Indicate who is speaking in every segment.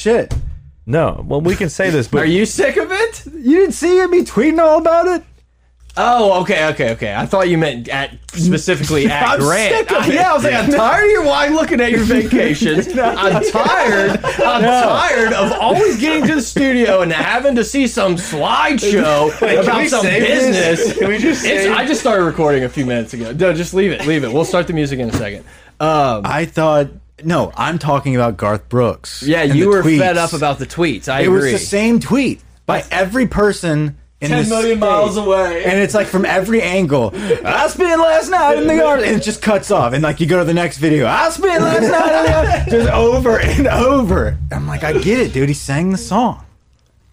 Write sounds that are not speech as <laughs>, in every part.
Speaker 1: Shit.
Speaker 2: No, well, we can say this,
Speaker 3: Are
Speaker 2: but
Speaker 3: you sick of it?
Speaker 1: You didn't see me tweeting all about it?
Speaker 3: Oh, okay, okay, okay. I thought you meant at
Speaker 1: <laughs>
Speaker 3: specifically at
Speaker 1: I'm
Speaker 3: Grant.
Speaker 1: sick of
Speaker 3: I-
Speaker 1: it.
Speaker 3: Yeah, I was like, I'm tired of your wine
Speaker 1: <laughs>
Speaker 3: looking at your vacations. I'm tired. I'm tired of always getting to the studio and having to see
Speaker 1: <laughs>
Speaker 3: some slideshow about some business.
Speaker 2: Can we just
Speaker 3: It's, I just started recording a few minutes ago. No, just leave it. Leave it. We'll start the music in a second. Um,
Speaker 1: I thought, no, I'm talking about Garth Brooks.
Speaker 3: yeah,
Speaker 1: and
Speaker 3: you
Speaker 1: the
Speaker 3: were
Speaker 1: tweets.
Speaker 3: fed up about the tweets. I
Speaker 1: It
Speaker 3: agree.
Speaker 1: was the same tweet by every person in this state.
Speaker 3: away.
Speaker 1: And it's like from every angle. I spent last night in the yard, and it just cuts off. And like you go to the next video. I spent last night in the
Speaker 3: <laughs>
Speaker 1: yard, just over and over. I'm like, I get it, dude. He sang the song.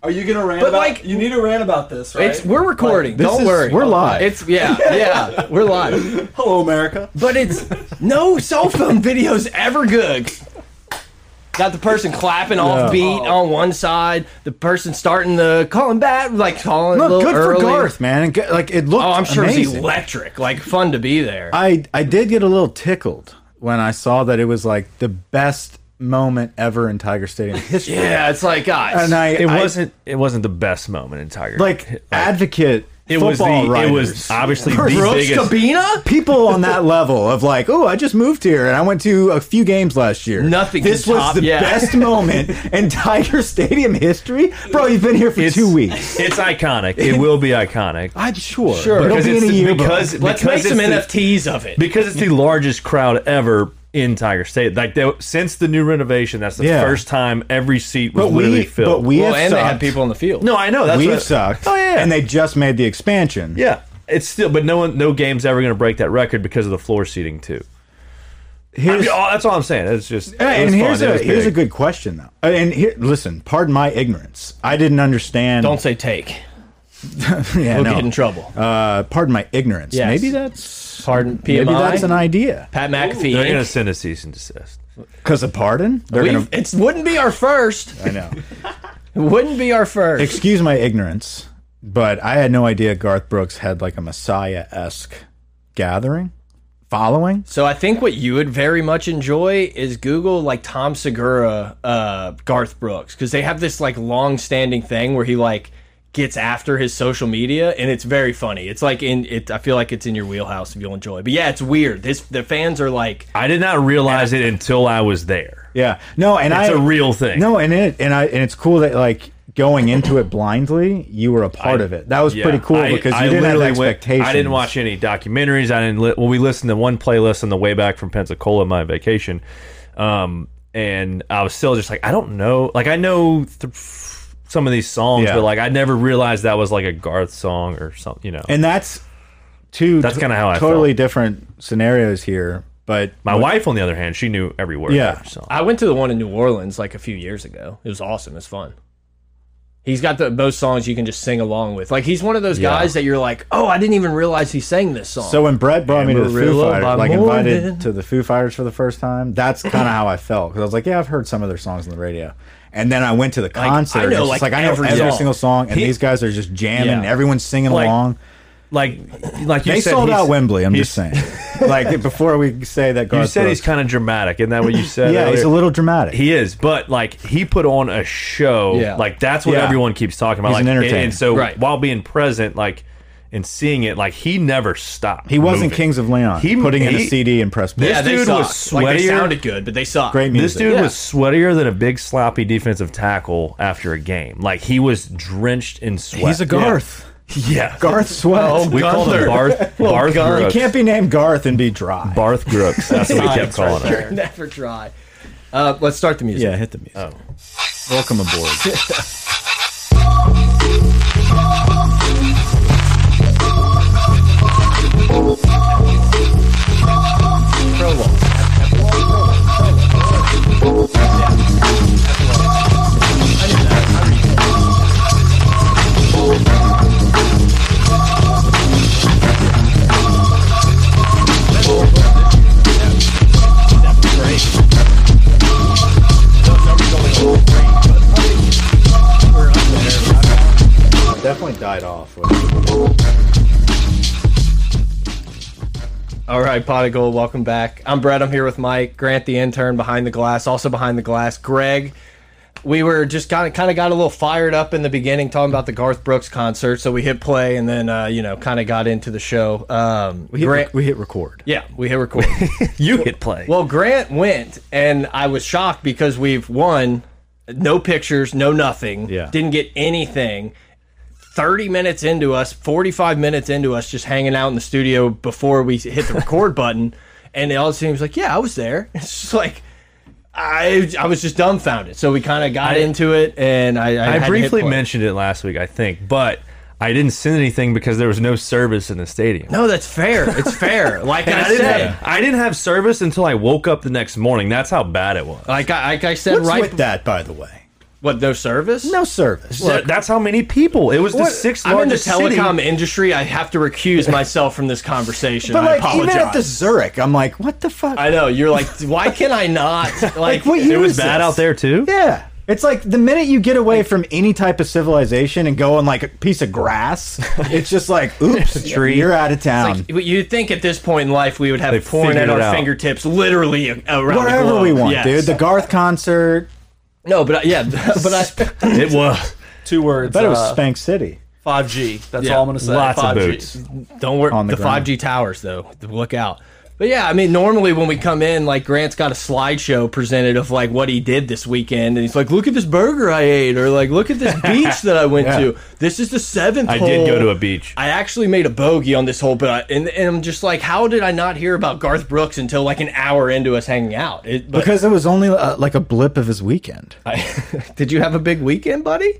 Speaker 4: Are you gonna rant
Speaker 3: But,
Speaker 4: about?
Speaker 3: like-
Speaker 4: you need to rant about this, right?
Speaker 3: It's we're recording.
Speaker 1: This
Speaker 3: Don't
Speaker 1: is-
Speaker 3: worry.
Speaker 1: We're live. <laughs>
Speaker 3: It's yeah, yeah. We're live.
Speaker 4: Hello, America.
Speaker 3: But it's no cell phone videos ever good. Got the person clapping off beat on one side, the person starting the calling back, like calling a
Speaker 1: Look,
Speaker 3: little
Speaker 1: good for
Speaker 3: early.
Speaker 1: Garth, man. And g- Like it looked.
Speaker 3: Oh, I'm sure it's
Speaker 1: amazing.
Speaker 3: electric, like fun to be there.
Speaker 1: I I did get a little tickled when I saw that it was like the best moment ever in Tiger
Speaker 3: <laughs>
Speaker 1: Stadium history.
Speaker 3: yeah, it's like guys.
Speaker 1: And I
Speaker 2: it
Speaker 1: I-
Speaker 2: wasn't it wasn't the best moment in Tiger.
Speaker 1: like advocate.
Speaker 2: it was the
Speaker 1: football
Speaker 2: it
Speaker 1: writers.
Speaker 2: was obviously the
Speaker 3: Brooks
Speaker 2: biggest.
Speaker 3: Cabina?
Speaker 1: people on that <laughs> level of like, oh, I just moved here and I went to a few games last year.
Speaker 3: Nothing can
Speaker 1: This was
Speaker 3: top-
Speaker 1: the
Speaker 3: yeah.
Speaker 1: best
Speaker 2: <laughs>
Speaker 1: moment in Tiger Stadium history, bro. You've been here for two weeks.
Speaker 2: It's iconic. It will be iconic.
Speaker 1: I'm sure.
Speaker 3: Sure.
Speaker 1: It'll
Speaker 2: because
Speaker 1: be in
Speaker 2: it's
Speaker 1: a
Speaker 2: the-
Speaker 1: year, bro.
Speaker 2: because,
Speaker 3: Let's
Speaker 2: because
Speaker 3: make some
Speaker 2: it's the-
Speaker 3: NFTs of it.
Speaker 1: <laughs>
Speaker 2: because it's the largest crowd ever in Tiger State. Like they, since the new renovation, that's the
Speaker 1: Yeah.
Speaker 2: first time every seat was
Speaker 1: but
Speaker 2: literally
Speaker 1: we,
Speaker 2: filled.
Speaker 1: but we
Speaker 3: well,
Speaker 1: have
Speaker 3: and they
Speaker 1: sucked.
Speaker 3: had people in the field.
Speaker 2: no, I know that's
Speaker 1: We've
Speaker 2: what-
Speaker 1: sucked.
Speaker 2: Oh yeah,
Speaker 1: and they just made the expansion.
Speaker 2: yeah. It's still, but no one, no game's ever going to break that record because of the floor seating too. I mean, all- that's all I'm saying. It's just it
Speaker 1: Hey,
Speaker 2: was
Speaker 1: and
Speaker 2: fun.
Speaker 1: here's
Speaker 2: It
Speaker 1: a
Speaker 2: was
Speaker 1: here's a
Speaker 2: big.
Speaker 1: good question though. Uh, And here, listen, pardon my ignorance. I didn't understand.
Speaker 3: Don't say take.
Speaker 1: <laughs> yeah,
Speaker 3: We'll
Speaker 1: no.
Speaker 3: get in trouble.
Speaker 1: Uh, pardon my ignorance.
Speaker 3: Yes.
Speaker 1: Maybe that's
Speaker 3: Pardon PMI.
Speaker 1: maybe that's an idea.
Speaker 3: Pat McAfee.
Speaker 2: They're
Speaker 3: Inc.
Speaker 2: going to send a cease and desist.
Speaker 1: Because of pardon, they're
Speaker 3: We've- It wouldn't be our first.
Speaker 1: I know.
Speaker 3: It wouldn't be our first.
Speaker 1: Excuse my ignorance, but I had no idea Garth Brooks had like a Messiah esque gathering following.
Speaker 3: So I think what you would very much enjoy is Google like Tom Segura, uh, Garth Brooks, because they have this like long-standing thing where he like gets after his social media, and it's very funny. It's like in it. I feel like it's in your wheelhouse if you'll enjoy. But yeah, it's weird. This the fans are like
Speaker 2: I did not realize it until I was there.
Speaker 1: Yeah. No, and
Speaker 2: It's
Speaker 1: I
Speaker 2: a real thing.
Speaker 1: No, and it and I and it's cool that like going into it blindly, you were a part of it. That was
Speaker 2: Yeah.
Speaker 1: pretty cool
Speaker 2: I-
Speaker 1: because you
Speaker 2: I
Speaker 1: didn't have
Speaker 2: literally went-
Speaker 1: expectations.
Speaker 2: I didn't watch any documentaries. I didn't. Li well, we listened to one playlist on the way back from Pensacola, on my vacation, um, and I was still just like, I don't know. Like I know th some of these songs,
Speaker 1: Yeah.
Speaker 2: but like I never realized that was like a Garth song or something. You know,
Speaker 1: And that's two.
Speaker 2: That's
Speaker 1: to-
Speaker 2: kinda how I
Speaker 1: totally
Speaker 2: felt.
Speaker 1: different scenarios here. But
Speaker 2: my wife, on the other hand, she knew every word.
Speaker 1: Yeah.
Speaker 2: Of every song.
Speaker 3: I went to the one in New Orleans like a few years ago. It was awesome. It's fun. He's got the most songs you can just sing along with. Like he's one of those
Speaker 2: Yeah.
Speaker 3: guys that you're like, oh, I didn't even realize he sang this song.
Speaker 1: So when Brett brought me to the Foo
Speaker 3: Amarillo by
Speaker 1: Fighters, like invited
Speaker 3: morning.
Speaker 1: to the Foo Fighters for the first time, that's kind of how I felt because I was like, yeah, I've heard some of their songs on the radio, and then I went to the concert. and
Speaker 3: know,
Speaker 1: it's just
Speaker 3: like,
Speaker 1: like I know
Speaker 3: every
Speaker 1: every,
Speaker 3: song.
Speaker 1: single song, and these guys are just jamming.
Speaker 3: Yeah.
Speaker 1: and Everyone's singing
Speaker 2: Like,
Speaker 1: along.
Speaker 2: Like, like you
Speaker 1: They
Speaker 2: said,
Speaker 1: sold
Speaker 2: he's-
Speaker 1: out Wembley. I'm
Speaker 2: he's-
Speaker 1: just saying. <laughs>
Speaker 2: <laughs>
Speaker 1: like before we say that,
Speaker 2: You
Speaker 1: Garth
Speaker 2: said he's
Speaker 1: Brooks-
Speaker 2: kind of dramatic. Isn't that what you
Speaker 1: <laughs>
Speaker 2: said?
Speaker 1: yeah, he's
Speaker 2: earlier?
Speaker 1: a little dramatic.
Speaker 2: He is, but like he put on a show.
Speaker 3: Yeah.
Speaker 2: Like that's what
Speaker 1: Yeah.
Speaker 2: everyone keeps talking about.
Speaker 1: He's
Speaker 2: like
Speaker 1: an
Speaker 2: and-
Speaker 1: entertainer.
Speaker 2: And, so
Speaker 3: Right.
Speaker 2: while being present, like and seeing it, like he never stopped.
Speaker 1: He wasn't
Speaker 2: moving.
Speaker 1: Kings of Leon.
Speaker 2: He-
Speaker 1: putting in a
Speaker 2: he-
Speaker 1: CD and press play.
Speaker 3: yeah, they
Speaker 2: dude
Speaker 3: suck.
Speaker 2: was
Speaker 3: Like they
Speaker 2: sweatier.
Speaker 3: sounded good, but they suck.
Speaker 1: Great music.
Speaker 2: This dude
Speaker 3: Yeah.
Speaker 2: was sweatier than a big sloppy defensive tackle after a game. Like he was drenched in sweat.
Speaker 1: he's a Garth.
Speaker 2: Yeah.
Speaker 1: Garth Sweat. <laughs>
Speaker 2: We called him Barth. Barth
Speaker 1: you
Speaker 2: Brooks.
Speaker 1: can't be named Garth and be dry.
Speaker 2: Barth Brooks. That's what we kept
Speaker 3: Science
Speaker 2: calling
Speaker 3: right
Speaker 2: him.
Speaker 3: there. <laughs> Never try. Uh, let's start the music.
Speaker 1: yeah, hit the music. Oh. Welcome aboard. Definitely died off.
Speaker 3: All right, Pot of Gold, welcome back. I'm Brett. I'm here with Mike, Grant, the intern behind the glass, also behind the glass, Greg. we were just kind of kind of got a little fired up in the beginning talking about the Garth Brooks concert, so we hit play and then uh, you know kind of got into the show. Um,
Speaker 1: We hit,
Speaker 3: Grant,
Speaker 1: rec- we hit record.
Speaker 3: yeah, we
Speaker 1: <laughs>
Speaker 3: hit record.
Speaker 2: You hit play.
Speaker 3: well, Grant went, and I was shocked because we've won no pictures, no nothing.
Speaker 1: Yeah.
Speaker 3: didn't get anything. 30 minutes into us, 45 minutes into us, just hanging out in the studio before we hit the record button. And it all seems like, yeah, I was there. <laughs> It's just like, I, I was just dumbfounded. So we kind of got into it, and I, I, had to
Speaker 2: I
Speaker 3: hit
Speaker 2: briefly
Speaker 3: play.
Speaker 2: mentioned it last week, I think, but I didn't send anything because there was no service in the stadium.
Speaker 3: No, that's fair. It's fair. Like I,
Speaker 2: And I, didn't
Speaker 3: said,
Speaker 2: have, I didn't have service until I woke up the next morning. That's how bad it was.
Speaker 3: like I, like I said,
Speaker 1: What's
Speaker 3: right?
Speaker 1: with that, by the way?
Speaker 3: What no service?
Speaker 1: No service.
Speaker 2: Th- That's how many people. It was the sixth
Speaker 3: I'm in the
Speaker 2: largest city.
Speaker 3: telecom industry. I have to recuse myself from this conversation.
Speaker 1: but
Speaker 3: I
Speaker 1: like,
Speaker 3: apologize.
Speaker 1: even at the Zurich, I'm like, what the fuck?
Speaker 3: I know you're like, why can
Speaker 1: <laughs>
Speaker 3: I not? Like,
Speaker 1: what
Speaker 2: It
Speaker 1: year
Speaker 2: was
Speaker 1: is
Speaker 2: bad
Speaker 1: this?
Speaker 2: out there too.
Speaker 1: Yeah. It's like the minute you get away from any type of civilization and go on like a piece of grass, it's just like, oops,
Speaker 2: tree.
Speaker 1: you're out of town.
Speaker 3: Like, you'd think at this point in life we would have
Speaker 2: Um, They
Speaker 3: porn
Speaker 2: figured
Speaker 3: at
Speaker 2: it
Speaker 3: our
Speaker 2: out.
Speaker 3: fingertips, literally a- around the
Speaker 1: Wherever
Speaker 3: globe.
Speaker 1: we want,
Speaker 3: Yes.
Speaker 1: dude. The Garth concert.
Speaker 3: no, but I, yeah, <laughs> but
Speaker 1: <laughs>
Speaker 3: I
Speaker 2: It was
Speaker 4: Two words.
Speaker 1: I bet it was
Speaker 4: uh,
Speaker 1: Spank City.
Speaker 4: 5G. That's
Speaker 3: Yeah.
Speaker 4: all I'm gonna say.
Speaker 2: lots of
Speaker 4: 5G.
Speaker 2: boots.
Speaker 3: don't worry.
Speaker 1: On
Speaker 3: The
Speaker 1: the ground.
Speaker 3: five G towers though, look out. But yeah, I mean, normally when we come in, like Grant's got a slideshow presented of like what he did this weekend, and he's like, "Look at this burger I ate," or like, "Look
Speaker 2: <laughs>
Speaker 3: at this beach that I went
Speaker 1: Yeah.
Speaker 3: to. This is the seventh.
Speaker 2: I did go
Speaker 3: hole."
Speaker 2: to a beach.
Speaker 3: I actually made a bogey on this whole, but I, and, and I'm just like, how did I not hear about Garth Brooks until like an hour into us hanging out? It, but
Speaker 1: Because it was only uh, like a blip of his weekend.
Speaker 3: <laughs> did you have a big weekend, buddy?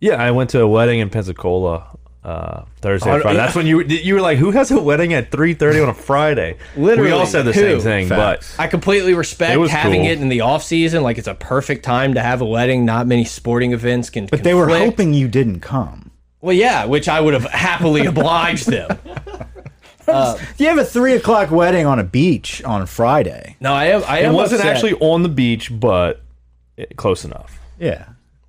Speaker 2: Yeah, I went to a wedding in Pensacola uh, Thursday,
Speaker 3: Oh,
Speaker 2: Friday.
Speaker 3: yeah.
Speaker 2: That's when you you were like, "Who has a wedding at three thirty on a Friday?"
Speaker 3: Literally,
Speaker 2: we all said the
Speaker 3: who?
Speaker 2: same thing.
Speaker 1: Facts.
Speaker 3: I completely respect
Speaker 2: It was
Speaker 3: having
Speaker 2: cool.
Speaker 3: it in the off season. Like it's a perfect time to have a wedding. Not many sporting events can.
Speaker 1: But they were hoping you didn't come.
Speaker 3: Well, yeah, which I would have happily <laughs> obliged them.
Speaker 1: You have a three o'clock wedding on a beach on Friday.
Speaker 3: No, I am. I
Speaker 2: But
Speaker 3: am
Speaker 2: it wasn't
Speaker 3: upset.
Speaker 2: actually on the beach, but it, close enough.
Speaker 1: Yeah.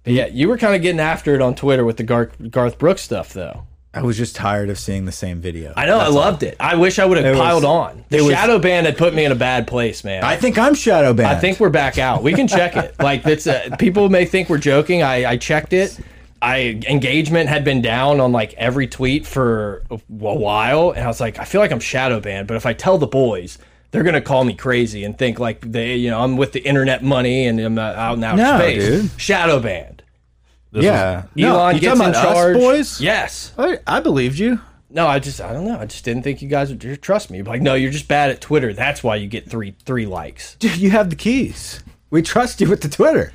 Speaker 3: Yeah, you were kind of getting after it on Twitter with the Garth, Garth Brooks stuff, though.
Speaker 1: I was just tired of seeing the same video.
Speaker 3: I know, I loved it. I wish I would have
Speaker 1: was-
Speaker 3: piled on. The
Speaker 1: it was-
Speaker 3: shadow band had put me in a bad place, man.
Speaker 1: I think I'm shadow banned.
Speaker 3: I think we're back out. We can
Speaker 1: <laughs>
Speaker 3: check it. Like that's uh, people may think we're joking. I, I checked it. I engagement had been down on like every tweet for a while, and I was like, I feel like I'm shadow banned. But if I tell the boys, they're gonna call me crazy and think like they, you know, I'm with the internet money and I'm not out in outer
Speaker 1: No,
Speaker 3: space.
Speaker 1: dude.
Speaker 3: Shadow banned.
Speaker 1: yeah.
Speaker 3: Elon
Speaker 1: you
Speaker 3: gets
Speaker 1: talking
Speaker 3: in
Speaker 1: about us
Speaker 3: charge.
Speaker 1: boys?
Speaker 3: Yes.
Speaker 1: I, I believed you.
Speaker 3: No, I just I don't know. I just didn't think you guys would just trust me. Like, no, you're just bad at Twitter. That's why you get three three likes.
Speaker 1: Dude, you have the keys. We trust you with the Twitter.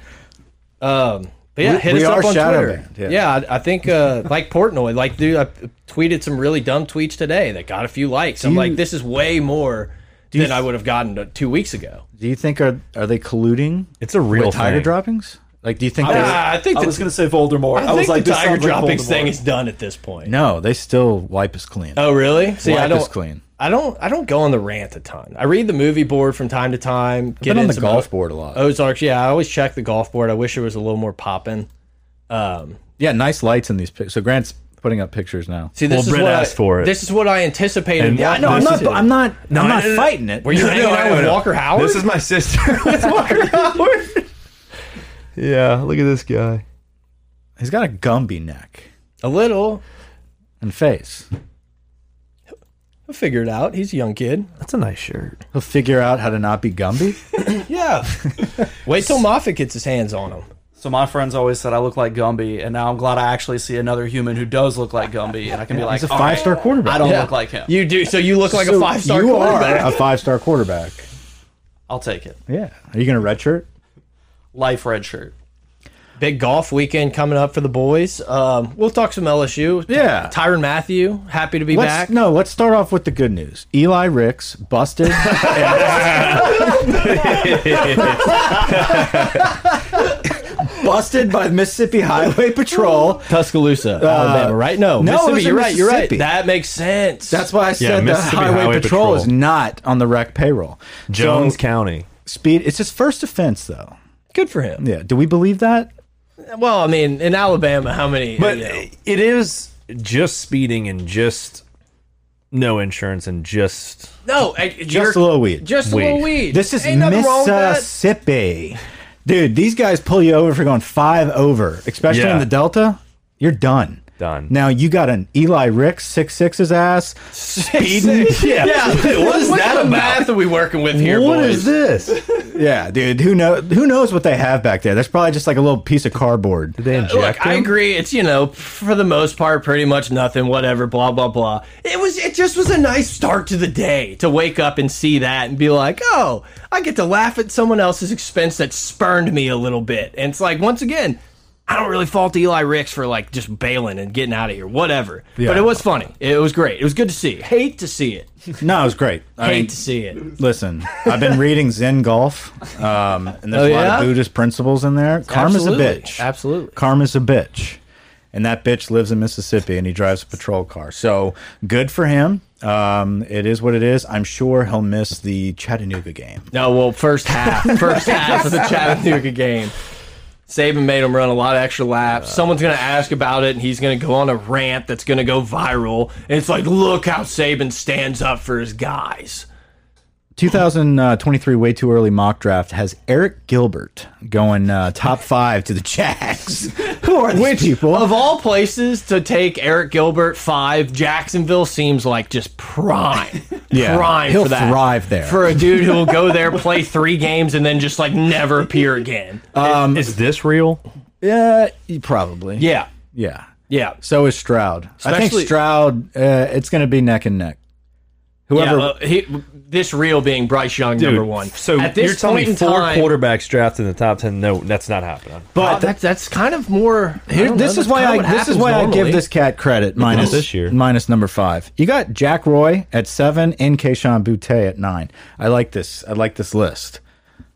Speaker 3: Um, but yeah,
Speaker 1: We-
Speaker 3: hit
Speaker 1: we
Speaker 3: us
Speaker 1: are
Speaker 3: up on
Speaker 1: shadow
Speaker 3: Twitter.
Speaker 1: banned, yeah.
Speaker 3: yeah. I I think uh, <laughs> like Portnoy, like dude, I tweeted some really dumb tweets today that got a few likes. I'm
Speaker 1: you-
Speaker 3: like, this is way more than I would have gotten two weeks ago.
Speaker 1: Do you think are are they colluding
Speaker 2: It's a real
Speaker 1: with tiger
Speaker 2: thing.
Speaker 1: droppings? Like, do you think?
Speaker 3: Uh,
Speaker 1: they're
Speaker 3: I think
Speaker 4: I
Speaker 3: the,
Speaker 4: was gonna say Voldemort. I,
Speaker 3: I
Speaker 4: was
Speaker 3: think
Speaker 4: like,
Speaker 3: the
Speaker 4: this
Speaker 3: tiger
Speaker 4: sounds like
Speaker 3: droppings
Speaker 4: Voldemort.
Speaker 3: thing is done at this point.
Speaker 1: No, they still wipe us clean.
Speaker 3: Oh, really? See,
Speaker 1: Wipe
Speaker 3: I
Speaker 1: us
Speaker 3: don't.
Speaker 1: clean.
Speaker 3: I don't. I don't go on the rant a ton. I read the movie board from time to time. Get
Speaker 1: Been on
Speaker 3: in
Speaker 1: the
Speaker 3: some Oh.
Speaker 1: golf
Speaker 3: O-
Speaker 1: board a lot.
Speaker 3: Ozarks. Yeah, I always check the golf board. I wish it was a little more popping. Um,
Speaker 1: Yeah, nice lights in these pictures. So Grant's putting up pictures now.
Speaker 3: see, this
Speaker 2: Well,
Speaker 3: is
Speaker 2: Brent
Speaker 3: what
Speaker 2: asked
Speaker 3: I,
Speaker 2: for it.
Speaker 3: This is what I anticipated.
Speaker 2: And-
Speaker 3: walking
Speaker 2: I know, I'm
Speaker 3: into.
Speaker 2: not-
Speaker 1: not.
Speaker 2: No, no, no, no.
Speaker 1: it.
Speaker 3: Were you <laughs> hanging out with Walker Howard?
Speaker 2: This is my
Speaker 3: <laughs>
Speaker 2: sister <laughs> with Walker Howard. yeah, look at this guy.
Speaker 1: He's got a Gumby neck
Speaker 3: a little.
Speaker 1: and face.
Speaker 3: He'll figure it out. He's a young kid.
Speaker 2: That's a nice shirt.
Speaker 1: He'll figure out how to not be Gumby.
Speaker 3: Yeah. <laughs> Wait till Moffat gets his hands on him.
Speaker 4: So my friends always said I look like Gumby, and now I'm glad I actually see another human who does look like Gumby, and I can be like,
Speaker 1: He's a
Speaker 4: "All right,
Speaker 1: five star quarterback.
Speaker 4: I don't
Speaker 3: Yeah.
Speaker 4: look like him.
Speaker 3: You do. So you look like a
Speaker 1: So
Speaker 3: five star
Speaker 1: You
Speaker 3: quarterback.
Speaker 1: are a five star quarterback.
Speaker 4: I'll take it.
Speaker 1: Yeah. Are you gonna redshirt?
Speaker 4: Life red shirt.
Speaker 3: Big golf weekend coming up for the boys. Um, we'll talk some LSU.
Speaker 1: Yeah.
Speaker 3: Tyron Matthew, happy to be
Speaker 1: Let's,
Speaker 3: back.
Speaker 1: No, let's start off with the good news. Eli Ricks
Speaker 3: <laughs>
Speaker 1: busted. busted by Mississippi Highway Patrol.
Speaker 3: Tuscaloosa, Uh, Alabama, right?
Speaker 1: no,
Speaker 3: No,
Speaker 1: it
Speaker 3: Mississippi.
Speaker 1: was in
Speaker 3: you're right. You're right.
Speaker 1: Mississippi.
Speaker 3: That makes sense.
Speaker 1: That's why I
Speaker 2: Yeah,
Speaker 1: said the
Speaker 2: Mississippi
Speaker 1: Highway,
Speaker 2: Highway
Speaker 1: Patrol,
Speaker 2: Patrol.
Speaker 1: is not on the rec payroll.
Speaker 2: Jones
Speaker 1: So,
Speaker 2: County.
Speaker 1: speed. It's his first offense, though.
Speaker 3: good for him.
Speaker 1: Yeah. Do we believe that?
Speaker 3: Well, I mean, in Alabama, how many?
Speaker 2: But
Speaker 3: you know,
Speaker 2: it is just speeding and just no insurance and just
Speaker 3: no, I- you're-
Speaker 1: Just a little weed.
Speaker 3: Just a little
Speaker 2: Weed.
Speaker 3: weed.
Speaker 1: This is
Speaker 3: Ain't nothing wrong with that.
Speaker 1: Mississippi. Dude, these guys pull you over for going five over, especially
Speaker 2: Yeah.
Speaker 1: in the Delta. You're done.
Speaker 2: Done.
Speaker 1: Now you got an Eli Ricks six six's ass
Speaker 3: <laughs>
Speaker 1: speeding. <laughs> yeah.
Speaker 3: what is that about? math are we working with here,
Speaker 2: What
Speaker 3: boys?
Speaker 2: is this?
Speaker 1: Yeah, dude. Who know? Who knows what they have back there? That's probably just like a little piece of cardboard.
Speaker 2: They inject
Speaker 3: Look, I
Speaker 2: him?
Speaker 3: agree. It's you know, for the most part, pretty much nothing. Whatever, blah blah blah. It was. It just was a nice start to the day to wake up and see that and be like, oh, I get to laugh at someone else's expense that spurned me a little bit. And it's like, once again, I don't really fault Eli Ricks for like just bailing and getting out of here. Whatever. But it was funny. It was great. It was good to see. Hate to see it.
Speaker 1: No, it was great. I
Speaker 3: Hate
Speaker 1: mean,
Speaker 3: to see it.
Speaker 1: listen, I've been reading Zen Golf, um, and there's a
Speaker 3: Oh,
Speaker 1: lot
Speaker 3: yeah?
Speaker 1: of Buddhist principles in there. Karma's a
Speaker 3: Absolutely.
Speaker 1: bitch.
Speaker 3: Absolutely.
Speaker 1: Karma's a bitch. And that bitch lives in Mississippi and he drives a patrol car. So good for him. Um, it is what it is. I'm sure he'll miss the Chattanooga game.
Speaker 3: No, well,
Speaker 1: <laughs>
Speaker 3: first half, first half of the Chattanooga game. Saban made him run a lot of extra laps.
Speaker 1: Uh,
Speaker 3: Someone's going to ask about it, and he's going to go on a rant that's going to go viral. And it's like, look how Saban stands up for his guys.
Speaker 1: 2023 Way Too Early mock draft has Eric Gilbert going uh, top five to the Jacks. Who are these people?
Speaker 3: Of all places to take Eric Gilbert five, Jacksonville seems like just prime,
Speaker 1: <laughs> Yeah.
Speaker 3: prime
Speaker 1: He'll
Speaker 3: for that.
Speaker 1: thrive there.
Speaker 3: for a dude who will go there, play three games, and then just like never appear again.
Speaker 1: Uh,
Speaker 2: is this real?
Speaker 1: yeah, probably.
Speaker 3: yeah,
Speaker 1: Yeah.
Speaker 3: yeah.
Speaker 1: So is Stroud. I
Speaker 3: Especially-
Speaker 1: think Stroud, uh, it's going to be neck and neck.
Speaker 3: Yeah,
Speaker 1: Whoever.
Speaker 3: well, he, this reel being Bryce Young, number one.
Speaker 2: So
Speaker 3: at this
Speaker 2: you're telling me
Speaker 3: point in
Speaker 2: four
Speaker 3: time,
Speaker 2: quarterbacks drafted in the top ten? No, that's not happening.
Speaker 3: But that's that's kind of more. I
Speaker 1: Here-
Speaker 3: don't know,
Speaker 1: this is
Speaker 3: that's
Speaker 1: why
Speaker 3: kinda
Speaker 1: I
Speaker 3: what
Speaker 1: this is
Speaker 3: happens
Speaker 1: why I
Speaker 3: normally.
Speaker 1: give this cat credit minus
Speaker 2: this year.
Speaker 1: minus number five. You got Jack Roy at seven and Keishawn Butte at nine. I like this. I like this list.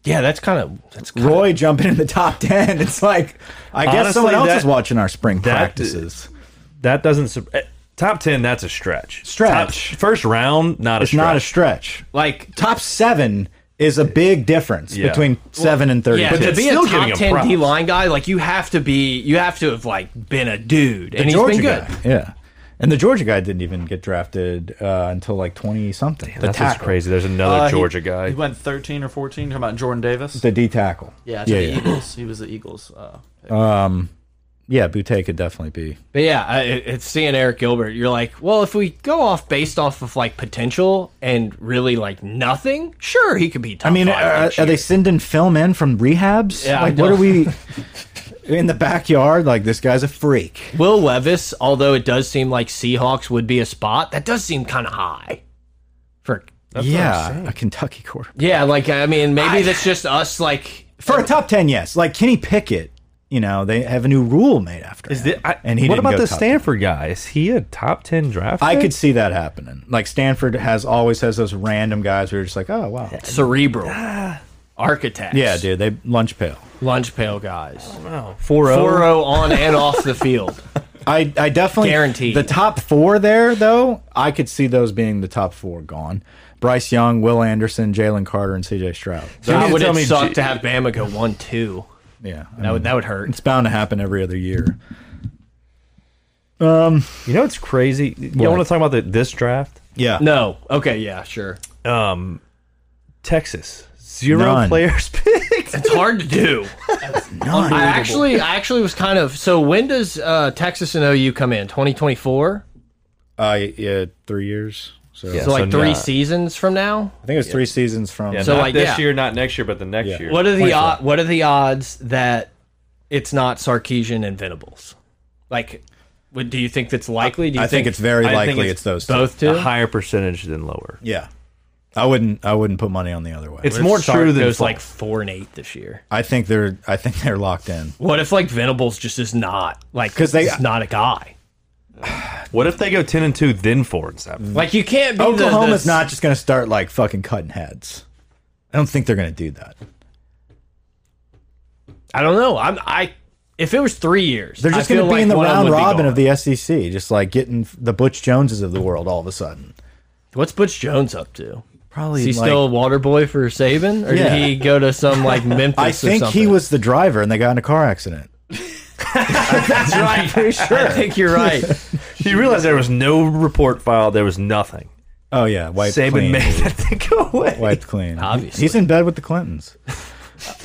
Speaker 3: Yeah, that's kind of that's kind
Speaker 1: Roy jumping in the top <laughs> ten. It's like I guess
Speaker 2: Honestly,
Speaker 1: someone else
Speaker 2: that-
Speaker 1: is watching our spring
Speaker 2: that-
Speaker 1: practices.
Speaker 2: That doesn't sur- eh, top ten. That's a stretch.
Speaker 1: Stretch.
Speaker 2: Top- first round, not a
Speaker 1: It's
Speaker 2: stretch.
Speaker 1: not a stretch.
Speaker 3: like.
Speaker 1: Top seven is a big difference
Speaker 2: Yeah.
Speaker 1: between seven and thirty.
Speaker 3: Yeah,
Speaker 1: But
Speaker 3: to
Speaker 2: that's
Speaker 3: be a
Speaker 2: still
Speaker 3: top
Speaker 2: giving him
Speaker 3: ten
Speaker 2: props.
Speaker 3: D line guy, like you have to be, you have to have like been a dude, and he's been good.
Speaker 1: guy, yeah. And the Georgia guy didn't even get drafted uh, until like twenty something. The
Speaker 2: That's just
Speaker 1: tackle.
Speaker 2: crazy. There's another
Speaker 4: Uh, he-
Speaker 2: Georgia
Speaker 4: He
Speaker 2: guy.
Speaker 4: went 13 or 14. Talking about Jordan Davis.
Speaker 1: The D tackle.
Speaker 4: yeah, to
Speaker 1: yeah,
Speaker 4: the
Speaker 1: yeah.
Speaker 4: Eagles. He was the Eagles. Uh,
Speaker 1: yeah. Butte could definitely be.
Speaker 3: But yeah, I, it- it's seeing Eric Gilbert. You're like, well, if we go off based off of like potential and really like nothing, sure, he could be. Top
Speaker 1: I mean,
Speaker 3: five
Speaker 1: are,
Speaker 3: next
Speaker 1: are they
Speaker 3: year.
Speaker 1: sending film in from rehabs?
Speaker 3: Yeah, I
Speaker 1: like, what
Speaker 3: know.
Speaker 1: are we in the backyard? Like, this guy's a freak.
Speaker 3: Will Levis, although it does seem like Seahawks would be a spot, that does seem kind of high. For
Speaker 1: yeah, a Kentucky quarterback
Speaker 3: yeah, like I mean, maybe that's just us. Like
Speaker 1: for a top ten. Yes, like Kenny Pickett. You know, they have a new rule made after.
Speaker 2: Is
Speaker 1: him,
Speaker 2: thi- I-
Speaker 1: and he
Speaker 2: what
Speaker 1: didn't
Speaker 2: about
Speaker 1: go
Speaker 2: the
Speaker 1: top
Speaker 2: Stanford guy? Is he a top ten draft?
Speaker 1: 10. I
Speaker 2: pick?
Speaker 1: could see that happening. Like Stanford has always has those random guys who are just like, oh wow,
Speaker 3: cerebral architects.
Speaker 1: yeah, dude, they lunch pail.
Speaker 3: lunch pail guys,
Speaker 2: Oh, four
Speaker 3: four
Speaker 2: zero.
Speaker 3: zero on and off the field.
Speaker 1: I, I definitely
Speaker 3: Guaranteed.
Speaker 1: the top four there though. I could see those being the top four gone. Bryce Young, Will Anderson, Jalen Carter, and C.J. Stroud.
Speaker 3: God,
Speaker 2: mean to
Speaker 3: would
Speaker 2: tell
Speaker 3: it
Speaker 2: me
Speaker 3: suck
Speaker 2: J-
Speaker 3: to have Bama go one two?
Speaker 1: Yeah, I
Speaker 3: That
Speaker 1: mean,
Speaker 3: would that would hurt.
Speaker 1: it's bound to happen every other year.
Speaker 2: You know it's crazy. You
Speaker 1: What?
Speaker 2: want to talk about the, this draft?
Speaker 1: Yeah,
Speaker 3: No, okay, yeah, sure.
Speaker 2: Um, Texas zero
Speaker 1: None.
Speaker 2: players <laughs> picked.
Speaker 3: It's hard to do.
Speaker 1: none.
Speaker 3: I actually, I actually was kind of. So when does uh, Texas and OU come in? Twenty twenty four.
Speaker 1: Uh, yeah, three years. So
Speaker 2: Yeah.
Speaker 3: So like
Speaker 2: So
Speaker 3: three
Speaker 2: not-
Speaker 3: seasons from now.
Speaker 1: I think it's three seasons from.
Speaker 2: Yeah,
Speaker 3: So,
Speaker 2: not
Speaker 3: like,
Speaker 2: this
Speaker 3: yeah.
Speaker 2: year, not next year, but the next
Speaker 1: Yeah.
Speaker 2: year.
Speaker 3: What are the
Speaker 1: 24.
Speaker 3: od what are the odds that it's not Sarkeesian and Venables? Like, would, do you think that's likely? Do you
Speaker 1: I think it's very
Speaker 2: I think
Speaker 1: likely it's,
Speaker 2: it's
Speaker 1: those two.
Speaker 3: both
Speaker 2: a
Speaker 3: two?
Speaker 2: higher percentage than lower?
Speaker 1: Yeah, I wouldn't. I wouldn't put money on the other way.
Speaker 2: It's more
Speaker 3: Sark
Speaker 2: true than
Speaker 3: goes
Speaker 2: false.
Speaker 3: like four and eight this year.
Speaker 1: I think they're. I think they're locked in.
Speaker 3: What if like Venables just is not like
Speaker 1: 'Cause they-
Speaker 3: is not a guy?
Speaker 2: What if they go ten and two, then four and seven?
Speaker 3: Like you can't. Be the-
Speaker 1: Oklahoma's
Speaker 3: the-
Speaker 1: not just going to start like fucking cutting heads. I don't think they're going to do that.
Speaker 3: I don't know. I'm. I. If it was three years,
Speaker 1: They're
Speaker 3: I
Speaker 1: just going to
Speaker 3: feel
Speaker 1: be
Speaker 3: like
Speaker 1: in the
Speaker 3: one
Speaker 1: round
Speaker 3: them would be
Speaker 1: robin
Speaker 3: gone.
Speaker 1: of the SEC, just like getting the Butch Joneses of the world all of a sudden.
Speaker 3: What's Butch Jones up to?
Speaker 1: Probably.
Speaker 3: Is he
Speaker 1: like-
Speaker 3: still a water boy for Saban, or
Speaker 1: Yeah.
Speaker 3: did he go to some like
Speaker 1: <laughs>
Speaker 3: Memphis?
Speaker 1: I think
Speaker 3: or
Speaker 1: he
Speaker 3: something?
Speaker 1: was the driver, and they got in a car accident.
Speaker 3: That's right. <laughs> I think
Speaker 1: <laughs>
Speaker 3: you're right.
Speaker 2: You realize there was no report filed. There was nothing.
Speaker 1: Oh yeah, wiped
Speaker 2: Saban
Speaker 1: clean.
Speaker 2: made that thing go away.
Speaker 1: wiped clean.
Speaker 3: <laughs> Obviously.
Speaker 1: he's in bed with the Clintons.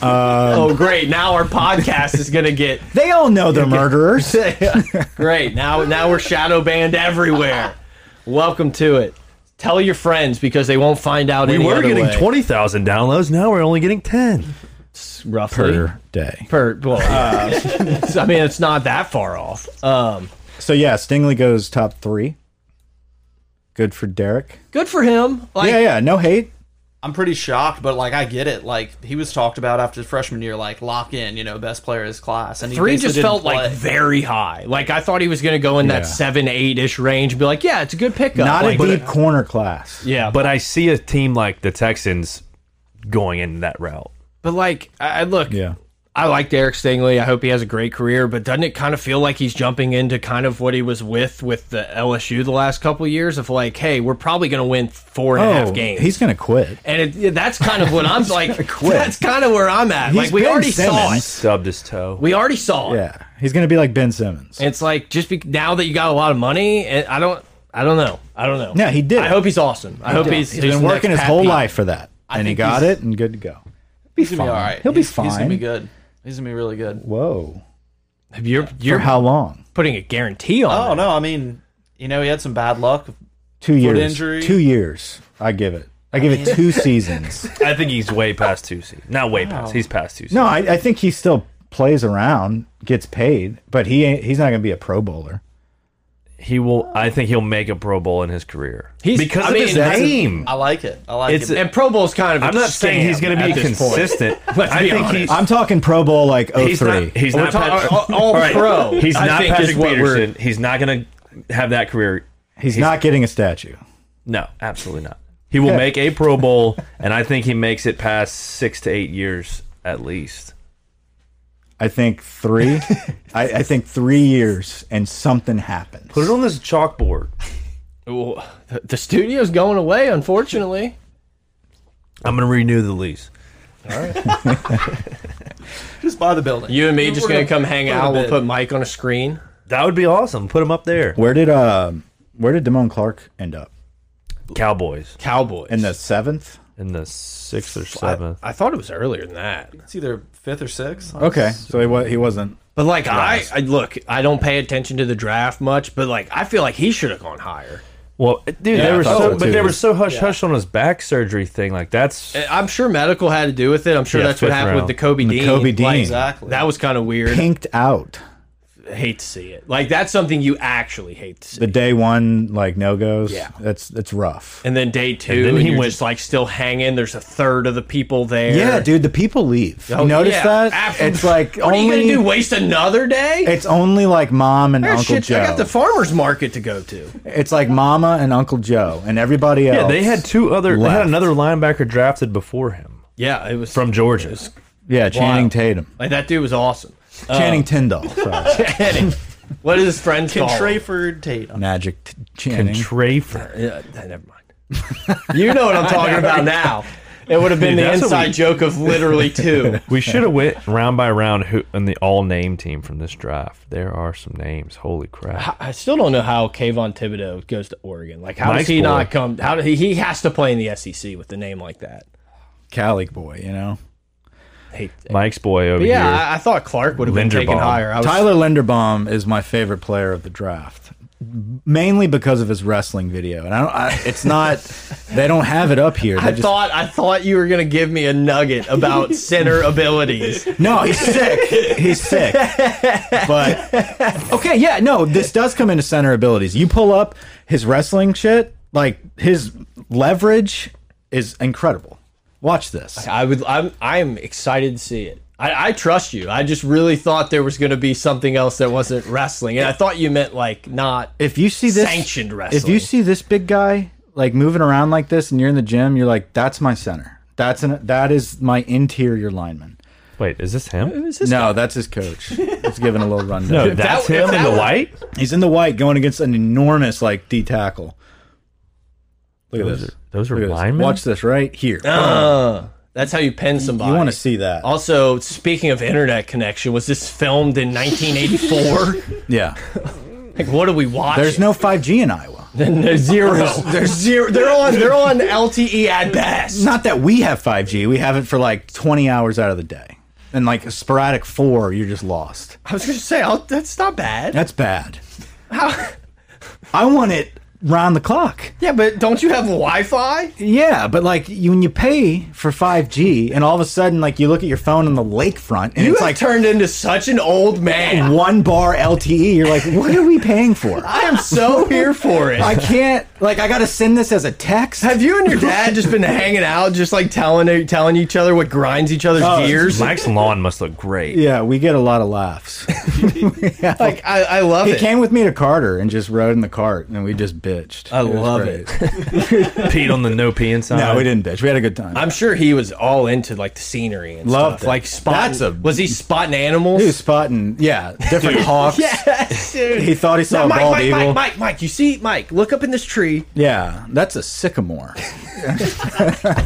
Speaker 3: oh, great! Now our podcast is gonna get
Speaker 1: <laughs> They all know they're <laughs> murderers.
Speaker 3: great. Now, now we're shadow banned everywhere. Welcome to it. Tell your friends because they won't find out.
Speaker 2: We
Speaker 3: any
Speaker 2: were
Speaker 3: other
Speaker 2: getting
Speaker 3: way,
Speaker 2: 20,000 downloads. Now we're only getting 10.
Speaker 3: roughly
Speaker 1: per day.
Speaker 3: per. Well, yeah. <laughs> I mean, it's not that far off. Um,
Speaker 1: So yeah, Stingley goes top three. Good for Derek.
Speaker 3: good for him. Like,
Speaker 1: yeah, yeah, no hate.
Speaker 4: I'm pretty shocked, but like I get it. Like he was talked about after freshman year, like lock in, you know, best player of his class. And he
Speaker 3: Three
Speaker 4: basically
Speaker 3: just
Speaker 4: didn't
Speaker 3: felt like
Speaker 4: play.
Speaker 3: very high. Like I thought he was going to go in
Speaker 1: Yeah.
Speaker 3: that seven, eight ish range and be like, yeah, it's a good pickup.
Speaker 1: Not
Speaker 3: like,
Speaker 1: a deep corner class.
Speaker 3: yeah, but
Speaker 2: But I see a team like the Texans going in that route.
Speaker 3: but like, I, I- look,
Speaker 1: Yeah.
Speaker 3: I like Derek Stingley. I hope he has a great career, but doesn't it kind of feel like he's jumping into kind of what he was with with the LSU the last couple of years of like, hey, we're probably going to win four and a half
Speaker 1: Oh,
Speaker 3: games.
Speaker 1: he's gonna quit.
Speaker 3: and it, yeah, that's kind of
Speaker 1: <laughs>
Speaker 3: what I'm like.
Speaker 1: quit.
Speaker 3: That's kind of where I'm at. like
Speaker 1: He's
Speaker 3: we
Speaker 1: Ben
Speaker 3: already saw
Speaker 1: Simmons.
Speaker 3: it.
Speaker 2: Stubbed his toe.
Speaker 3: We already saw it.
Speaker 1: Yeah, he's gonna be like Ben Simmons.
Speaker 3: It's like just be, now that you got a lot of money, and I don't, I don't know, I don't know.
Speaker 1: No, he did
Speaker 3: I
Speaker 1: it.
Speaker 3: hope he's awesome. I hope he's,
Speaker 1: he's been
Speaker 3: the
Speaker 1: working his
Speaker 3: next Pat
Speaker 1: whole
Speaker 3: Pete.
Speaker 1: life for that, and he
Speaker 4: think
Speaker 1: got
Speaker 4: he's-
Speaker 1: it and good to go. Be
Speaker 4: He's gonna be all right.
Speaker 1: He'll be
Speaker 4: He's-
Speaker 1: fine.
Speaker 4: He's gonna be good. He's gonna be really good.
Speaker 1: Whoa.
Speaker 3: You're
Speaker 1: For
Speaker 3: you're
Speaker 1: how long?
Speaker 3: putting a guarantee on.
Speaker 4: Oh
Speaker 3: Oh,
Speaker 4: no, I mean, you know, he had some bad luck.
Speaker 1: Two years.
Speaker 4: injury?
Speaker 1: Two years. I give it. I give it two seasons.
Speaker 2: I think he's way past two seasons. Not way past. He's past two seasons.
Speaker 1: No, I, I think he still plays around, gets paid, but he ain't, he's not going to be a Pro Bowler.
Speaker 2: He will. I think he'll make a Pro Bowl in his career
Speaker 3: He's-
Speaker 2: because
Speaker 3: I
Speaker 2: of
Speaker 3: mean,
Speaker 2: his
Speaker 3: that's a-
Speaker 2: name.
Speaker 4: I like it. I like
Speaker 2: It's
Speaker 4: it.
Speaker 2: a-
Speaker 3: and Pro Bowl's kind of. i
Speaker 2: I'm not saying he's going to be consistent.
Speaker 3: <laughs> Let's
Speaker 2: I
Speaker 3: be
Speaker 2: think
Speaker 3: honest.
Speaker 2: he's.
Speaker 1: I'm talking Pro Bowl like
Speaker 2: He's
Speaker 1: 03.
Speaker 2: not. He's
Speaker 3: We're
Speaker 2: not.
Speaker 3: talking-
Speaker 2: Patrick-
Speaker 3: all- all
Speaker 2: right.
Speaker 3: pro,
Speaker 2: He's
Speaker 3: I
Speaker 2: not
Speaker 3: think, is
Speaker 2: Patrick
Speaker 3: what we're-
Speaker 2: Peterson. He's not going to have that career.
Speaker 1: He's not getting a statue.
Speaker 2: No, absolutely not. He will make a Pro Bowl, and I think he makes it past six to eight years at least.
Speaker 1: I think three. I, I think three years and something happens.
Speaker 2: Put it on this chalkboard.
Speaker 3: The, the studio's going away, unfortunately.
Speaker 2: I'm going to renew the lease.
Speaker 4: just buy the building.
Speaker 3: You and me just
Speaker 4: We're
Speaker 3: going to come hang
Speaker 4: put it
Speaker 3: out.
Speaker 4: a
Speaker 3: We'll
Speaker 4: bid.
Speaker 3: put Mike on a screen.
Speaker 2: That would be awesome. Put him up there.
Speaker 1: Where did um Where did Damone Clark end up?
Speaker 2: Cowboys
Speaker 3: Cowboys.
Speaker 1: In the seventh.
Speaker 2: in the sixth or
Speaker 3: I,
Speaker 2: seventh.
Speaker 3: I thought it was earlier than that.
Speaker 4: It's either fifth or sixth.
Speaker 1: Okay, so he wa he wasn't.
Speaker 3: But like I, I look, I don't pay attention to the draft much, but like I feel like he should have gone higher.
Speaker 2: Well, dude,
Speaker 1: Yeah,
Speaker 2: they
Speaker 1: I
Speaker 2: were
Speaker 1: thought
Speaker 2: so,
Speaker 1: so,
Speaker 2: but
Speaker 1: too.
Speaker 2: they were so hush hush on his back surgery thing. Like that's
Speaker 3: I- I'm sure medical had to do with it. I'm sure
Speaker 2: Yeah,
Speaker 3: that's what
Speaker 2: fifth
Speaker 3: happened
Speaker 2: round.
Speaker 3: with the Kobe Dean.
Speaker 1: Kobe Dean.
Speaker 3: Like,
Speaker 4: Exactly.
Speaker 3: That was kind of weird.
Speaker 1: Pinked out
Speaker 3: I hate to see it. Like that's something you actually hate to see.
Speaker 1: the day one like no goes.
Speaker 3: Yeah.
Speaker 1: that's that's rough.
Speaker 3: And then day two, and,
Speaker 2: then he
Speaker 3: you're
Speaker 2: went-
Speaker 3: just like still hanging. There's a third of the people there.
Speaker 1: Yeah, dude, the people leave.
Speaker 3: Oh,
Speaker 1: you notice
Speaker 3: yeah.
Speaker 1: that?
Speaker 3: After-
Speaker 1: it's like
Speaker 3: What
Speaker 1: only
Speaker 3: are you gonna do? Waste another day?
Speaker 1: It's only like mom and
Speaker 3: I, got
Speaker 1: Uncle
Speaker 3: shit-
Speaker 1: Joe.
Speaker 3: I got the farmers market to go to.
Speaker 1: It's like Mama and Uncle Joe and everybody else.
Speaker 2: yeah. They had two other. They had
Speaker 1: left.
Speaker 2: another linebacker drafted before him
Speaker 3: Yeah, it was
Speaker 2: from Georgia.
Speaker 1: yeah, Channing
Speaker 3: Wild.
Speaker 1: Tatum,
Speaker 3: like that dude
Speaker 2: <laughs>
Speaker 3: was awesome.
Speaker 1: Channing Tyndall, Uh, <laughs> sorry.
Speaker 3: What is his friends call? him?
Speaker 4: Trayford Tatum.
Speaker 1: Magic t Channing.
Speaker 2: Contrafer.
Speaker 3: Yeah, th- never mind. You know what I'm
Speaker 2: <laughs>
Speaker 3: talking about now. It would have been
Speaker 2: Dude,
Speaker 3: the
Speaker 2: that's what
Speaker 3: inside
Speaker 2: we-
Speaker 3: joke of
Speaker 2: <laughs>
Speaker 3: literally two.
Speaker 2: We should have went round by round who in the all name team from this draft. There are some names. Holy crap!
Speaker 3: I still don't know how Kayvon Thibodeau goes to Oregon. Like, how
Speaker 2: Mike's
Speaker 3: does he
Speaker 2: boy.
Speaker 3: not come? How do he? He has to play in the SEC with a name like that.
Speaker 1: Cali boy, you know.
Speaker 3: Hate that.
Speaker 2: Mike's boy over
Speaker 3: But yeah,
Speaker 2: here.
Speaker 3: I, I thought Clark would have been taken
Speaker 2: Linderbaum.
Speaker 3: higher. I was,
Speaker 1: Tyler Linderbaum is my favorite player of the draft, mainly because of his wrestling video. And I don't. I, it's not. they don't have it up here. They
Speaker 3: <laughs> I
Speaker 1: just-
Speaker 3: thought I thought you were gonna give me a nugget
Speaker 2: <laughs>
Speaker 3: about center abilities.
Speaker 1: No, he's sick. He's sick. But okay, yeah, no, this does come into center abilities. You pull up his wrestling shit, like his leverage is incredible. Watch this.
Speaker 3: I would. I'm. I'm excited to see it. I, I trust you. I just really thought there was gonna be something else that wasn't wrestling, and I thought you meant like not
Speaker 1: If you see this
Speaker 3: sanctioned wrestling.
Speaker 1: if you see this big guy like moving around like this and you're in the gym, you're like, that's my center. That's an that is my interior lineman.
Speaker 2: Wait, is this him?
Speaker 1: no, that's his coach. It's giving a little rundown.
Speaker 2: <laughs> No, that's
Speaker 3: that- if
Speaker 2: him in
Speaker 3: that
Speaker 2: the
Speaker 3: was-
Speaker 2: white.
Speaker 1: He's in the white going against an enormous like D tackle. Look at
Speaker 2: Those
Speaker 1: this.
Speaker 2: are, those are
Speaker 1: Look at this.
Speaker 2: linemen.
Speaker 1: Watch this right here.
Speaker 3: Uh, that's how you pin somebody.
Speaker 1: You want to see that?
Speaker 3: Also, speaking of internet connection, was this filmed in 1984?
Speaker 1: yeah.
Speaker 3: <laughs> like, what are we watching?
Speaker 1: There's no 5G in Iowa.
Speaker 3: Then there's zero. There's zero. They're on. They're on LTE at best.
Speaker 1: Not that we have 5G. We have it for like 20 hours out of the day. And like a sporadic four, you're just lost.
Speaker 3: I was gonna say I'll, that's not bad.
Speaker 1: That's bad. I want it round the clock.
Speaker 3: Yeah, but don't you have Wi-Fi?
Speaker 1: Yeah, but like you, when you pay for 5G and all of a sudden like you look at your phone on the lakefront and
Speaker 3: You
Speaker 1: it's
Speaker 3: have
Speaker 1: like
Speaker 3: turned into such an old <laughs> man.
Speaker 1: one bar LTE, you're like, what are we paying for?
Speaker 3: <laughs> I am so here for it.
Speaker 1: I can't like I gotta send this as a text.
Speaker 3: have you and your dad just been hanging out, just like telling e, telling each other what grinds each other's
Speaker 1: Oh,
Speaker 3: gears?
Speaker 2: Mike's lawn must look great.
Speaker 1: Yeah, we get a lot of laughs.
Speaker 3: Like I, I love
Speaker 1: He
Speaker 3: it.
Speaker 1: came with me to Carter and just rode in the cart and we just bitched.
Speaker 3: I
Speaker 1: was
Speaker 3: love
Speaker 1: great.
Speaker 2: Pete on the no peeing
Speaker 3: <laughs>
Speaker 2: side.
Speaker 1: No, we didn't bitch. We had a good time.
Speaker 3: I'm sure he was all into like the scenery and
Speaker 1: Loved
Speaker 3: stuff.
Speaker 1: it.
Speaker 3: Like spotting.
Speaker 1: That's a-
Speaker 3: was he spotting animals?
Speaker 1: He
Speaker 3: <laughs>
Speaker 1: was spotting, yeah, different hawks.
Speaker 3: yes, dude.
Speaker 1: He thought he saw
Speaker 3: Now,
Speaker 1: a
Speaker 3: Mike,
Speaker 1: bald
Speaker 3: Mike,
Speaker 1: eagle.
Speaker 3: Mike, Mike, Mike, you see, Mike, look up in this tree.
Speaker 1: Yeah, that's a sycamore.
Speaker 3: I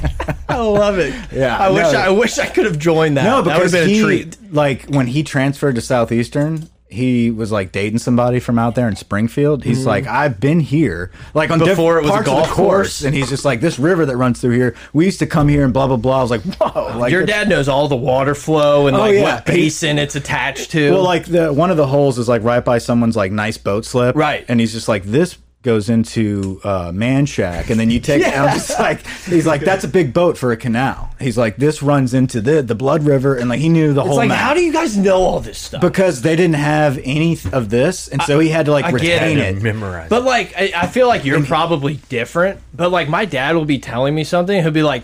Speaker 3: love it.
Speaker 1: <laughs> Yeah,
Speaker 3: I wish
Speaker 1: no.
Speaker 3: I, wish I could have joined that.
Speaker 1: No,
Speaker 3: that would
Speaker 1: because
Speaker 3: have been
Speaker 1: he,
Speaker 3: a treat.
Speaker 1: like when he transferred to Southeastern, he was like dating somebody from out there in Springfield. He's like, I've been here, like on
Speaker 3: Mm-hmm. Before it was a
Speaker 1: different parts of the
Speaker 3: golf course.
Speaker 1: and he's just like, this river that runs through here. We used to come here and blah blah blah. I was like, whoa, like
Speaker 3: Your
Speaker 1: that's-
Speaker 3: dad knows all the water flow and
Speaker 1: Oh,
Speaker 3: like
Speaker 1: yeah.
Speaker 3: what basin it's attached to.
Speaker 1: Well, like the one of the holes is like right by someone's like nice boat slip,
Speaker 3: Right.
Speaker 1: And he's just like this goes into uh, man shack, and then you take. and I'm just like he's like that's a big boat for a canal. He's like this runs into the the Blood River, and like he knew the
Speaker 3: it's
Speaker 1: whole.
Speaker 3: like,
Speaker 1: map.
Speaker 3: how do you guys know all this stuff?
Speaker 1: because they didn't have any th- of this, and so he had to like
Speaker 3: I get
Speaker 1: retain
Speaker 2: Had to
Speaker 1: it.
Speaker 2: memorize.
Speaker 3: But like, I, I feel like you're probably different. But like, my dad will be telling me something. He'll be like,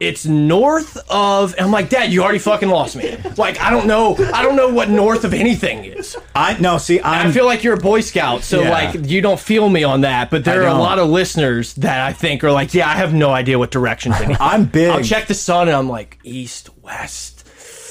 Speaker 3: "It's north of," and I'm like, "Dad, you already fucking lost me. Like, I don't know. I don't know what north of anything is.
Speaker 1: I no, see, I'm
Speaker 3: I feel like you're a Boy Scout, so
Speaker 1: Yeah.
Speaker 3: like, you don't feel me on that. But there
Speaker 1: I
Speaker 3: are a
Speaker 1: don't.
Speaker 3: lot of listeners that I think are like, "Yeah, I have no idea what directions anything."
Speaker 1: I'm big.
Speaker 3: I'll check the sun, and I'm like, east, west.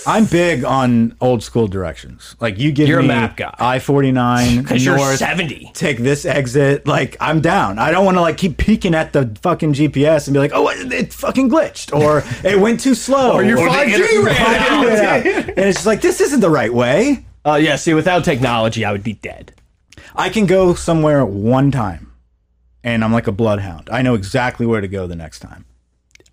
Speaker 1: I'm big on old school directions. Like you give
Speaker 3: You're a
Speaker 1: me
Speaker 3: map guy.
Speaker 1: I forty
Speaker 3: <laughs>
Speaker 1: nine north.
Speaker 3: Because you're 70.
Speaker 1: Take this exit. Like I'm down. I don't want to like keep peeking at the fucking GPS and be like, oh, it, it fucking glitched or it went too slow or
Speaker 3: your
Speaker 1: the
Speaker 3: 5G
Speaker 1: inter-
Speaker 3: ran out.
Speaker 1: <laughs> Yeah. And it's just like this isn't the right way.
Speaker 3: Oh yeah. See, without technology, I would be dead.
Speaker 1: I can go somewhere one time, and I'm like a bloodhound. I know exactly where to go the next time.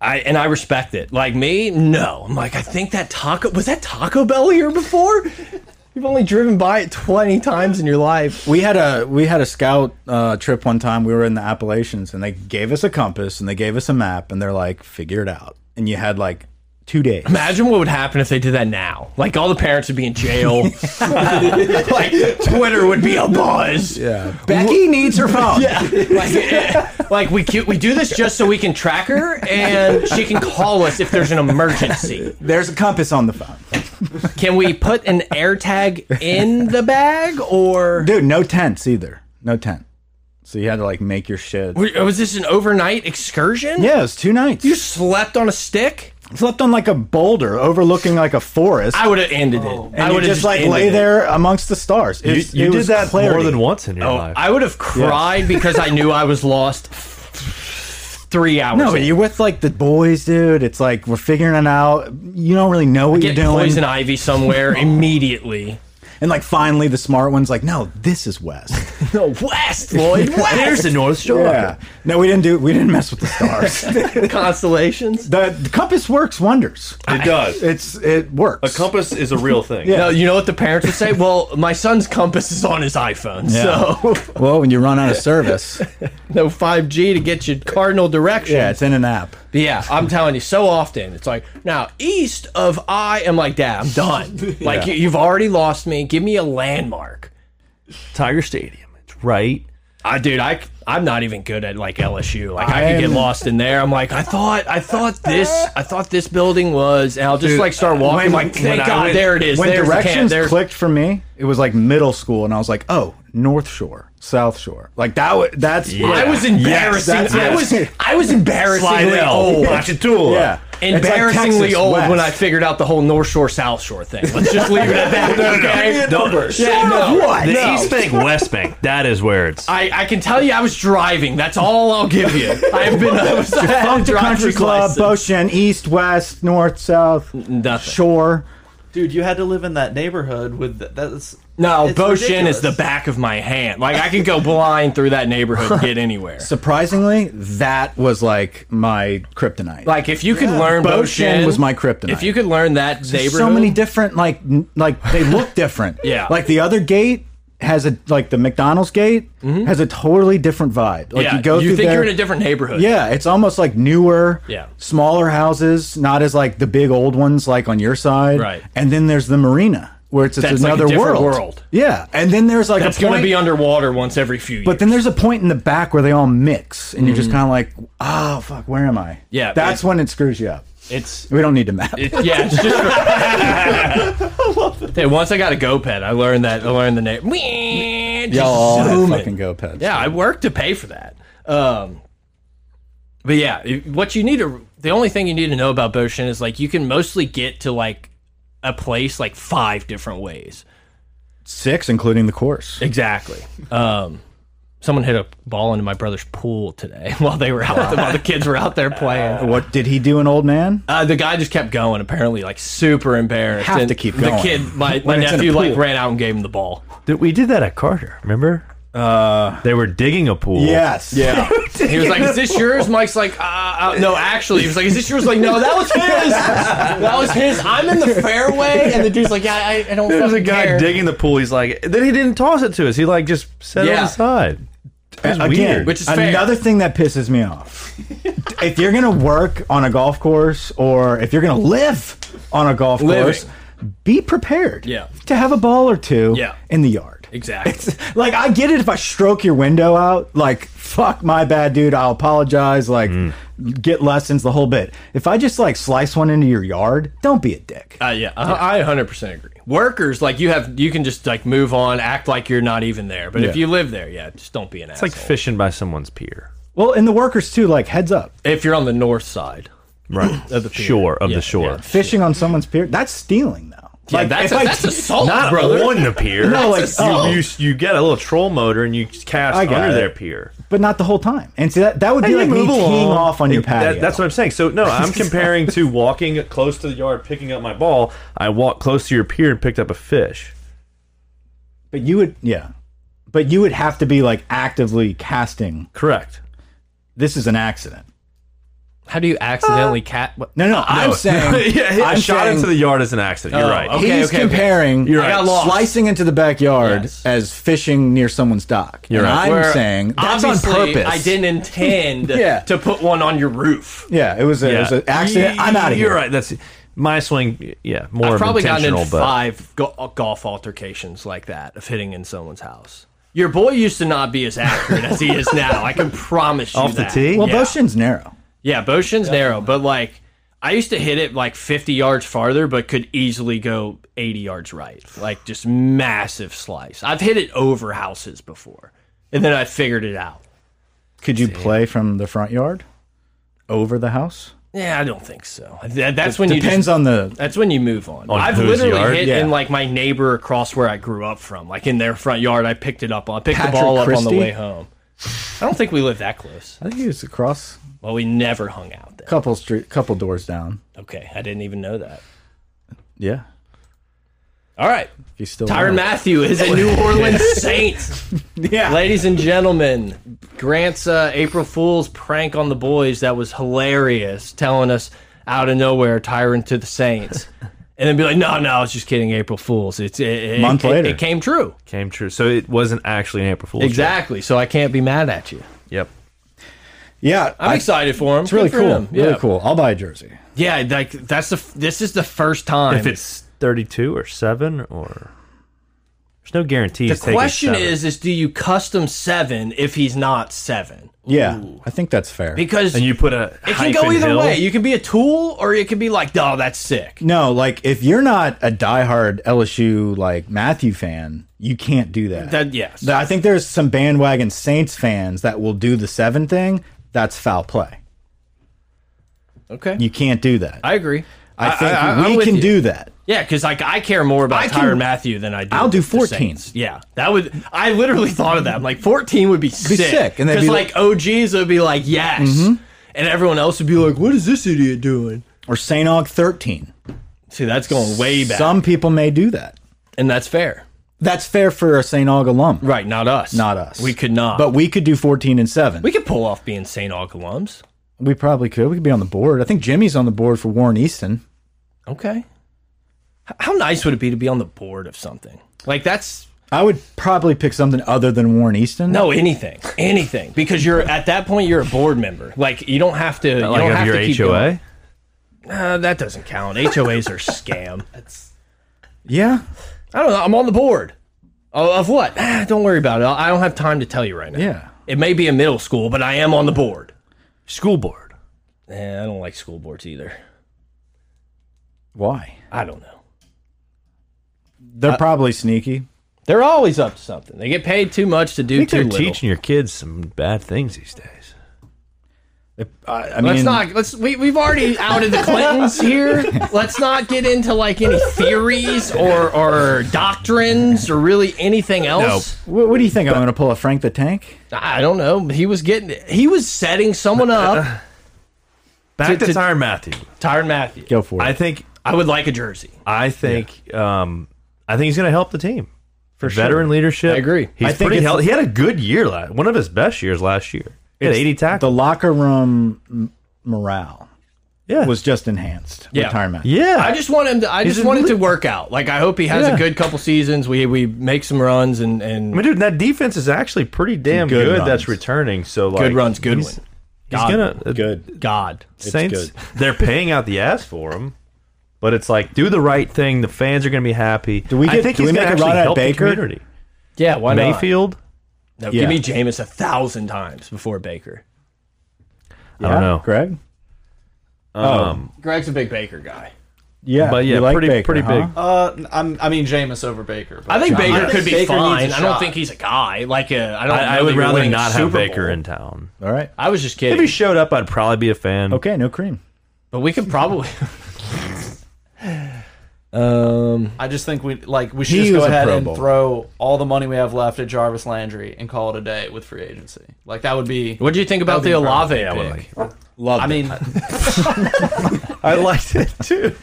Speaker 3: I and I respect it. Like me, no. I'm like, I think that taco was that Taco Bell here before. You've only driven by it 20 times in your life.
Speaker 1: We had a we had a scout uh, trip one time. We were in the Appalachians, and they gave us a compass and they gave us a map, and they're like, "Figure it out." And you had like two days.
Speaker 3: Imagine what would happen if they did that now. Like all the parents would be
Speaker 1: <laughs>
Speaker 3: in jail. like Twitter would be a buzz.
Speaker 1: Yeah, Becky needs her phone. Uh, <laughs> yeah,
Speaker 3: Like, eh, like we cu- we do this just so we can track her and she can call us if there's an emergency.
Speaker 1: there's a compass on the phone,
Speaker 3: Can we put an AirTag in the bag or
Speaker 1: dude. No tents either. No tent. So you had to like make your shit.
Speaker 3: was this an overnight excursion?
Speaker 1: uh, Yeah, it was two nights.
Speaker 3: You slept on a stick?
Speaker 1: slept on like a boulder overlooking like a forest,
Speaker 3: I would have ended it. I
Speaker 1: and you
Speaker 3: would
Speaker 1: just, like lay there amongst the stars.
Speaker 2: you
Speaker 1: It's-
Speaker 2: you
Speaker 1: it
Speaker 2: did
Speaker 1: was
Speaker 2: that more
Speaker 1: clarity.
Speaker 2: than once in your
Speaker 1: Oh,
Speaker 2: life.
Speaker 3: Oh, I would have cried because I knew I was lost. Three hours.
Speaker 1: No, but
Speaker 3: in.
Speaker 1: you're with like the boys, dude. It's like we're figuring it out. You don't really know what
Speaker 3: get
Speaker 1: you're doing.
Speaker 3: poison
Speaker 1: <laughs>
Speaker 3: ivy somewhere immediately.
Speaker 1: And like finally, the smart one's like, "No, this is
Speaker 2: <laughs>
Speaker 1: West."
Speaker 3: No, West <laughs> Lloyd
Speaker 2: There's
Speaker 3: West
Speaker 2: the North Shore.
Speaker 1: yeah. No, we didn't do. We didn't mess with the
Speaker 2: <laughs>
Speaker 1: stars. the,
Speaker 3: constellations.
Speaker 1: the compass works wonders.
Speaker 2: It does.
Speaker 1: It's it works.
Speaker 2: A compass is a real
Speaker 1: <laughs>
Speaker 2: thing.
Speaker 1: Yeah.
Speaker 3: No, you know what the parents would say? Well, my son's compass is on his iPhone, so <laughs>
Speaker 1: well, when you run
Speaker 2: <laughs>
Speaker 1: out of service,
Speaker 3: no 5G to get you cardinal direction.
Speaker 1: yeah, it's in an app.
Speaker 3: But yeah, I'm telling you, so often it's like now east of I am like, Dad,
Speaker 1: <laughs>
Speaker 3: I'm done. Like you, you've already lost me. Give me a landmark.
Speaker 2: Tiger Stadium. It's right.
Speaker 3: I dude, I I'm not even good at like LSU. Like I, could get
Speaker 1: I'm-
Speaker 3: lost in there. I'm like, I thought I thought this I thought this building was and I'll just like start
Speaker 1: when-
Speaker 3: walking
Speaker 2: when
Speaker 3: like thank
Speaker 2: I
Speaker 3: God
Speaker 2: went-
Speaker 3: there it is.
Speaker 1: When
Speaker 3: There's the camp.
Speaker 1: directions
Speaker 3: There's
Speaker 1: clicked for me, it was like middle school, and I was like, "Oh, North Shore, South Shore." Like that. wa- That's
Speaker 3: I was embarrassing.
Speaker 1: Yes, that's
Speaker 3: I
Speaker 1: it.
Speaker 3: was
Speaker 1: <laughs>
Speaker 3: I was embarrassingly
Speaker 2: Oh,
Speaker 3: old.
Speaker 2: Pachatoula.
Speaker 1: Yeah. It's like
Speaker 3: Embarrassingly
Speaker 1: Texas
Speaker 3: old when I
Speaker 1: West.
Speaker 3: figured out the whole North Shore South Shore thing. Let's just leave it at
Speaker 1: <laughs>
Speaker 3: that. okay?
Speaker 2: Don't-
Speaker 3: Yeah, no.
Speaker 2: The
Speaker 3: No.
Speaker 2: East Bank, West Bank. That is where it's.
Speaker 3: I, I can tell you I was driving. That's all I'll give you. I've been I was, I had a
Speaker 1: Fuck the country
Speaker 3: driver's
Speaker 1: club,
Speaker 3: license.
Speaker 1: Boshin, east, west, north, south,
Speaker 3: Nothing.
Speaker 1: shore.
Speaker 4: dude, you had to live in that neighborhood with th- that's
Speaker 3: No,
Speaker 4: it's
Speaker 3: Bo Shin
Speaker 4: ridiculous.
Speaker 3: is the back of my hand. Like I could go blind through that neighborhood and get anywhere.
Speaker 1: Surprisingly, that was like my kryptonite.
Speaker 3: Like if you could learn
Speaker 1: Bo
Speaker 3: Bo
Speaker 1: Shin
Speaker 3: Shin
Speaker 1: was my kryptonite.
Speaker 3: If you could learn that neighborhood,
Speaker 1: so many different like n- like they look different.
Speaker 3: <laughs> Yeah.
Speaker 1: Like the other gate has a like the McDonald's gate has a totally different vibe. Like
Speaker 3: Mm-hmm. yeah,
Speaker 1: you go through
Speaker 3: think
Speaker 1: there,
Speaker 3: you're in a different neighborhood.
Speaker 1: Yeah, it's almost like newer,
Speaker 3: Yeah.
Speaker 1: smaller houses, not as like the big old ones like on your side.
Speaker 3: Right.
Speaker 1: And then there's the marina where it's, it's
Speaker 3: That's like a
Speaker 1: another
Speaker 3: different
Speaker 1: world.
Speaker 3: world.
Speaker 1: Yeah, and then there's like
Speaker 3: that's
Speaker 1: a point,
Speaker 3: going to be underwater once every few years.
Speaker 1: but then there's a point in the back where they all mix, and you're just kind of like, oh fuck, where am I?
Speaker 3: Mm. Yeah,
Speaker 1: that's
Speaker 3: it-
Speaker 1: when it screws you up.
Speaker 3: it's
Speaker 1: We don't need to map.
Speaker 3: yeah, it's <laughs> just. Hey, once I got a go pet, I learned that I learned the name.
Speaker 1: <laughs> Y'all all
Speaker 3: Just
Speaker 1: had
Speaker 3: zoom it.
Speaker 1: fucking go pets.
Speaker 3: Yeah, I worked to pay for that. Um, but yeah, it- what you need to the only thing you need to know about Boshin is like you can mostly get to like a place like five different ways.
Speaker 1: six, including the course.
Speaker 3: Exactly. Um, someone hit a ball into my brother's pool today <laughs> while they were out while the kids were out there
Speaker 1: <laughs>
Speaker 3: playing.
Speaker 1: What did he do? An old man?
Speaker 3: Uh, the guy just kept going, apparently, like super embarrassed.
Speaker 1: Have
Speaker 3: and
Speaker 1: to keep
Speaker 3: The
Speaker 1: going.
Speaker 3: kid,
Speaker 1: <laughs>
Speaker 3: my, my
Speaker 1: When it's in a
Speaker 3: nephew, like
Speaker 1: pool.
Speaker 3: ran out and gave him the ball.
Speaker 2: Did- We did that at Carter. Remember? Uh, they were digging a pool.
Speaker 1: Yes. <laughs>
Speaker 3: Yeah. he was like, "Is this yours?" Mike's like, uh, uh, "No, actually." He was like, "Is this yours?" Like, "No, that was his. That was his. I'm in the fairway." And the dude's like, "Yeah, I, I don't."
Speaker 2: There was a
Speaker 3: fucking
Speaker 2: guy
Speaker 3: care."
Speaker 2: digging the pool. He's like, then he didn't toss it to us. He like just set it
Speaker 3: Yeah.
Speaker 2: on the side. That's
Speaker 1: Again,
Speaker 2: weird.
Speaker 3: Which is fair.
Speaker 1: another thing that pisses me
Speaker 3: <laughs>
Speaker 1: off. if you're gonna work on a golf course, or if you're gonna live on a golf
Speaker 3: Living.
Speaker 1: course, be prepared.
Speaker 3: Yeah.
Speaker 1: To have a ball or two.
Speaker 3: Yeah.
Speaker 1: In the yard.
Speaker 3: Exactly.
Speaker 1: Like I get it if I stroke your window out. Like fuck my bad, dude. I'll apologize. Like
Speaker 3: Mm.
Speaker 1: get lessons the whole bit. If I just like slice one into your yard, don't be a dick.
Speaker 3: Uh, yeah, I I 100% agree. Workers, like you have, you can just like move on, act like you're not even there. But if
Speaker 1: Yeah.
Speaker 3: you live there, yeah, just don't be an
Speaker 2: It's
Speaker 3: asshole.
Speaker 2: like fishing by someone's pier.
Speaker 1: Well, and the workers too. Like heads up.
Speaker 3: if you're on the north side,
Speaker 2: Right. <clears throat> of the
Speaker 3: pier.
Speaker 2: shore of
Speaker 3: Yeah,
Speaker 2: the shore.
Speaker 3: yeah.
Speaker 1: fishing on someone's pier. That's stealing, though.
Speaker 3: yeah,
Speaker 1: if
Speaker 3: that's a,
Speaker 1: I-
Speaker 3: that's assault,
Speaker 2: Not
Speaker 3: brother.
Speaker 2: on the <laughs> pier.
Speaker 1: No, like,
Speaker 2: you,
Speaker 1: oh.
Speaker 2: you you get a little troll motor and you cast
Speaker 1: I got
Speaker 2: under
Speaker 1: it.
Speaker 2: their pier.
Speaker 1: but not the whole time. And see that that would be
Speaker 2: Hey,
Speaker 1: like me
Speaker 2: move
Speaker 1: teeing
Speaker 2: along.
Speaker 1: off on your
Speaker 2: That-
Speaker 1: patio.
Speaker 2: that's what I'm saying. So no,
Speaker 3: <laughs>
Speaker 2: I'm comparing to walking close to the yard, picking up my ball. I walked close to your pier and picked up a fish.
Speaker 1: but you would, yeah. But you would have to be like actively casting.
Speaker 2: Correct.
Speaker 1: This is an accident.
Speaker 3: How do you accidentally cat? what-
Speaker 1: No, no, I'm saying.
Speaker 2: Oh. <laughs> yeah, I
Speaker 1: I'm
Speaker 2: shot
Speaker 1: saying-
Speaker 2: into the yard as an accident. You're
Speaker 3: Oh,
Speaker 2: right.
Speaker 3: okay,
Speaker 1: he's
Speaker 3: okay, okay.
Speaker 1: comparing
Speaker 2: You're
Speaker 3: I got
Speaker 2: right.
Speaker 3: lost.
Speaker 1: slicing into the backyard
Speaker 3: Yes.
Speaker 1: as fishing near someone's dock.
Speaker 2: You're
Speaker 1: and
Speaker 2: right.
Speaker 1: I'm
Speaker 3: Where
Speaker 1: saying that's on
Speaker 3: obviously
Speaker 1: purpose.
Speaker 3: I didn't intend
Speaker 1: Yeah.
Speaker 3: to put one on your roof.
Speaker 1: Yeah, it was, a, it was an accident. I'm out of here.
Speaker 2: You're right. That's my swing. Yeah, more
Speaker 3: I've
Speaker 2: of
Speaker 3: probably gotten
Speaker 2: intentional,
Speaker 3: in
Speaker 2: but
Speaker 3: five go uh, golf altercations like that of hitting in someone's house. Your boy used to not be as accurate as he
Speaker 2: <laughs>
Speaker 3: is now. I can promise you
Speaker 2: Off the
Speaker 3: that.
Speaker 2: tee?
Speaker 1: Well,
Speaker 3: yeah.
Speaker 1: both shins narrow.
Speaker 3: Yeah, Boshin's narrow, but like I used to hit it like 50 yards farther, but could easily go 80 yards right. Like just massive slice. I've hit it over houses before, and then I figured it out.
Speaker 1: Could you play from the front yard over the house?
Speaker 3: Yeah, I don't think so. That, that's when you
Speaker 1: Depends
Speaker 3: just,
Speaker 1: on the
Speaker 3: That's when you move on.
Speaker 2: On
Speaker 3: I've
Speaker 2: whose
Speaker 3: literally
Speaker 2: yard?
Speaker 3: hit
Speaker 1: Yeah.
Speaker 3: in like my neighbor across where I grew up from, like in their front yard. I picked it up. on- I picked
Speaker 1: Patrick
Speaker 3: the ball up on
Speaker 1: Christie?
Speaker 3: the way home. I don't think we live that close.
Speaker 1: I think it was across
Speaker 3: Well, we never hung out then.
Speaker 1: couple street, couple doors down.
Speaker 3: Okay, I didn't even know that.
Speaker 1: Yeah,
Speaker 3: All right,
Speaker 1: if you still
Speaker 3: Tyron
Speaker 1: know.
Speaker 3: Matthew is a New
Speaker 1: <laughs>
Speaker 3: Orleans Saint.
Speaker 1: Yeah,
Speaker 3: Ladies and gentlemen, Grant's uh, April Fool's prank on the boys that was hilarious, telling us out of nowhere, Tyrant to the Saints. And then be like, no, no, I was just kidding, April Fool's. It's it, it,
Speaker 1: Month
Speaker 3: it-
Speaker 1: later.
Speaker 3: It, came true.
Speaker 2: came true. So it wasn't actually an April Fool's. joke.
Speaker 3: Exactly. So I can't be mad at you.
Speaker 2: Yep.
Speaker 1: yeah.
Speaker 3: I'm
Speaker 1: I-
Speaker 3: excited for him.
Speaker 1: it's really
Speaker 3: Good for
Speaker 1: cool.
Speaker 3: him.
Speaker 1: Really
Speaker 3: yeah.
Speaker 1: cool. I'll buy a jersey.
Speaker 3: Yeah, like that's the f- this is the first time.
Speaker 2: If it's 32 or seven or there's no guarantees.
Speaker 3: the
Speaker 2: taking
Speaker 3: question
Speaker 2: seven.
Speaker 3: is, is do you custom seven if he's not seven?
Speaker 1: Yeah, I think that's fair.
Speaker 3: Because
Speaker 2: and you put a
Speaker 3: it can go
Speaker 2: hyphen
Speaker 3: either
Speaker 2: hill?
Speaker 3: way. You can be a tool, or it could be like, no, that's sick.
Speaker 1: no, like if you're not a diehard LSU like Matthew fan, you can't do that.
Speaker 3: That yes.
Speaker 1: Th- I think there's some bandwagon Saints fans that will do the seven thing. That's foul play.
Speaker 3: okay.
Speaker 1: You can't do that. I,
Speaker 3: I agree.
Speaker 1: think
Speaker 3: I- I'm
Speaker 1: we
Speaker 3: with
Speaker 1: can
Speaker 3: you.
Speaker 1: do that.
Speaker 3: Yeah, because like I care more about
Speaker 1: I
Speaker 3: Tyron
Speaker 1: can-
Speaker 3: Matthew than I do.
Speaker 1: I'll do
Speaker 3: the
Speaker 1: 14.
Speaker 3: Saints. Yeah, that would. I literally thought of that. I'm like 14 would be sick.
Speaker 1: sick, and they'd
Speaker 3: because
Speaker 1: be
Speaker 3: like, OGs would be like yes, and everyone else would be like, what is this idiot doing?
Speaker 1: Or Saint Og thirteen.
Speaker 3: See, that's going way back,
Speaker 1: Some people may do that.
Speaker 3: and that's fair,
Speaker 1: That's fair for a St. Aug alum,
Speaker 3: right? Not us.
Speaker 1: not us.
Speaker 3: We could not.
Speaker 1: but we could do 14 and 7.
Speaker 3: we
Speaker 1: We,
Speaker 3: could pull off being St. Aug alums.
Speaker 1: probably could. We could be on the board. I think Jimmy's on the board for Warren Easton.
Speaker 3: Okay. H- How nice would it be to be on the board of something? Like that's
Speaker 1: I would probably pick something other than Warren Easton.
Speaker 3: no anything, anything because you're at that point you're a board member. Like you don't have to. you
Speaker 2: Like
Speaker 3: don't
Speaker 2: of
Speaker 3: have
Speaker 2: your
Speaker 3: to keep
Speaker 2: HOA.
Speaker 3: going. Uh, that doesn't count. HOAs are scam.
Speaker 1: Yeah.
Speaker 3: I don't know. I'm on the board. Oh, of what? Ah, don't worry about it. I I don't have time to tell you right now.
Speaker 1: Yeah.
Speaker 3: It may be a middle school, but I am on the board.
Speaker 2: School board.
Speaker 3: Eh, I don't like school boards either.
Speaker 1: Why?
Speaker 3: I don't know.
Speaker 1: They're probably sneaky.
Speaker 3: They're always up to something. They get paid too much to
Speaker 2: I
Speaker 3: do
Speaker 2: think
Speaker 3: too
Speaker 2: they're
Speaker 3: little.
Speaker 2: teaching your kids some bad things these days.
Speaker 1: I, I
Speaker 3: Let's
Speaker 1: mean,
Speaker 3: not. Let's. We, we've already outed the <laughs> Clintons here. Let's not get into like any theories or or doctrines or really anything else.
Speaker 1: wh- what, do you think? I'm going to pull a Frank the Tank?
Speaker 3: I don't know. He was getting. He was setting someone up.
Speaker 2: Back
Speaker 3: To-
Speaker 2: to,
Speaker 3: to-
Speaker 2: Tyron Matthew.
Speaker 3: <laughs> Tyron Matthew.
Speaker 1: Go for it.
Speaker 2: I think
Speaker 3: I would like a jersey.
Speaker 2: I think um I think he's going to help the team. For veteran leadership.
Speaker 3: I agree.
Speaker 2: He's
Speaker 1: I think
Speaker 2: pretty
Speaker 1: it's-
Speaker 2: healthy. He had a good year last one of his best years last year. He had 80
Speaker 1: the
Speaker 2: tackles.
Speaker 1: locker room m- morale
Speaker 2: Yeah.
Speaker 1: was just enhanced.
Speaker 3: Yeah.
Speaker 1: Retirement.
Speaker 2: yeah.
Speaker 3: I just want him to. I
Speaker 2: He's
Speaker 3: just
Speaker 2: a
Speaker 3: want it to
Speaker 2: really-
Speaker 3: work out. Like I hope he has a
Speaker 2: Yeah.
Speaker 3: good couple seasons. We we make some runs and
Speaker 2: I mean,
Speaker 3: and
Speaker 2: dude, that defense is actually pretty damn
Speaker 1: good
Speaker 2: good.
Speaker 1: runs.
Speaker 2: That's returning. So like
Speaker 3: good runs. Good
Speaker 2: he's-
Speaker 3: one.
Speaker 2: He's gonna uh,
Speaker 1: Good.
Speaker 3: God.
Speaker 1: good.
Speaker 2: Saints. <laughs> they're paying out the ass for him, but it's like do the right thing. The fans are gonna be happy. Do
Speaker 1: we
Speaker 2: I
Speaker 1: get-
Speaker 2: think
Speaker 1: do
Speaker 2: he's
Speaker 1: we
Speaker 2: gonna
Speaker 1: make a
Speaker 2: actually
Speaker 1: run at
Speaker 2: help the
Speaker 1: Baker?
Speaker 2: community.
Speaker 3: Yeah. Why not?
Speaker 2: Mayfield.
Speaker 3: No,
Speaker 1: Yeah.
Speaker 3: Give me Jameis a thousand times before Baker.
Speaker 2: I don't know.
Speaker 1: Greg?
Speaker 3: Greg's a big Baker guy.
Speaker 1: Yeah.
Speaker 2: But yeah,
Speaker 1: you like
Speaker 2: pretty
Speaker 1: Baker,
Speaker 2: pretty
Speaker 1: huh?
Speaker 2: big.
Speaker 4: Uh, I'm, I mean Jameis over Baker. but-
Speaker 3: I think Baker could be
Speaker 4: Baker needs a
Speaker 3: fine. I don't
Speaker 4: shot.
Speaker 3: think he's a guy. Like a, I don't. know
Speaker 2: I, I
Speaker 3: that
Speaker 2: would
Speaker 3: you're
Speaker 2: rather
Speaker 3: winning a
Speaker 2: not have
Speaker 3: Super
Speaker 2: Baker
Speaker 3: Bowl.
Speaker 2: in town.
Speaker 1: All right.
Speaker 3: I was just
Speaker 2: If
Speaker 3: kidding.
Speaker 2: he showed up, I'd probably be a fan.
Speaker 1: Okay, no cream.
Speaker 3: but we could <laughs> probably. um.
Speaker 4: I just think we like we should
Speaker 1: He
Speaker 4: just go
Speaker 1: was a
Speaker 4: ahead
Speaker 1: Pro
Speaker 4: and
Speaker 1: Bowl.
Speaker 4: throw all the money we have left at Jarvis Landry and call it a day with free agency. Like that would be.
Speaker 3: What do you think about the
Speaker 4: That'd be
Speaker 3: Olave
Speaker 2: I would
Speaker 3: pick?
Speaker 2: like.
Speaker 1: Love
Speaker 3: <laughs>
Speaker 4: I mean,
Speaker 2: I
Speaker 1: <laughs>
Speaker 2: liked it too.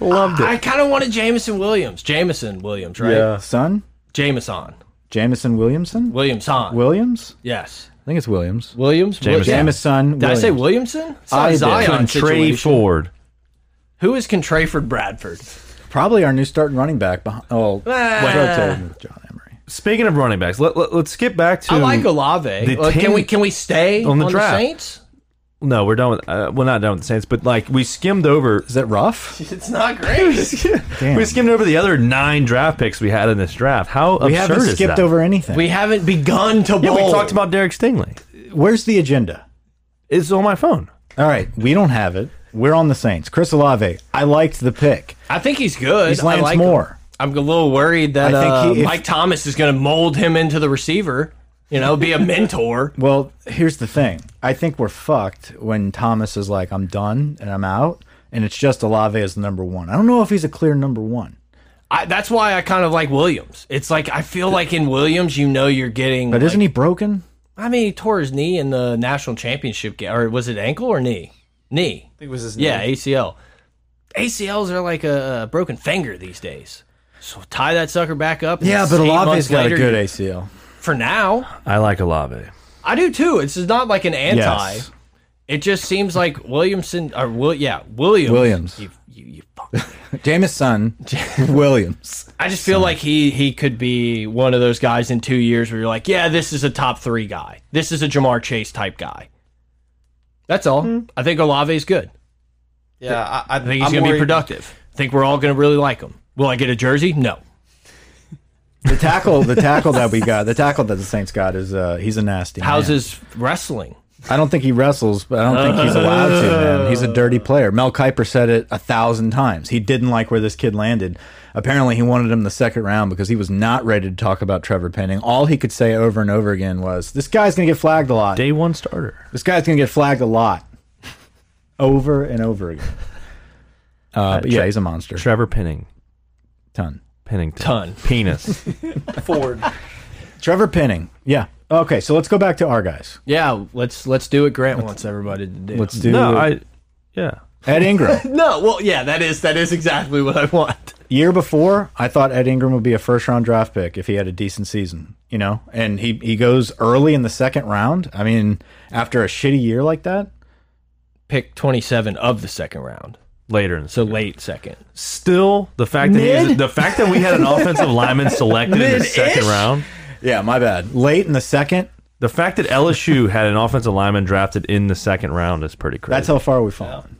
Speaker 2: Loved it.
Speaker 3: I kind of wanted Jameson Williams. Jameson Williams, right?
Speaker 2: Yeah.
Speaker 1: son,
Speaker 3: Jameson
Speaker 1: Jamison Williamson?
Speaker 3: Williamson.
Speaker 1: Williams?
Speaker 3: yes.
Speaker 1: I think it's Williams.
Speaker 3: Williams.
Speaker 2: Jameson.
Speaker 3: Williams.
Speaker 1: Jamison
Speaker 3: Did I say
Speaker 1: Williams.
Speaker 3: Williamson? It's not
Speaker 1: I
Speaker 3: a
Speaker 1: did.
Speaker 2: Trey
Speaker 3: Zion situation.
Speaker 2: Ford.
Speaker 3: Who is Contrayford Bradford?
Speaker 1: Probably our new starting running back. Behind, oh, rotating with John Emery.
Speaker 2: Speaking of running backs, let, let, us skip back to
Speaker 3: I like Olave.
Speaker 2: the
Speaker 3: Like, can
Speaker 2: ten-
Speaker 3: we can we stay
Speaker 2: on the draft.
Speaker 3: Saints?
Speaker 2: No, we're done with. Uh, well, not done with the Saints, but like we skimmed over.
Speaker 1: Is that
Speaker 3: <laughs>
Speaker 1: rough?
Speaker 3: It's not great. <laughs>
Speaker 1: Damn.
Speaker 2: We skimmed over the other nine draft picks we had in this draft. How
Speaker 1: we
Speaker 2: absurd
Speaker 1: haven't
Speaker 2: is
Speaker 1: skipped
Speaker 2: that?
Speaker 1: over anything.
Speaker 3: we haven't begun to
Speaker 2: Yeah,
Speaker 3: bowl.
Speaker 2: we talked about Derek Stingley.
Speaker 1: Where's the agenda?
Speaker 2: It's on my phone.
Speaker 1: All right, we don't have it. We're on the Saints. Chris Olave. I liked the pick.
Speaker 3: I think he's good.
Speaker 1: He's
Speaker 3: I
Speaker 1: Lance
Speaker 3: like him.
Speaker 1: Moore.
Speaker 3: I'm a little worried that
Speaker 1: I think
Speaker 3: uh,
Speaker 1: he- if-
Speaker 3: Mike Thomas is going to mold him into the receiver. You know, be a <laughs> mentor.
Speaker 1: Well, here's the thing. I think we're fucked when Thomas is like, "I'm done and I'm out," and it's just Olave as the number one. I don't know if he's a clear number one,
Speaker 3: I, that's why I kind of like Williams. It's like I feel like in Williams, you know, you're getting.
Speaker 1: but
Speaker 3: like-
Speaker 1: isn't he broken?
Speaker 3: I mean, he tore his knee in the national championship game, or was it ankle or knee? Knee.
Speaker 4: it was his
Speaker 3: Yeah,
Speaker 4: name.
Speaker 3: ACL. ACLs are like a, a broken finger these days. So tie that sucker back up. and
Speaker 1: Yeah, but
Speaker 3: eight
Speaker 1: Olave's
Speaker 3: months
Speaker 1: got
Speaker 3: later,
Speaker 1: a good
Speaker 3: you-
Speaker 1: ACL.
Speaker 3: for now.
Speaker 2: I like Olave.
Speaker 3: I do too. It's just not like an anti.
Speaker 1: Yes.
Speaker 3: It just seems like Williamson or Will, yeah, Williams.
Speaker 1: Williams.
Speaker 3: You, you, you fuck.
Speaker 1: Jameis son, Williams.
Speaker 3: I just feel like he he could be one of those guys in two years where you're like, yeah, this is a top three guy. This is a Jamar Chase type guy. That's all. I think Olave is good.
Speaker 4: yeah. I, I
Speaker 3: I think he's going to be productive. I think we're all going to really like him. Will I get a jersey? No.
Speaker 1: The tackle, the tackle that we got, the tackle that the Saints got is uh, he's a nasty.
Speaker 3: How's
Speaker 1: man.
Speaker 3: his wrestling?
Speaker 1: I don't think he wrestles, but I don't think he's allowed to. Man, he's a dirty player. Mel Kiper said it a thousand times. He didn't like where this kid landed. Apparently, he wanted him the second round because he was not ready to talk about Trevor Penning. All he could say over and over again was, "This guy's gonna get flagged a lot.
Speaker 2: Day one starter.
Speaker 1: This guy's gonna get flagged a lot." Over and over again. Uh, but yeah, he's a monster.
Speaker 2: Trevor Penning.
Speaker 1: Ton.
Speaker 2: Pennington.
Speaker 3: Ton.
Speaker 1: <laughs>
Speaker 2: Penis.
Speaker 4: <laughs> Ford.
Speaker 3: <laughs>
Speaker 1: Trevor Penning. Yeah. Okay, so let's go back to our guys.
Speaker 3: Yeah, let's let's do what Grant wants everybody to do.
Speaker 1: Let's do.
Speaker 2: no, I. Yeah.
Speaker 1: Ed Ingram.
Speaker 3: No, well, yeah, that is that is exactly what I want.
Speaker 1: Year before, I thought Ed Ingram would be a first round draft pick if he had a decent season, you know? And he, he goes early in the second round. I mean, after a shitty year like that,
Speaker 3: Pick 27 of the second round.
Speaker 2: later in the
Speaker 3: So late second.
Speaker 2: Still, the fact that he is,
Speaker 1: Mid?
Speaker 2: the fact that we had an offensive lineman selected in the second round,
Speaker 1: yeah, my bad. Late in the second,
Speaker 2: the fact that LSU had an offensive lineman drafted in the second round is pretty crazy.
Speaker 1: that's how far we've fallen.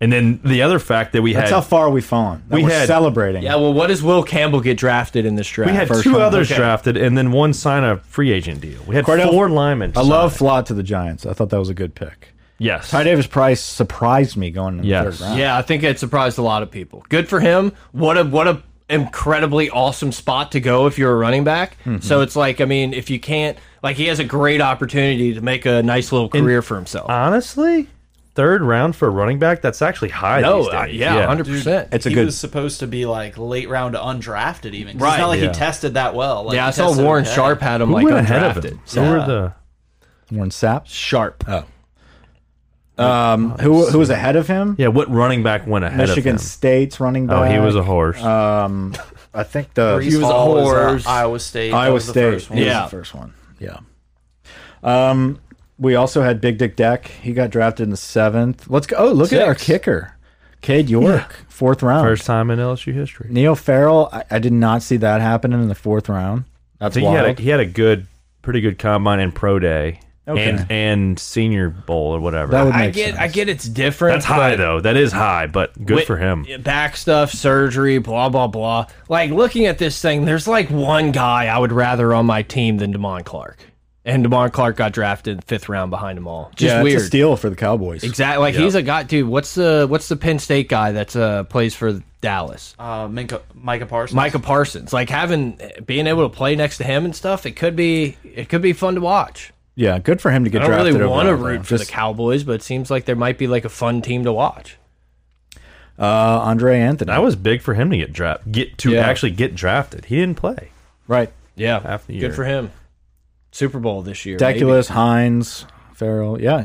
Speaker 2: and then the other fact that we
Speaker 1: That's
Speaker 2: had
Speaker 1: how far we've fallen. That
Speaker 2: We
Speaker 1: we are
Speaker 2: had-
Speaker 1: celebrating.
Speaker 3: Yeah, well, what does Will Campbell get drafted in this draft?
Speaker 2: we had
Speaker 1: first
Speaker 2: two
Speaker 1: round.
Speaker 2: others
Speaker 1: Okay.
Speaker 2: drafted, and then one sign a free agent deal. We had
Speaker 1: Cordell-
Speaker 2: four linemen.
Speaker 1: I love Flott to the Giants. I thought that was a good pick.
Speaker 2: yes.
Speaker 1: Ty Davis Price surprised me going in the
Speaker 2: Yes.
Speaker 1: third round.
Speaker 3: yeah, I think it surprised a lot of people. Good for him. What a what a incredibly awesome spot to go if you're a running back.
Speaker 2: Mm-hmm.
Speaker 3: So it's like, I mean, if you can't like he has a great opportunity to make a nice little career for himself.
Speaker 2: Honestly, third round for a running back, that's actually high.
Speaker 3: no,
Speaker 2: these
Speaker 3: I-
Speaker 2: days.
Speaker 3: Oh, yeah, hundred percent.
Speaker 1: It's a
Speaker 4: he
Speaker 1: good.
Speaker 4: was supposed to be like late round to undrafted even. 'Cause
Speaker 3: Right,
Speaker 4: It's not like
Speaker 2: yeah.
Speaker 4: he tested that well. Like,
Speaker 3: Yeah, I
Speaker 4: he
Speaker 3: saw
Speaker 4: tested
Speaker 3: Warren
Speaker 4: okay.
Speaker 3: Sharp had him
Speaker 2: Who
Speaker 3: like
Speaker 2: went
Speaker 3: undrafted.
Speaker 2: ahead of him? Oh, So were the
Speaker 1: Warren Sapp.
Speaker 3: Sharp.
Speaker 1: Um, who who was ahead of him?
Speaker 2: yeah. What running back went ahead
Speaker 1: Michigan
Speaker 2: of him?
Speaker 1: State's running
Speaker 2: Oh,
Speaker 1: back.
Speaker 2: he was a horse.
Speaker 1: Um, I think the
Speaker 4: Brees
Speaker 3: was a
Speaker 4: Hall was
Speaker 3: horse.
Speaker 4: at Iowa State. That
Speaker 1: Iowa
Speaker 4: was the
Speaker 1: State.
Speaker 4: first one.
Speaker 1: He was
Speaker 3: Yeah.
Speaker 1: the first one. Yeah. Um, we also had Big Dick Deck. He got drafted in the seventh. Let's go. Oh, look at our
Speaker 3: Six.
Speaker 1: kicker, Cade York, fourth round.
Speaker 2: First time in LSU history.
Speaker 1: Neil Farrell. I, I did not see that happening in the fourth round. That's
Speaker 2: So he
Speaker 1: wild.
Speaker 2: had a, he had a good, pretty good combine and pro day,
Speaker 1: Okay.
Speaker 2: and and senior bowl or whatever.
Speaker 1: that would make
Speaker 3: I get,
Speaker 1: sense.
Speaker 3: I get it's different.
Speaker 2: That's high
Speaker 3: but
Speaker 2: though. That is high, but good
Speaker 3: with-
Speaker 2: for him.
Speaker 3: Back stuff, surgery, blah blah blah. Like looking at this thing, there's like one guy I would rather on my team than Demond Clark, and Demond Clark got drafted fifth round behind them all. Just
Speaker 1: yeah,
Speaker 3: weird.
Speaker 1: It's a steal for the Cowboys.
Speaker 3: Exactly. Like he's a guy, dude. What's the what's the Penn State guy that's uh plays for Dallas?
Speaker 4: Uh, Minka, Micah Parsons.
Speaker 3: Micah Parsons. Like having eh, being able to play next to him and stuff, it could be it could be fun to watch.
Speaker 1: Yeah, good for him to get
Speaker 3: I don't
Speaker 1: drafted.
Speaker 3: really
Speaker 1: over
Speaker 3: want to
Speaker 1: all of them.
Speaker 3: root for the
Speaker 1: Just,
Speaker 3: Cowboys, but it seems like there might be like a fun team to watch.
Speaker 1: uh, Andre Anthony.
Speaker 2: That was big for him to get draft, get to
Speaker 3: Yeah.
Speaker 2: actually get drafted. He didn't play.
Speaker 1: right.
Speaker 3: Yeah,
Speaker 2: Half the year.
Speaker 3: good for him. Super Bowl this year. maybe.
Speaker 1: Deculus, Hines, Farrell. Yeah,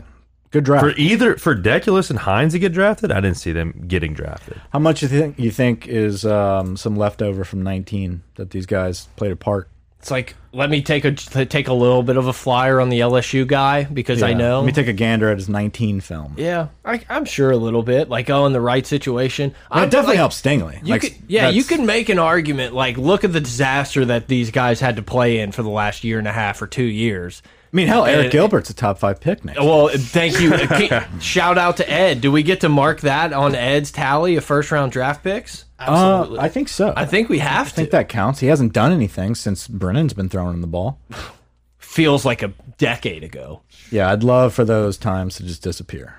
Speaker 1: good draft.
Speaker 2: For either for Deculus and Hines to get drafted, I didn't see them getting drafted.
Speaker 1: How much you think you think is um, some leftover from 19 that these guys played a part?
Speaker 3: It's like let me take a take a little bit of a flyer on the LSU guy because I
Speaker 1: Yeah.
Speaker 3: know.
Speaker 1: Let me take a gander at his 19 film.
Speaker 3: yeah, I, I'm sure a little bit. Like oh, in the right situation, I
Speaker 1: it definitely
Speaker 3: like,
Speaker 1: helps Stingley.
Speaker 3: You could, yeah, you can make an argument like look at the disaster that these guys had to play in for the last year and a half or two years.
Speaker 1: I mean, hell, Eric
Speaker 3: Uh,
Speaker 1: Gilbert's a top five pick next.
Speaker 3: Well,
Speaker 1: <laughs>
Speaker 3: thank you. Can- Shout out to Ed. Do we get to mark that on Ed's tally of first round draft picks?
Speaker 1: uh,
Speaker 4: Absolutely.
Speaker 1: I think so.
Speaker 3: oh, I think we have
Speaker 1: I
Speaker 3: to.
Speaker 1: think that counts. He hasn't done anything since Brennan's been throwing him the
Speaker 3: <laughs>
Speaker 1: ball.
Speaker 3: Feels like a decade ago.
Speaker 1: Yeah, I'd love for those times to just disappear.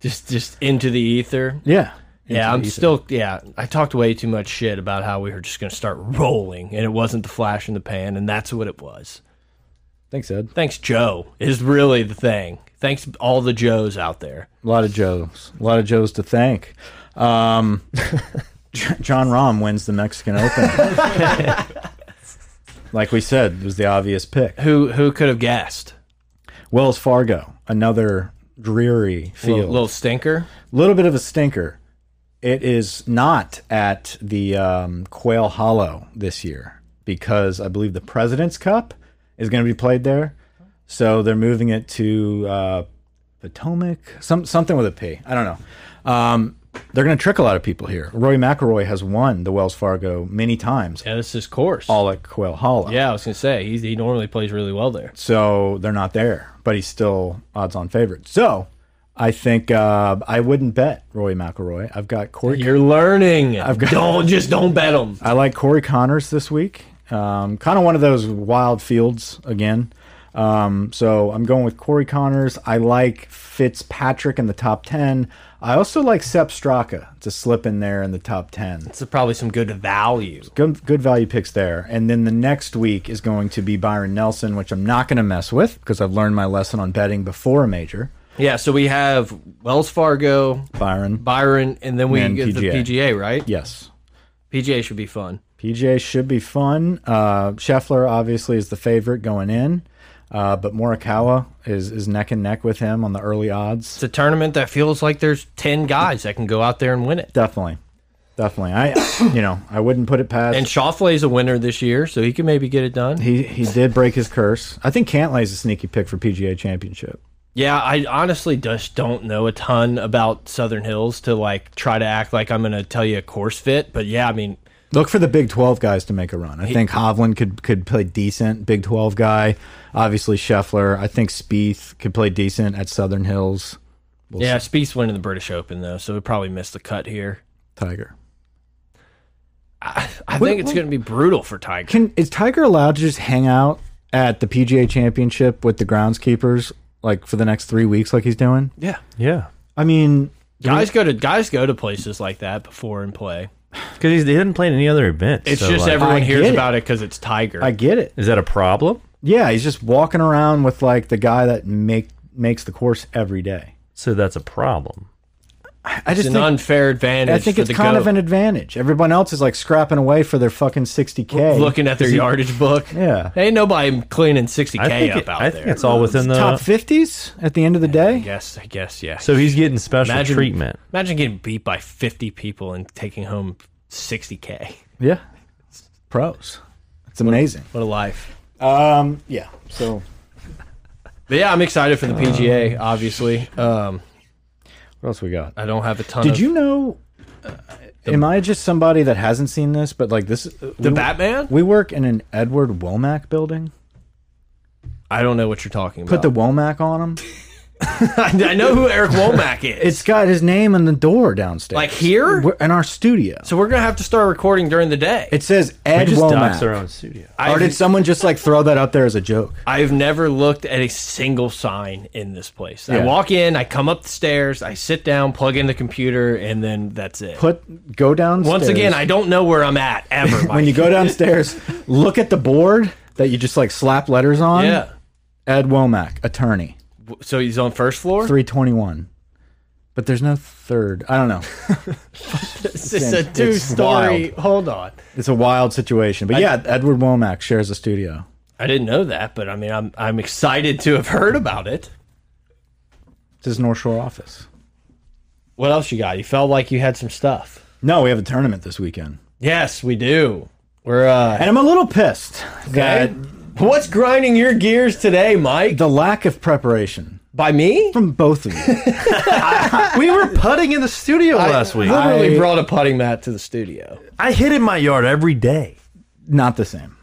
Speaker 3: Just just into the ether.
Speaker 1: Yeah.
Speaker 3: yeah,
Speaker 1: Into
Speaker 3: I'm
Speaker 1: the ether.
Speaker 3: still yeah, I talked way too much shit about how we were just going to start <laughs> rolling and it wasn't the flash in the pan and that's what it was.
Speaker 1: Thanks, Ed.
Speaker 3: Thanks Joe is really the thing. Thanks all the Joes out there.
Speaker 1: A lot of Joes. A lot of Joes to thank. Um, J- John Rahm wins the Mexican Open. like we said, it was the obvious pick.
Speaker 3: Who who could have guessed?
Speaker 1: Wells Fargo, another dreary field.
Speaker 3: Little, little stinker.
Speaker 1: little bit of a stinker. It is not at the um, Quail Hollow this year because I believe the President's Cup is going to be played there. So they're moving it to uh, Potomac, some something with a P. I don't know. Um, they're going to trick a lot of people here. Roy McElroy has won the Wells Fargo many times,
Speaker 3: Yeah, this is course.
Speaker 1: all at Quail Hollow.
Speaker 3: yeah, I was going to say he he normally plays really well there.
Speaker 1: So they're not there, but he's still odds on favorite. So I think uh, I wouldn't bet Roy McElroy. I've got Corey
Speaker 3: You're learning. I've got don't just don't bet them.
Speaker 1: I like Corey Connors this week. Um, kind of one of those wild fields again. Um, so I'm going with Corey Connors. I like Fitzpatrick in the top 10. I also like Sep Straka to slip in there in the top 10.
Speaker 3: It's probably some good value.
Speaker 1: Good, good value picks there. And then the next week is going to be Byron Nelson, which I'm not going to mess with because I've learned my lesson on betting before a major.
Speaker 3: Yeah, so we have Wells Fargo,
Speaker 1: Byron,
Speaker 3: Byron, and then we
Speaker 1: And
Speaker 3: get the
Speaker 1: PGA.
Speaker 3: PGA, right?
Speaker 1: yes.
Speaker 3: PGA should be fun.
Speaker 1: PGA should be fun. Uh, Scheffler obviously is the favorite going in. Uh, but Morikawa is is neck and neck with him on the early odds.
Speaker 3: It's a tournament that feels like there's 10 guys that can go out there and win it.
Speaker 1: Definitely, definitely. I <coughs> you know I wouldn't put it past.
Speaker 3: And Shoffley's a winner this year, so he can maybe get it done.
Speaker 1: he he did break his curse. I think Cantlay's a sneaky pick for PGA Championship.
Speaker 3: Yeah, I honestly just don't know a ton about Southern Hills to like try to act like I'm going to tell you a course fit, but yeah, I mean,
Speaker 1: Look for the Big Twelve guys to make a run. I think Hovland could could play decent Big Twelve guy. Obviously Scheffler. I think Spieth could play decent at Southern Hills.
Speaker 3: yeah, Spieth's winning the British Open though, so we probably missed the cut here.
Speaker 1: Tiger.
Speaker 3: I think it's going to be brutal for Tiger.
Speaker 1: Can is Tiger allowed to just hang out at the PGA Championship with the groundskeepers like for the next three weeks, like he's doing?
Speaker 3: Yeah,
Speaker 2: Yeah,
Speaker 1: I mean,
Speaker 3: guys go to guys go to places like that before and play.
Speaker 2: because he didn't play in any other events.
Speaker 3: It's
Speaker 2: so,
Speaker 3: just
Speaker 2: like,
Speaker 3: everyone
Speaker 1: I
Speaker 3: hears
Speaker 1: get it.
Speaker 3: about it because it's Tiger.
Speaker 1: I get it.
Speaker 2: Is that a problem?
Speaker 1: Yeah, he's just walking around with like the guy that make makes the course every day.
Speaker 2: So that's a problem.
Speaker 1: I
Speaker 3: it's
Speaker 1: just
Speaker 3: an
Speaker 1: think.
Speaker 3: unfair advantage.
Speaker 1: I think
Speaker 3: for
Speaker 1: it's
Speaker 3: the
Speaker 1: kind
Speaker 3: goat.
Speaker 1: of an advantage. Everyone else is like scrapping away for their fucking 60K.
Speaker 3: looking at their yardage book.
Speaker 1: Yeah.
Speaker 3: ain't nobody cleaning 60k
Speaker 2: I think,
Speaker 3: up
Speaker 2: it-
Speaker 3: out
Speaker 2: I
Speaker 3: there.
Speaker 2: think it's all within the.
Speaker 1: Top 50s at the end of the day?
Speaker 3: Yes, uh, I guess yeah.
Speaker 2: so he's getting special
Speaker 3: Imagine-
Speaker 2: treatment.
Speaker 3: Imagine getting beat by 50 people and taking home 60k.
Speaker 1: Yeah. Pros. It's amazing.
Speaker 3: What a life.
Speaker 1: Um, yeah. So
Speaker 3: But yeah, I'm excited for the PGA.
Speaker 2: Oh,
Speaker 3: Obviously, um,
Speaker 1: what else we got?
Speaker 3: I don't have a ton.
Speaker 1: Did
Speaker 3: of,
Speaker 1: you know? Uh, am I just somebody that hasn't seen this? But like this,
Speaker 3: the Batman?
Speaker 1: We work in an Edward Womack building.
Speaker 3: I don't know what you're talking
Speaker 1: Put
Speaker 3: about.
Speaker 1: the Womack on him.
Speaker 3: <laughs> I know who
Speaker 2: <laughs>
Speaker 3: Eric Womack is.
Speaker 1: It's got his name on the door downstairs.
Speaker 3: like here.
Speaker 1: We're- in our studio.
Speaker 3: so we're gonna have to start recording during the day.
Speaker 1: It says Ed
Speaker 2: Just dox our
Speaker 1: Womack.
Speaker 2: own studio.
Speaker 1: Or did
Speaker 3: I've,
Speaker 1: someone just like throw that out there as a joke?
Speaker 3: I've never looked at a single sign in this place. I
Speaker 1: Yeah.
Speaker 3: walk in, I come up the stairs, I sit down, plug in the computer, and then that's it.
Speaker 1: Put go downstairs.
Speaker 3: Once again, I don't know where I'm <laughs> at ever.
Speaker 1: when you
Speaker 3: Mike.
Speaker 1: go downstairs, look at the board that you just like slap letters on.
Speaker 3: yeah.
Speaker 1: Ed Womack, attorney,
Speaker 3: W- So he's on first floor. <laughs>
Speaker 1: three twenty one. But there's no third. I don't know.
Speaker 3: It's just a
Speaker 1: It's
Speaker 3: two-story. Hold on.
Speaker 1: It's a wild situation. But yeah, Edward Womack shares a studio.
Speaker 3: I didn't know that, but I mean, I'm I'm excited to have heard about it.
Speaker 1: It's his North Shore office.
Speaker 3: What else you got? You felt like you had some stuff.
Speaker 1: No, we have a tournament this weekend.
Speaker 3: Yes, we do. We're uh
Speaker 1: And I'm a little pissed that
Speaker 3: What's grinding your gears today, Mike?
Speaker 1: the lack of preparation
Speaker 3: By me?
Speaker 1: from both of you.
Speaker 3: <laughs>
Speaker 2: we were putting in the studio last week. I,
Speaker 3: Literally
Speaker 1: I-
Speaker 3: brought a putting mat to the studio.
Speaker 2: hit in my yard every day.
Speaker 1: Not the same.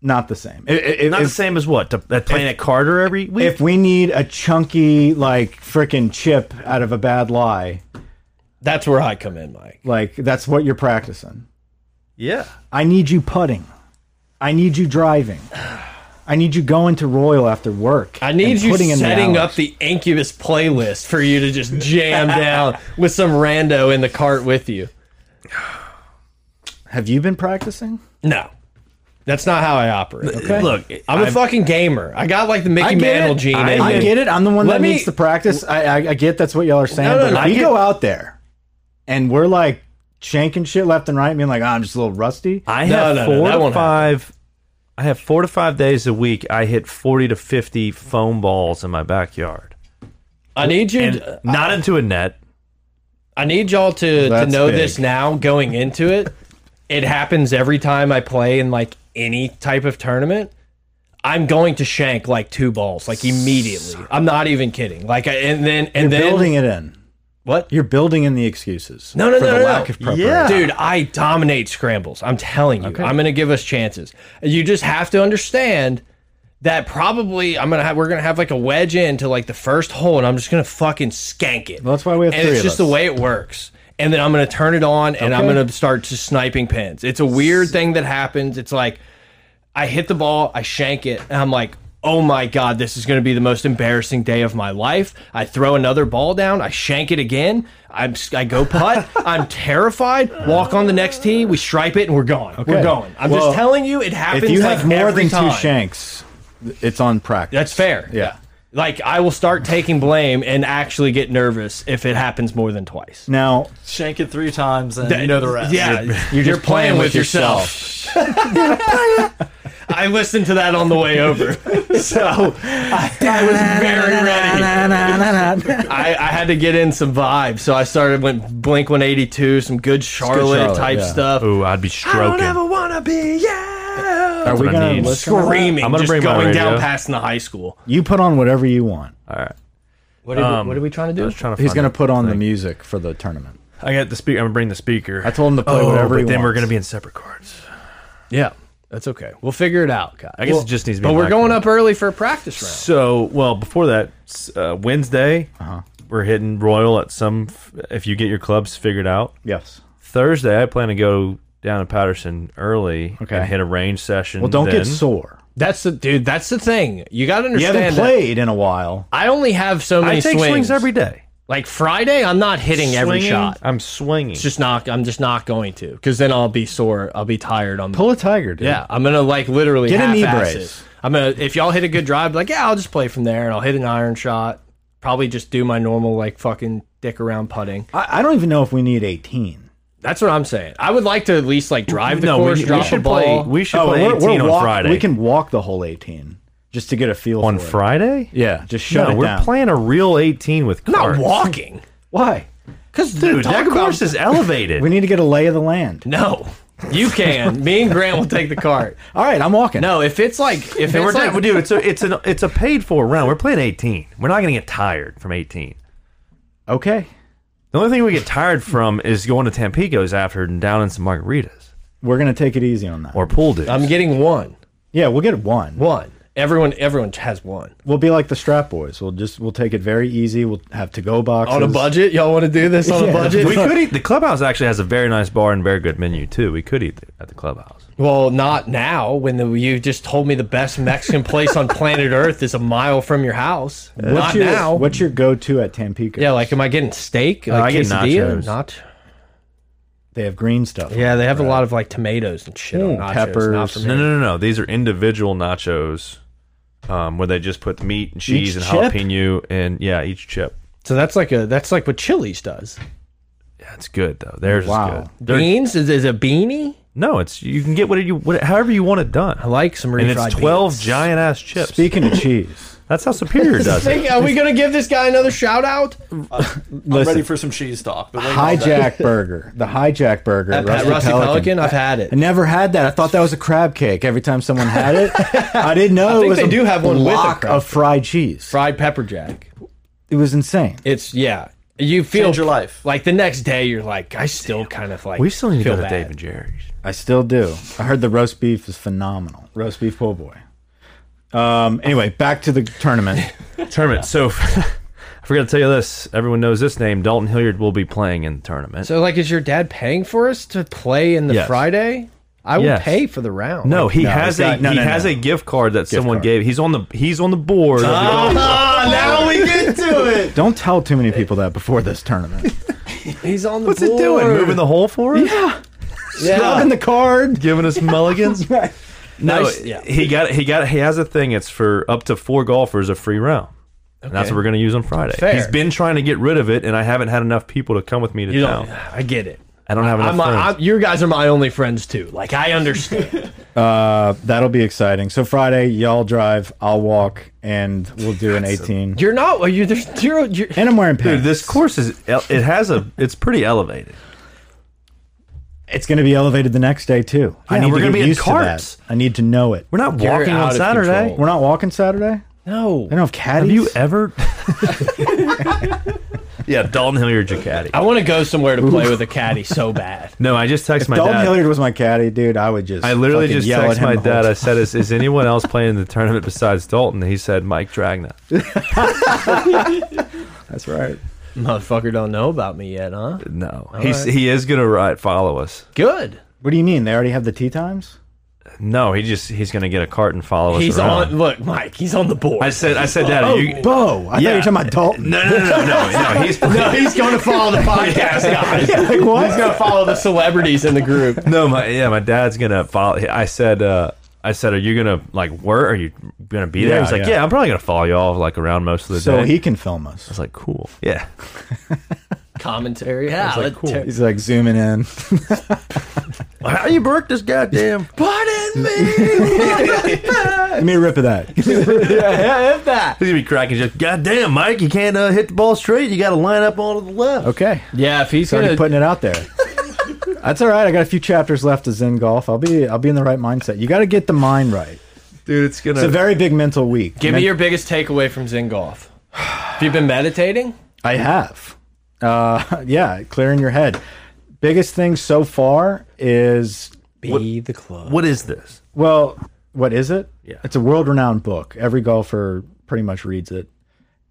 Speaker 1: Not the same. I- I- if-
Speaker 2: Not the same as what? To, at playing at Carter every week?
Speaker 1: if we need a chunky, like, freaking chip out of a bad lie,
Speaker 3: That's where I come in, Mike.
Speaker 1: like, that's what you're practicing.
Speaker 2: yeah.
Speaker 1: I need you putting. I need you driving. <sighs> I need you going to Royal after work.
Speaker 3: I need
Speaker 1: and
Speaker 3: you
Speaker 1: putting in the
Speaker 3: setting
Speaker 1: hours.
Speaker 3: up the Incubus playlist for you to just
Speaker 1: <laughs>
Speaker 3: jam down with some rando in the cart with you.
Speaker 1: Have you been practicing?
Speaker 3: No. That's not how I operate. Okay.
Speaker 2: Look,
Speaker 3: I'm a fucking gamer. I got like the Mickey
Speaker 1: get
Speaker 3: Mantle
Speaker 1: it.
Speaker 3: gene.
Speaker 2: I
Speaker 3: in
Speaker 2: get
Speaker 3: me.
Speaker 1: I get it. I'm the one
Speaker 3: Let
Speaker 1: that
Speaker 3: me-
Speaker 1: needs to practice. I, I, I get that's what y'all are saying.
Speaker 3: No, no,
Speaker 1: but
Speaker 3: no,
Speaker 1: if
Speaker 3: I
Speaker 1: we
Speaker 3: get-
Speaker 1: go out there and we're like shanking shit left and right, being like, "Ah, I'm just a little rusty.
Speaker 2: I
Speaker 3: No,
Speaker 2: have
Speaker 3: no, no,
Speaker 2: four
Speaker 3: that
Speaker 2: to
Speaker 3: won't happen.
Speaker 2: five. I have four to five days a week. I hit forty to fifty foam balls in my backyard,
Speaker 3: I need you.
Speaker 2: and uh,
Speaker 3: to-
Speaker 2: not into a net.
Speaker 3: I need y'all to, to
Speaker 1: That's
Speaker 3: know
Speaker 1: big.
Speaker 3: this now going into it. It happens every time I play in like any type of tournament. I'm going to shank like two balls like immediately. I'm not even kidding. Like I, and then and then
Speaker 1: building it in.
Speaker 3: what?
Speaker 1: You're building in the excuses.
Speaker 3: No, no,
Speaker 1: for
Speaker 3: no,
Speaker 1: the
Speaker 3: no,
Speaker 1: lack
Speaker 3: no.
Speaker 1: of preparation. Yeah.
Speaker 3: Dude, I dominate scrambles. I'm telling you. I'm going to give us chances. You just have to understand that probably I'm going to have we're going to have like a wedge into like the first hole and I'm just going to fucking skank it.
Speaker 1: Well, that's why we have
Speaker 3: And
Speaker 1: three
Speaker 3: it's
Speaker 1: of
Speaker 3: just
Speaker 1: us.
Speaker 3: the way it works. And then I'm going to turn it on and I'm
Speaker 1: Okay.
Speaker 3: going to start just sniping pins. It's a weird thing that happens. It's like I hit the ball, I shank it, and I'm like, oh my God, this is going to be the most embarrassing day of my life. I throw another ball down, I shank it again, I'm, s- I
Speaker 1: <laughs>
Speaker 3: go putt, I'm terrified, walk on the next tee, we stripe it, and we're gone. We're
Speaker 1: Okay.
Speaker 3: going. I'm
Speaker 1: Well,
Speaker 3: just telling you, it happens.
Speaker 1: If you
Speaker 3: like
Speaker 1: have more
Speaker 3: every
Speaker 1: than
Speaker 3: time.
Speaker 1: two shanks, it's on practice.
Speaker 3: That's fair.
Speaker 1: Yeah.
Speaker 3: Like, I will start taking blame and actually get nervous if it happens more than twice.
Speaker 1: Now,
Speaker 4: Shank it three times and you know the rest.
Speaker 3: Yeah, you're,
Speaker 1: just
Speaker 3: playing, with yourself. <laughs> I I listened to that on the way over, <laughs> so I, I was very ready.
Speaker 1: <laughs>
Speaker 3: I, I had to get in some vibes, so I started with Blink 182, some good Charlotte,
Speaker 1: Charlotte,
Speaker 3: type
Speaker 1: yeah.
Speaker 3: stuff.
Speaker 2: Ooh, I'd be stroking.
Speaker 3: wanna be yeah.
Speaker 1: Are we
Speaker 2: what I
Speaker 1: gonna
Speaker 2: need.
Speaker 1: listen to that?
Speaker 3: Screaming,
Speaker 2: I'm gonna
Speaker 3: just
Speaker 2: bring my
Speaker 3: going down
Speaker 2: radio.
Speaker 3: past in the high school.
Speaker 1: You put on whatever you want.
Speaker 2: All right.
Speaker 3: What are, we, what are we trying to
Speaker 2: I
Speaker 3: do?
Speaker 2: was trying to
Speaker 1: He's
Speaker 2: find
Speaker 1: gonna
Speaker 2: it.
Speaker 1: put on the music for the tournament.
Speaker 2: I got the speaker. I'm gonna bring the speaker.
Speaker 1: I told him to play
Speaker 2: oh,
Speaker 1: whatever
Speaker 2: But
Speaker 1: he
Speaker 2: then we're
Speaker 1: wants.
Speaker 2: gonna be in separate cards.
Speaker 3: Yeah, that's okay. We'll figure it out, guys.
Speaker 2: I guess it just needs to be.
Speaker 3: But
Speaker 2: a
Speaker 3: we're
Speaker 2: mic
Speaker 3: going
Speaker 2: one.
Speaker 3: up early for a practice round.
Speaker 2: So well before that s- uh, Wednesday,
Speaker 1: Uh-huh.
Speaker 2: we're hitting Royal at some. f- If you get your clubs figured out,
Speaker 1: Yes.
Speaker 2: Thursday I plan to go down to Patterson early
Speaker 1: Okay.
Speaker 2: and hit a range session.
Speaker 1: Well, don't
Speaker 2: then.
Speaker 1: get sore.
Speaker 3: That's the dude. That's the thing. You got to
Speaker 1: You
Speaker 3: understand.
Speaker 1: haven't
Speaker 3: that
Speaker 1: played in a while.
Speaker 3: I only have so many
Speaker 2: I take swings, every day.
Speaker 3: Like Friday, I'm not hitting every
Speaker 2: Swinging,
Speaker 3: shot.
Speaker 2: I'm swinging.
Speaker 3: It's just not. I'm just not going to because then I'll be sore. I'll be tired. I'm
Speaker 1: Pull a tiger, dude.
Speaker 3: yeah. I'm gonna like literally
Speaker 1: Get a knee
Speaker 3: half-ass
Speaker 1: brace.
Speaker 3: it. I'm gonna if y'all hit a good drive, like yeah, I'll just play from there and I'll hit an iron shot. Probably just do my normal like fucking dick around putting.
Speaker 1: I, I don't even know if we need 18.
Speaker 3: That's what I'm saying. I would like to at least like drive the
Speaker 2: no, we,
Speaker 3: course,
Speaker 2: we
Speaker 3: drop the
Speaker 2: should
Speaker 3: ball.
Speaker 2: play. We should
Speaker 1: Oh,
Speaker 2: play
Speaker 1: we're-
Speaker 2: 18
Speaker 1: we're
Speaker 2: on
Speaker 1: walk-
Speaker 2: Friday.
Speaker 1: We can walk the whole 18 just to get a feel
Speaker 2: on
Speaker 1: for it.
Speaker 2: Friday.
Speaker 1: Yeah, just shut
Speaker 2: No,
Speaker 1: it
Speaker 2: we're
Speaker 1: down.
Speaker 2: playing a real 18 with
Speaker 3: not
Speaker 2: cards.
Speaker 3: walking.
Speaker 1: Why?
Speaker 3: Cause
Speaker 2: Dude,
Speaker 3: talk
Speaker 2: that
Speaker 3: about-
Speaker 2: course is <laughs> elevated.
Speaker 1: We need to get a lay of the land.
Speaker 3: no. You can. Me and Grant will take the cart.
Speaker 1: All right, I'm walking.
Speaker 3: No, if it's like if
Speaker 2: And
Speaker 3: it's
Speaker 2: we're
Speaker 3: like
Speaker 2: not- dude. It's a it's an it's a paid for round. We're playing eighteen. We're not gonna get tired from eighteen.
Speaker 1: Okay.
Speaker 2: The only thing we get tired from is going to Tampico's after and down in some margaritas
Speaker 1: We're going to take it easy on that.
Speaker 2: or pool dudes.
Speaker 3: I'm getting one.
Speaker 1: yeah, we'll get one.
Speaker 3: One. Everyone everyone has one.
Speaker 1: We'll be like the Strap Boys. We'll just we'll take it very easy. We'll have to go boxes
Speaker 3: On a budget? Y'all want to do this on
Speaker 1: Yeah.
Speaker 3: a budget?
Speaker 2: we could eat. The clubhouse actually has a very nice bar and very good menu too. We could eat at the clubhouse.
Speaker 3: Well, not now. When the, you just told me the best Mexican place on planet Earth is a mile from your house.
Speaker 1: What's
Speaker 3: not
Speaker 1: your,
Speaker 3: now.
Speaker 1: What's your go-to at Tampico?
Speaker 3: yeah, like am I getting steak? Like
Speaker 2: Oh, I get
Speaker 3: quesadilla?
Speaker 2: nachos.
Speaker 3: Not.
Speaker 1: they have green stuff.
Speaker 3: Yeah, they have a lot of like tomatoes and shit on
Speaker 1: Mm,
Speaker 3: nachos.
Speaker 1: peppers.
Speaker 3: Not for me.
Speaker 2: Hmm, No, no, no, no. These are individual nachos, um, where they just put meat and cheese
Speaker 1: Each chip?
Speaker 2: and jalapeno and yeah, each chip.
Speaker 3: So that's like a that's like what Chili's does.
Speaker 2: Yeah, it's good though. Theirs
Speaker 1: Wow.
Speaker 2: is good. They're-
Speaker 3: Beans is, is a beanie.
Speaker 2: No, it's you can get what you what, however you want it done.
Speaker 3: I like some refried
Speaker 2: and it's twelve
Speaker 3: beans.
Speaker 2: giant ass chips.
Speaker 1: Speaking of
Speaker 2: <laughs>
Speaker 1: cheese,
Speaker 2: That's
Speaker 1: <laughs>
Speaker 2: how Superior does it.
Speaker 3: Think- Are we gonna give this guy another shout out?
Speaker 4: I'm ready
Speaker 1: listen,
Speaker 4: for some cheese talk. But wait, all that-
Speaker 1: hijack burger, the hijack burger at,
Speaker 3: Rusty,
Speaker 1: Rusty,
Speaker 3: Pelican.
Speaker 1: Pelican.
Speaker 3: I've had
Speaker 1: I
Speaker 3: it.
Speaker 1: never had that. I thought that was a crab cake. Every time someone had it, I didn't know
Speaker 3: think
Speaker 1: it was
Speaker 3: they
Speaker 1: a
Speaker 3: do have one with a
Speaker 1: block
Speaker 3: crab
Speaker 1: of fried cheese.
Speaker 3: Fried pepper jack.
Speaker 1: It was insane.
Speaker 3: It's yeah. You feel
Speaker 4: Change your life.
Speaker 3: Like the next day, you're like, I still kind of like.
Speaker 2: We still need to
Speaker 3: feel
Speaker 2: go to
Speaker 3: bad.
Speaker 2: Dave and Jerry's.
Speaker 1: I still do. I heard the roast beef is phenomenal. Roast beef po' boy. Um. Anyway, back to the tournament.
Speaker 2: Tournament. So <laughs> I forgot to tell you this. Everyone knows this name. Dalton Hilliard will be playing in the tournament.
Speaker 3: So like, is your dad paying for us to play in the
Speaker 2: Yes.
Speaker 3: Friday? I will
Speaker 2: Yes.
Speaker 3: pay for the round.
Speaker 2: no, he
Speaker 1: No, it's
Speaker 2: has
Speaker 1: not-
Speaker 2: a
Speaker 1: no,
Speaker 2: he
Speaker 1: no,
Speaker 2: has
Speaker 1: no.
Speaker 2: a gift card that someone
Speaker 1: card.
Speaker 2: gave. He's on the he's on the board. of the golf-
Speaker 4: now we get <laughs> to it.
Speaker 1: Don't tell too many people that before this tournament.
Speaker 3: he's on the
Speaker 2: What's it doing? Moving the hole for us?
Speaker 1: Rubbing the card.
Speaker 2: Giving
Speaker 1: <laughs>
Speaker 2: us mulligans? No,
Speaker 3: Nice. Yeah.
Speaker 2: he got he got he has a thing. It's for up to four golfers a free round. And that's what we're going to use on Friday.
Speaker 3: Fair.
Speaker 2: He's been trying to get rid of it, and I haven't had enough people to come with me to
Speaker 3: You
Speaker 2: town.
Speaker 3: don't. I get it.
Speaker 2: I don't have enough.
Speaker 3: I'm,
Speaker 2: friends.
Speaker 3: I'm, you guys are my only friends too. Like
Speaker 2: <laughs>
Speaker 3: I understand.
Speaker 1: Uh, that'll be exciting. So Friday, y'all drive. I'll walk, and we'll do an 18.
Speaker 3: you're not. You're there's zero. You're,
Speaker 1: And I'm wearing pants.
Speaker 2: Dude, this course is it has a it's pretty elevated.
Speaker 1: It's going to be elevated the next day too. I
Speaker 2: Yeah,
Speaker 1: need
Speaker 2: we're
Speaker 1: to
Speaker 2: gonna
Speaker 1: get
Speaker 2: be in
Speaker 1: used to that.
Speaker 2: carts.
Speaker 1: I need to know it.
Speaker 2: We're not
Speaker 3: You're
Speaker 2: walking
Speaker 3: out
Speaker 2: on
Speaker 3: of
Speaker 2: Saturday.
Speaker 3: control.
Speaker 1: We're not walking Saturday.
Speaker 3: no.
Speaker 1: They don't have caddies.
Speaker 2: Have you ever? <laughs> yeah, Dalton Hilliard Jacati.
Speaker 3: I want to go somewhere to play with a caddy
Speaker 2: <laughs>
Speaker 3: so bad.
Speaker 2: No, I just texted my
Speaker 1: Dalton
Speaker 2: dad.
Speaker 1: Hilliard was my caddy, dude. I would just.
Speaker 2: I literally
Speaker 1: fucking
Speaker 2: just
Speaker 1: yell at
Speaker 2: texted
Speaker 1: him
Speaker 2: my
Speaker 1: the whole
Speaker 2: dad. I
Speaker 1: time.
Speaker 2: said, "Is,
Speaker 1: <laughs>
Speaker 2: is anyone else playing in the tournament besides Dalton?" And he said, "Mike Dragna."
Speaker 1: That's right.
Speaker 3: Motherfucker don't know about me yet, huh?
Speaker 2: No, he's he is gonna ride follow us.
Speaker 3: Good.
Speaker 1: What do you mean? They already have the tea times.
Speaker 2: No, he just he's gonna get a cart and follow
Speaker 3: He's
Speaker 2: us around.
Speaker 3: on. Look, Mike. He's on the board.
Speaker 2: I said, I said, Dad,
Speaker 1: Oh,
Speaker 2: are you.
Speaker 1: Bo, I thought you were talking about Dalton.
Speaker 2: No, no, no, no, no, no. He's
Speaker 3: No, he's going to follow <laughs> the podcast
Speaker 1: <laughs>
Speaker 3: guys.
Speaker 1: Like
Speaker 3: He's
Speaker 1: what?
Speaker 3: going to follow the celebrities in the group.
Speaker 2: No, my yeah, my dad's gonna follow. I said, uh, I said, are you gonna like work? Are you gonna be there?
Speaker 1: Yeah,
Speaker 2: He's like,
Speaker 1: yeah.
Speaker 2: yeah. I'm probably gonna follow y'all like around most of the
Speaker 1: So
Speaker 2: day.
Speaker 1: he can film us.
Speaker 2: was like, cool, yeah.
Speaker 3: commentary. Yeah,
Speaker 2: like,
Speaker 3: let-
Speaker 2: cool.
Speaker 1: <laughs>
Speaker 3: ter-
Speaker 1: He's like zooming in.
Speaker 5: How you broke this goddamn?
Speaker 1: Pardon me. Give me a rip of that. yeah, that.
Speaker 5: He's gonna be cracking. Just goddamn, Mike, you can't uh, hit the ball straight. You got to line up all to the
Speaker 3: Oh,
Speaker 5: left.
Speaker 1: Okay.
Speaker 3: yeah. If he's
Speaker 1: Started
Speaker 3: gonna,
Speaker 1: putting it out there. That's all right. I got a few chapters left to Zen Golf. I'll be I'll be in the right mindset. You got to get the mind right.
Speaker 5: dude, it's gonna.
Speaker 1: It's a very big mental week.
Speaker 3: give me your biggest takeaway from Zen Golf. Have you been meditating?
Speaker 1: I have. Uh, <laughs> yeah, clearing your head. Biggest thing so far is
Speaker 3: Be the club.
Speaker 5: what is this?
Speaker 1: Well, what is it? Yeah. It's a world-renowned book. Every golfer pretty much reads it.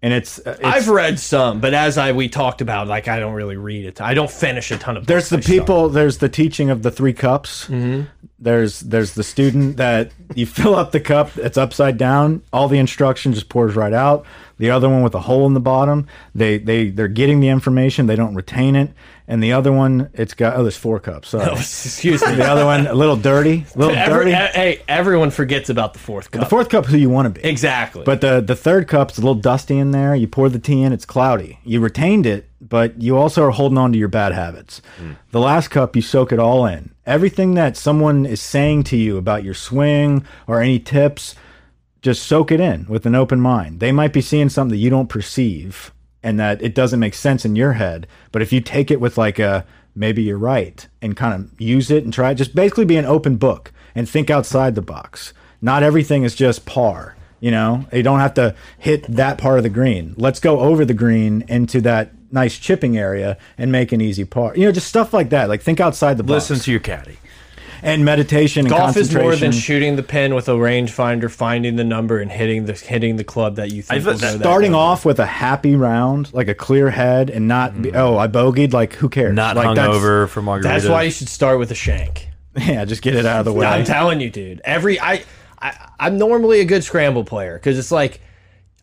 Speaker 1: And it's, uh, it's
Speaker 3: I've read some, but as I we talked about, like I don't really read it. I don't finish a ton of.
Speaker 1: there's the
Speaker 3: books. I just
Speaker 1: people, there's the teaching of the three cups.
Speaker 3: Mm-hmm.
Speaker 1: There's there's the student that you <laughs> fill up the cup, it's upside down, all the instruction just pours right out. The other one with a hole in the bottom, they they they're getting the information, they don't retain it. And the other one, it's got oh, there's four cups. Sorry.
Speaker 3: don't. Excuse me.
Speaker 1: the other one, a little <laughs> dirty, a little
Speaker 3: <laughs>
Speaker 1: dirty.
Speaker 3: Every, e- hey, everyone forgets about the fourth cup.
Speaker 1: the fourth cup's who you want to be.
Speaker 3: exactly.
Speaker 1: But the the third cup's a little dusty in there. You pour the tea in, it's cloudy. You retained it, but you also are holding on to your bad habits. The last cup, you soak it all in. Everything that someone is saying to you about your swing or any tips, just soak it in with an open mind. They might be seeing something that you don't perceive and that it doesn't make sense in your head. But if you take it with like a maybe you're right and kind of use it and try it, just basically be an open book and think outside the box. Not everything is just par. You know, you don't have to hit that part of the green. Let's go over the green into that nice chipping area and make an easy par. You know, just stuff like that. Like think outside the box.
Speaker 2: Listen to your caddy.
Speaker 1: and meditation and
Speaker 3: golf is
Speaker 1: concentration.
Speaker 3: more than shooting the pin with a rangefinder, finding the number, and hitting the hitting the club that you think.
Speaker 2: thought
Speaker 3: will go that
Speaker 1: starting
Speaker 3: way.
Speaker 1: off with a happy round, like a clear head, and not be,
Speaker 3: Mm-hmm.
Speaker 1: oh I bogeyed, like who cares?
Speaker 2: Not
Speaker 1: like, that's-
Speaker 2: hungover for margaritas.
Speaker 3: That's why you should start with a shank.
Speaker 1: <laughs> Yeah, just get it out of the way.
Speaker 3: I'm telling you, dude. Every I, I I'm normally a good scramble player because it's like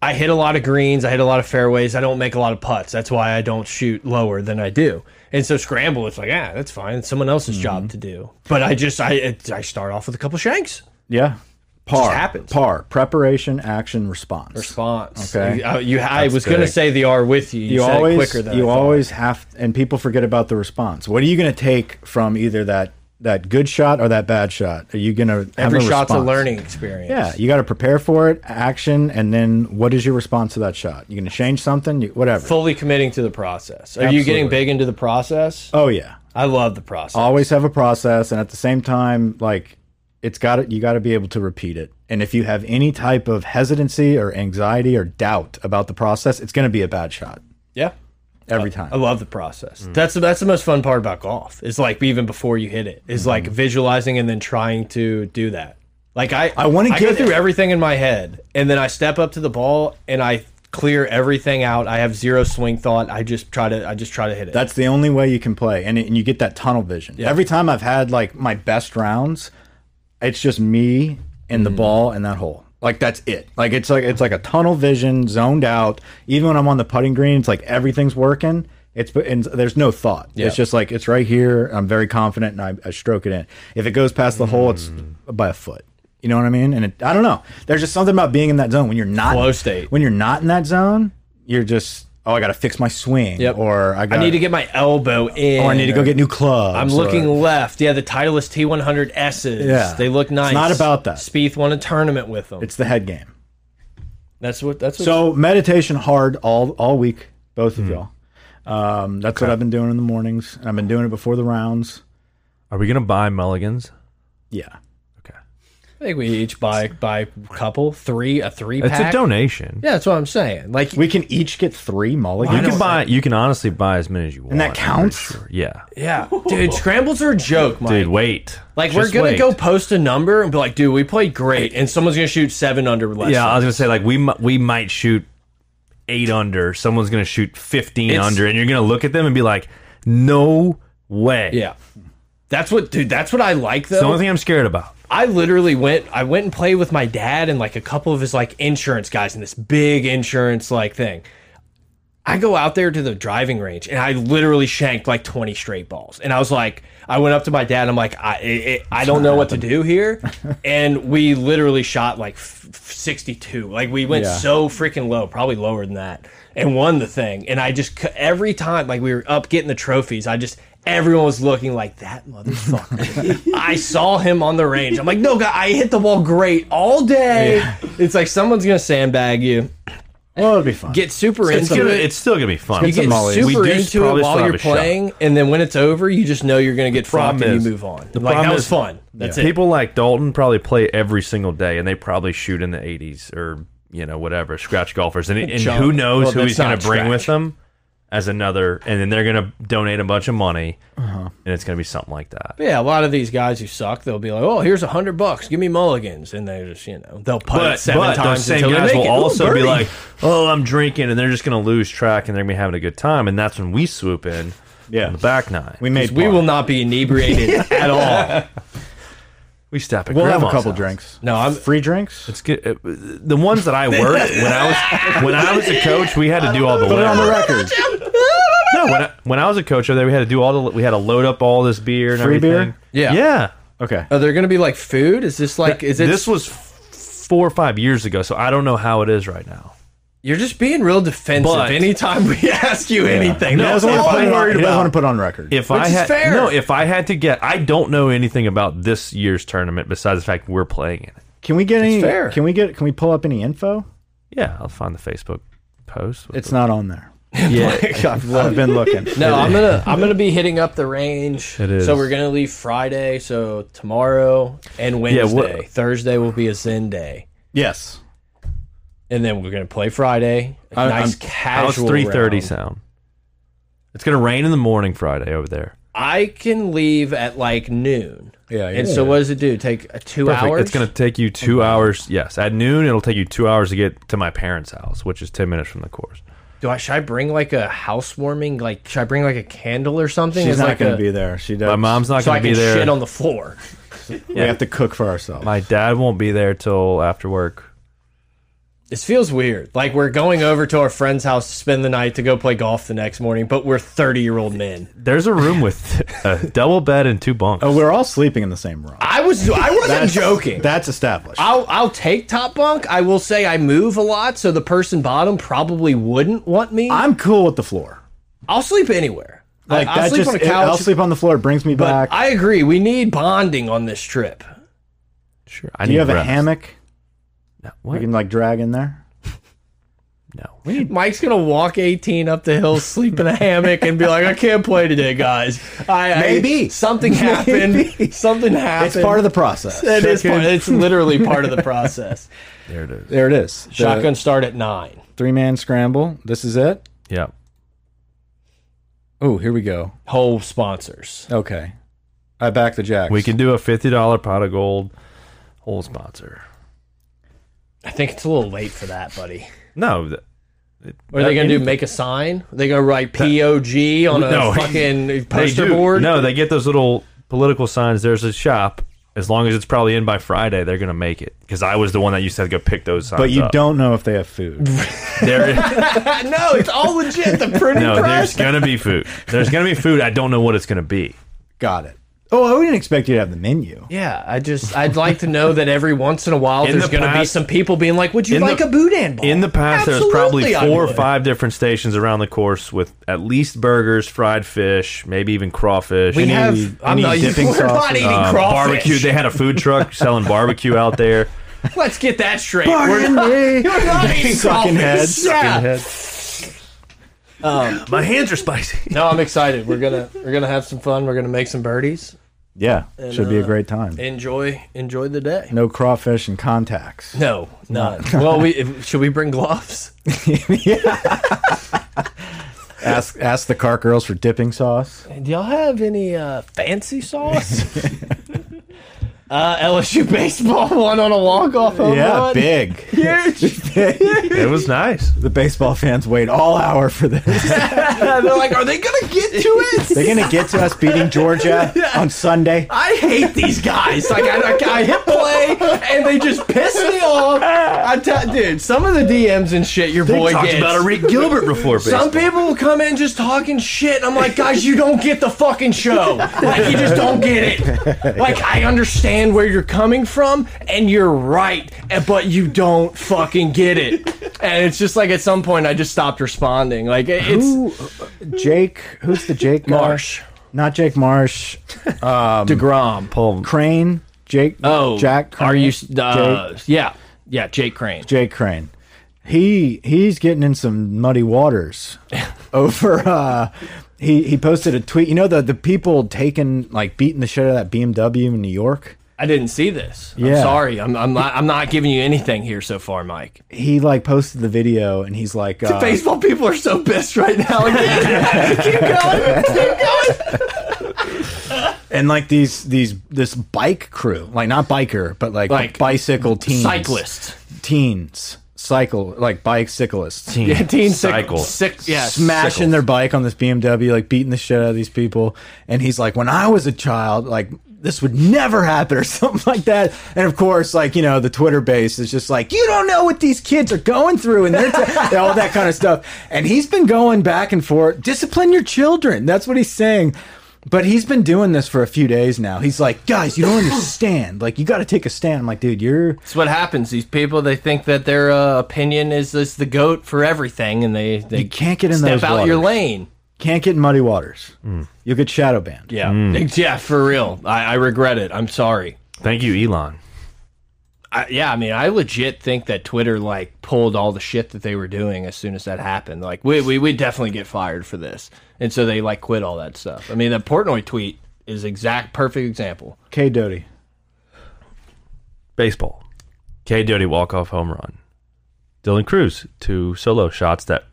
Speaker 3: I hit a lot of greens, I hit a lot of fairways, I don't make a lot of putts. That's why I don't shoot lower than I do. And so scramble, it's like ah, that's fine. It's someone else's
Speaker 1: Mm-hmm.
Speaker 3: job to do. But I just I it, I start off with a couple shanks.
Speaker 1: yeah, par
Speaker 3: happens.
Speaker 1: Par preparation, action, response.
Speaker 3: Response.
Speaker 1: Okay.
Speaker 3: You, I, you- I was
Speaker 2: big.
Speaker 3: gonna say the R with you. You,
Speaker 1: you
Speaker 3: said it
Speaker 1: always,
Speaker 3: quicker than
Speaker 1: you
Speaker 3: I thought.
Speaker 1: always have, and people forget about the response. What are you going to take from either that that good shot or that bad shot? Are you going to
Speaker 3: Every shot's
Speaker 1: response?
Speaker 3: a learning experience.
Speaker 1: Yeah, you got to prepare for it, action, and then what is your response to that shot? You going to change something? You, whatever.
Speaker 3: Fully committing to the process. Are you getting
Speaker 1: Absolutely.
Speaker 3: big into the process?
Speaker 1: oh yeah,
Speaker 3: I love the process.
Speaker 1: always have a process and at the same time like it's got to you got to be able to repeat it and if you have any type of hesitancy or anxiety or doubt about the process it's going to be a bad shot
Speaker 3: yeah.
Speaker 1: every
Speaker 3: I
Speaker 1: time
Speaker 3: love the process. That's that's the most fun part about golf. Is like even before you hit it, is like visualizing and then trying to do that. Like I,
Speaker 1: I wanna
Speaker 3: go
Speaker 1: get-
Speaker 3: through everything in my head, and then I step up to the ball and I clear everything out. I have zero swing thought. I just try to I just try to hit it.
Speaker 1: that's the only way you can play and, it- and you get that tunnel vision every time i've had like my best rounds it's just me and the
Speaker 3: Mm.
Speaker 1: ball and that hole like that's it like it's like it's like a tunnel vision zoned out even when i'm on the putting green it's like everything's working it's and there's no thought it's just like it's right here i'm very confident and i, I stroke it in if it goes past the hole it's
Speaker 3: Mm.
Speaker 1: by a foot you know what i mean and it, i don't know there's just something about being in that zone when you're not
Speaker 3: Flow state.
Speaker 1: when you're not in that zone you're just oh i gotta fix my swing
Speaker 3: Yep.
Speaker 1: or i,
Speaker 3: I
Speaker 1: gotta,
Speaker 3: need to get my elbow in.
Speaker 1: or Oh, I need to go get new clubs.
Speaker 3: uh, I'm
Speaker 1: or-
Speaker 3: looking left. Yeah, the Titleist T100 S's.
Speaker 1: Yeah.
Speaker 3: they look
Speaker 1: It's
Speaker 3: nice.
Speaker 1: not about that.
Speaker 3: Spieth won a tournament with them.
Speaker 1: It's the head game.
Speaker 3: that's what. That's what,
Speaker 1: So meditation hard all all week, both
Speaker 3: Hmm.
Speaker 1: of y'all. Um, that's what I've been doing in the mornings, and I've been doing it before the rounds.
Speaker 2: Are we gonna buy mulligans?
Speaker 1: Yeah,
Speaker 2: Okay,
Speaker 3: I think we each buy buy a couple three a three
Speaker 2: it's
Speaker 3: pack.
Speaker 2: a donation.
Speaker 3: Yeah, that's what I'm saying. Like
Speaker 1: we can each get three mulligans.
Speaker 2: You can buy. You can honestly buy as many as you want.
Speaker 1: and that
Speaker 2: I'm pretty
Speaker 1: counts.
Speaker 2: sure. Yeah,
Speaker 3: Yeah, dude, scrambles are a joke, Mike.
Speaker 2: dude. Wait.
Speaker 3: like
Speaker 2: Just
Speaker 3: we're gonna
Speaker 2: wait.
Speaker 3: go post a number and be like, dude, we played great, and someone's gonna shoot seven under. Less
Speaker 2: Yeah, I
Speaker 3: than.
Speaker 2: was gonna say like we mi- we might shoot eight under. Someone's gonna shoot fifteen
Speaker 3: It's-
Speaker 2: under, and you're gonna look at them and be like, "No way."
Speaker 3: yeah. That's what, dude. That's what I like
Speaker 2: It's the
Speaker 3: though.
Speaker 2: only thing I'm scared about.
Speaker 3: I literally went. I went and played with my dad and like a couple of his like insurance guys in this big insurance like thing. I go out there to the driving range and I literally shanked like 20 straight balls. And I was like, I went up to my dad. I'm like, I, it, it, I don't know what to do here. and we literally shot like f- f- 62. Like we went
Speaker 1: Yeah.
Speaker 3: so freaking low, probably lower than that, and won the thing. And I just, c- every time, like we were up getting the trophies, I just, everyone was looking like that motherfucker. I saw him on the range. I'm like, no, guy, I hit the ball great all day. It's like someone's going to sandbag you.
Speaker 1: Well, it'd be fun.
Speaker 3: Get super
Speaker 2: It's,
Speaker 3: into
Speaker 2: gonna,
Speaker 3: it
Speaker 2: it's still gonna be fun.
Speaker 1: You
Speaker 3: you get
Speaker 1: Molly.
Speaker 2: We
Speaker 3: super
Speaker 2: do
Speaker 3: into
Speaker 2: probably
Speaker 3: it
Speaker 2: still
Speaker 3: while
Speaker 2: have
Speaker 3: you're
Speaker 2: a shot.
Speaker 3: playing, and then when it's over, you just know you're going to get fucked
Speaker 2: problem
Speaker 3: and
Speaker 2: is-
Speaker 3: you move on.
Speaker 2: The
Speaker 3: like
Speaker 2: problem
Speaker 3: that was
Speaker 2: is
Speaker 3: fun. That's it.
Speaker 2: People like Dalton probably play every single day, and they probably shoot in the 80s or you know whatever scratch golfers, and, and
Speaker 3: Jump.
Speaker 2: who knows
Speaker 3: Well,
Speaker 2: who
Speaker 3: that's
Speaker 2: he's going
Speaker 3: not
Speaker 2: to bring with
Speaker 3: scratch.
Speaker 2: them as another, and then they're going to donate a bunch of money, and it's going to be something like that.
Speaker 3: Yeah, a lot of these guys who suck, they'll be like, "Oh, here's a hundred bucks, give me mulligans," and they just you know they'll putt it
Speaker 2: But,
Speaker 3: seven
Speaker 2: but those
Speaker 3: times
Speaker 2: same
Speaker 3: until they
Speaker 2: guys
Speaker 3: make
Speaker 2: will
Speaker 3: it. Ooh,
Speaker 2: also be
Speaker 3: birdie.
Speaker 2: like, "Oh, I'm drinking," and they're just going to lose track, and they're going to be having a good time, and that's when we swoop in
Speaker 1: Yeah.
Speaker 2: on the back nine.
Speaker 1: we made.
Speaker 3: "We
Speaker 1: par.
Speaker 3: will not be
Speaker 2: <laughs>
Speaker 3: inebriated at all."
Speaker 2: we step. At
Speaker 1: We'll have a
Speaker 2: grandma's
Speaker 1: couple
Speaker 2: house.
Speaker 1: drinks.
Speaker 3: No, I'm
Speaker 1: Free drinks.
Speaker 2: It's good. uh, The ones that I worked when I was when I was a coach, we had to do all the
Speaker 1: Put it on the
Speaker 2: labor.
Speaker 3: <laughs>
Speaker 1: record.
Speaker 2: No, when I, when I was a coach over there, we had to do all the we had to load up all this beer and
Speaker 1: Free beer?
Speaker 2: everything.
Speaker 3: Yeah.
Speaker 2: yeah.
Speaker 1: Okay.
Speaker 3: Are there going to be like food? Is this like is it?
Speaker 2: this was f- four or five years ago, so I don't know how it is right now.
Speaker 3: you're just being real defensive
Speaker 2: But-
Speaker 3: anytime we <laughs> ask you anything.
Speaker 1: He
Speaker 3: That's
Speaker 1: doesn't
Speaker 3: all
Speaker 1: want to put
Speaker 3: I'm
Speaker 1: it on-
Speaker 3: worried
Speaker 1: he doesn't
Speaker 3: about.
Speaker 1: want to put it on record.
Speaker 2: If I
Speaker 3: is
Speaker 2: had
Speaker 3: fair.
Speaker 2: no, if I had to get, I don't know anything about this year's tournament besides the fact we're playing in it.
Speaker 1: Can we get any?
Speaker 3: fair.
Speaker 1: Can we get? Can we pull up any info?
Speaker 2: Yeah, I'll find the Facebook post. with
Speaker 1: It's not on
Speaker 3: <laughs>
Speaker 1: there.
Speaker 3: Yeah,
Speaker 1: I've been looking.
Speaker 3: No, I'm gonna I'm gonna be hitting up the range.
Speaker 2: It is.
Speaker 3: So we're gonna leave Friday. So tomorrow and
Speaker 2: Yeah, what-
Speaker 3: Wednesday. Thursday will be a Zen day,
Speaker 1: Yes.
Speaker 3: and then we're gonna play Friday. A
Speaker 1: I-
Speaker 3: nice
Speaker 1: I'm-
Speaker 2: How's
Speaker 3: casual.
Speaker 2: three thirty
Speaker 3: round.
Speaker 2: sound? It's gonna rain in the morning Friday over there.
Speaker 3: I can leave at like noon.
Speaker 1: Yeah,
Speaker 3: And
Speaker 1: yeah.
Speaker 3: so what does it do? Take uh, two
Speaker 2: Perfect.
Speaker 3: hours.
Speaker 2: It's going to take you two hours. Yes, at noon it'll take you two hours to get to my parents' house, which is ten minutes from the course.
Speaker 3: Do I should I bring like a housewarming? Like should I bring like a candle or something?
Speaker 1: She's
Speaker 3: It's
Speaker 1: not
Speaker 3: like
Speaker 1: going
Speaker 3: a-
Speaker 1: to be there. She does.
Speaker 2: My mom's not
Speaker 3: So I
Speaker 2: going to
Speaker 3: can
Speaker 2: be there.
Speaker 3: shit on the floor.
Speaker 1: We have to cook for ourselves.
Speaker 2: my dad won't be there till after work.
Speaker 3: This feels weird. Like we're going over to our friend's house to spend the night to go play golf the next morning, but we're thirty year old men.
Speaker 2: There's a room with
Speaker 1: <laughs>
Speaker 2: a double bed and two bunks.
Speaker 1: oh, we're all sleeping in the same room.
Speaker 3: I was I wasn't joking.
Speaker 1: That's established.
Speaker 3: I'll I'll take top bunk. I will say I move a lot, so the person bottom probably wouldn't want me. I,
Speaker 1: I'm cool with the floor.
Speaker 3: will sleep anywhere.
Speaker 1: Like
Speaker 3: I, will
Speaker 1: that
Speaker 3: sleep
Speaker 1: just.
Speaker 3: on a
Speaker 1: it- I'll
Speaker 3: couch.
Speaker 1: sleep on the floor. It brings me
Speaker 3: but
Speaker 1: back.
Speaker 3: I agree. We need bonding on this trip.
Speaker 2: sure. I
Speaker 1: Do
Speaker 2: need
Speaker 1: you have a
Speaker 2: rest.
Speaker 1: hammock?
Speaker 2: No,
Speaker 1: We
Speaker 2: what?
Speaker 1: can like drag in there.
Speaker 2: no.
Speaker 3: Mike's gonna walk 18 up the hill, sleep in a hammock, and be like, "I can't play today, guys. I I-
Speaker 1: Maybe.
Speaker 3: something happened. Something happened.
Speaker 1: It's part of the
Speaker 3: <laughs>
Speaker 1: process.
Speaker 3: It is part- it's literally part of the process.
Speaker 2: There it is.
Speaker 1: There it is. <laughs> The
Speaker 3: Shotgun start at nine.
Speaker 1: three man scramble. This is it.
Speaker 2: Yeah.
Speaker 1: Oh, here we go.
Speaker 3: Whole sponsors.
Speaker 1: Okay. I back the jacks.
Speaker 2: We can do a fifty dollar pot of gold. Whole sponsor.
Speaker 3: I think it's a little late for that, buddy.
Speaker 2: No. th-
Speaker 3: What are they going to do? Make a sign? Are they going to write POG on a
Speaker 2: No. <laughs>
Speaker 3: fucking
Speaker 2: They
Speaker 3: poster
Speaker 2: do-
Speaker 3: board?
Speaker 2: No, they get those little political signs. There's a shop. As long as it's probably in by Friday, they're gonna make it. Because I was the one that used to have to go pick those signs.
Speaker 1: But you
Speaker 2: up.
Speaker 1: don't know if they have food. <laughs>
Speaker 2: There,
Speaker 3: <laughs> no, it's all legit.
Speaker 2: <laughs>
Speaker 3: The printing <laughs>
Speaker 2: no, there's
Speaker 3: press.
Speaker 2: gonna be food. There's gonna be food. I don't know what it's gonna be.
Speaker 1: Got it. Oh, I didn't expect you to have the menu.
Speaker 3: Yeah, I just I'd like to know that every once in a while
Speaker 2: In the
Speaker 3: there's going to be
Speaker 2: past-
Speaker 3: some people being like, "Would you
Speaker 2: in the-
Speaker 3: like a boudin ball?"
Speaker 2: In the past, there was
Speaker 3: Absolutely,
Speaker 2: probably
Speaker 3: I
Speaker 2: four or
Speaker 3: would.
Speaker 2: five different stations around the course with at least burgers, fried fish, maybe even crawfish.
Speaker 3: we
Speaker 2: Any-
Speaker 3: have. I'm
Speaker 1: any
Speaker 3: not. <laughs>
Speaker 1: dipping
Speaker 3: We're
Speaker 1: sauce
Speaker 3: not
Speaker 1: or-
Speaker 3: eating
Speaker 2: um,
Speaker 3: crawfish.
Speaker 2: barbecue. They had a food truck
Speaker 3: <laughs>
Speaker 2: selling barbecue out there.
Speaker 3: Let's get that straight. We're not,
Speaker 2: <laughs>
Speaker 3: we're not eating
Speaker 1: Sucking
Speaker 3: crawfish.
Speaker 1: head,
Speaker 3: Yeah. Um,
Speaker 2: My hands are spicy.
Speaker 3: No, I'm excited. We're gonna we're gonna have some fun. We're gonna make some birdies.
Speaker 1: Yeah, should
Speaker 3: uh,
Speaker 1: be a great time.
Speaker 3: Enjoy enjoy the day.
Speaker 1: No crawfish and contacts.
Speaker 3: No, none. <laughs> well, we if, should we bring gloves?
Speaker 1: ask ask the cart girls for dipping sauce.
Speaker 3: Do y'all have any uh, fancy <laughs> sauce? uh, LSU baseball <laughs> won on a walk off home
Speaker 1: yeah,
Speaker 3: run.
Speaker 1: big.
Speaker 3: Huge. <laughs>
Speaker 2: It was nice.
Speaker 1: The baseball fans wait all hour for this.
Speaker 3: They're like, are they gonna get to it? <laughs>
Speaker 1: They're gonna get to us beating Georgia on Sunday.
Speaker 3: <laughs> I hate these guys. Like I, I, I hit play and they just piss me off. I I tell dude, some of the DMs and shit your boy
Speaker 2: talked
Speaker 3: gets.
Speaker 2: about a Rick Gilbert before.
Speaker 3: some
Speaker 2: baseball.
Speaker 3: people will come in just talking shit. and I'm like, guys, you don't get the fucking show. Like, you just don't
Speaker 1: <laughs>
Speaker 3: get it. Like, I understand where you're coming from, and you're right, and- but you don't fucking get it. And it's just like at some point, I just stopped responding. Like, it- it's
Speaker 1: Who, Jake? Who's the Jake guy?
Speaker 3: Marsh,
Speaker 1: Not Jake Marsh.
Speaker 3: Degrom, Paul.
Speaker 1: Crane. Jake.
Speaker 3: Oh,
Speaker 1: um, Jack.
Speaker 3: Are
Speaker 1: Crane?
Speaker 3: you? s- Uh,
Speaker 1: Jake,
Speaker 3: Yeah, yeah, Jake Crane.
Speaker 1: Jake Crane. He he's getting in some muddy
Speaker 3: <laughs>
Speaker 1: waters over. Uh, he he posted a tweet. You know the the people taking like beating the shit out of that BMW in New York.
Speaker 3: I didn't see this. I'm
Speaker 1: Yeah.
Speaker 3: sorry. I'm, I'm not. I'm not giving you anything here so far, Mike.
Speaker 1: He like posted the video and he's like, uh,
Speaker 3: Baseball people are so pissed right now. <laughs> keep going.
Speaker 1: and like these these this bike crew, like not biker, but like,
Speaker 3: Like,
Speaker 1: bicycle teens,
Speaker 3: Cyclists.
Speaker 1: teens, cycle like bicyclists.
Speaker 3: Yeah, teen sick-
Speaker 2: Cycle.
Speaker 3: Sick. Yeah.
Speaker 1: smashing their bike on this BMW, like beating the shit out of these people. And he's like, when I was a child, like this would never happen <laughs> or something like that. And of course, like, you know, the Twitter base is just like, you don't know what these kids are going through and they're t- <laughs> all that kind of stuff. And he's been going back and forth, discipline your children. That's what he's saying. But he's been doing this for a few days now. He's like, guys,
Speaker 3: <clears throat>
Speaker 1: you don't understand. Like, you got to take a stand. I'm like, dude, you're
Speaker 3: That's what happens. These people they think that their uh, opinion is is the goat for everything, and they they
Speaker 1: You can't get in
Speaker 3: step
Speaker 1: those
Speaker 3: out your
Speaker 1: waters.
Speaker 3: lane.
Speaker 1: can't get in muddy waters. You'll get shadow banned.
Speaker 3: Yeah.
Speaker 1: Mm.
Speaker 3: Yeah. For real. I, I regret it. I'm sorry.
Speaker 2: Thank you, Elon.
Speaker 3: I, yeah, I mean, I legit think that Twitter like pulled all the shit that they were doing as soon as that happened. Like, we we we definitely get fired for this, and so they like quit all that stuff. I mean, that Portnoy tweet is exact perfect example.
Speaker 1: K. Doty.
Speaker 2: Baseball. K. Doty walk off home run. Dylan Cruz two solo shots that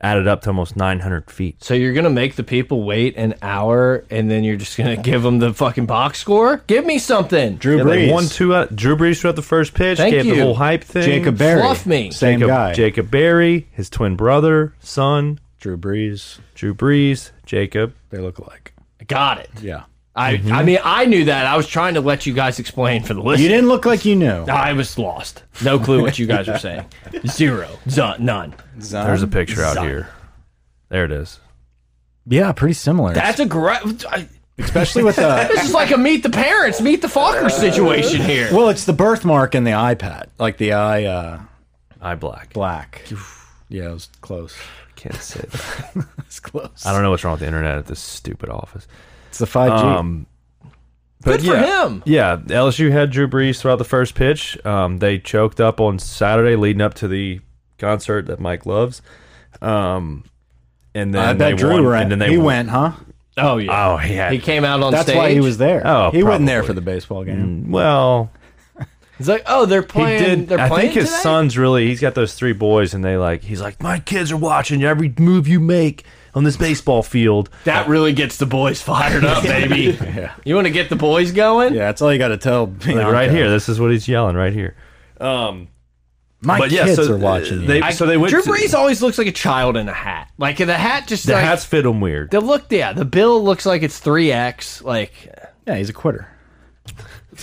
Speaker 2: added up to almost 900 feet.
Speaker 3: So you're gonna make the people wait an hour, and then you're just gonna give them the fucking box score? Give me something,
Speaker 1: Drew
Speaker 2: Yeah,
Speaker 1: Brees.
Speaker 2: they won two out. Drew Brees threw out the first pitch.
Speaker 3: Thank
Speaker 2: gave the
Speaker 3: you.
Speaker 2: whole hype thing.
Speaker 1: Jacob Berry.
Speaker 3: Fluff me.
Speaker 1: Same
Speaker 2: Jacob,
Speaker 1: guy.
Speaker 2: Jacob Berry, his twin brother, son,
Speaker 1: Drew Brees.
Speaker 2: Drew Brees, Jacob.
Speaker 1: They look alike.
Speaker 3: Got it.
Speaker 1: Yeah.
Speaker 3: I I mean, I knew that. I was trying to let you guys explain for the listeners.
Speaker 1: You didn't look like you knew.
Speaker 3: I was lost. No clue what you guys were saying. Zero. Zun- none.
Speaker 2: There's a picture out
Speaker 3: Son.
Speaker 2: here. There it is.
Speaker 1: Yeah, pretty similar.
Speaker 3: That's a great.
Speaker 1: <laughs> Especially with the.
Speaker 3: <laughs> This is like a meet the parents, meet the Fokker situation here.
Speaker 1: Well, it's the birthmark in the iPad, like the eye uh,
Speaker 2: Eye black.
Speaker 1: black. Yeah, it was close.
Speaker 2: Can't say that.
Speaker 1: <laughs> It's close.
Speaker 2: I don't know what's wrong with the internet at this stupid office.
Speaker 1: It's the 5G.
Speaker 2: Um,
Speaker 3: Good
Speaker 2: but
Speaker 3: for
Speaker 2: yeah,
Speaker 3: him.
Speaker 2: Yeah, LSU had Drew Brees throughout the first pitch. Um, they choked up on Saturday leading up to the concert that Mike loves. Um, and then
Speaker 1: I
Speaker 2: they
Speaker 1: bet Drew
Speaker 2: won,
Speaker 1: ran.
Speaker 2: and then they
Speaker 1: he
Speaker 2: won.
Speaker 1: went, huh?
Speaker 3: Oh yeah.
Speaker 2: Oh, he had.
Speaker 3: He came out on
Speaker 1: That's
Speaker 3: stage.
Speaker 1: why he was there.
Speaker 2: Oh,
Speaker 1: he wasn't there
Speaker 2: probably. Mm.
Speaker 1: for the baseball game.
Speaker 2: well,
Speaker 3: He's like, oh, they're
Speaker 2: he
Speaker 3: playing.
Speaker 2: did.
Speaker 3: They're
Speaker 2: I
Speaker 3: playing
Speaker 2: think his
Speaker 3: today?
Speaker 2: son's really. He's got those three boys, and they like. He's like, my kids are watching every move you make on this baseball field.
Speaker 3: That really gets the boys fired up, baby. You want to get the boys going?
Speaker 1: Yeah, that's all you got to tell.
Speaker 2: Like, right here, this is what he's yelling right here. Um,
Speaker 1: My
Speaker 2: but yeah,
Speaker 1: kids
Speaker 2: so
Speaker 1: are watching.
Speaker 2: They,
Speaker 1: you.
Speaker 2: so they went.
Speaker 3: Drew
Speaker 2: to-
Speaker 3: Brees always looks like a child in a hat. Like the hat just
Speaker 2: The
Speaker 3: like
Speaker 2: hats fit him weird.
Speaker 3: the look. Yeah, the bill looks like it's three X. Like
Speaker 1: yeah, he's a quitter.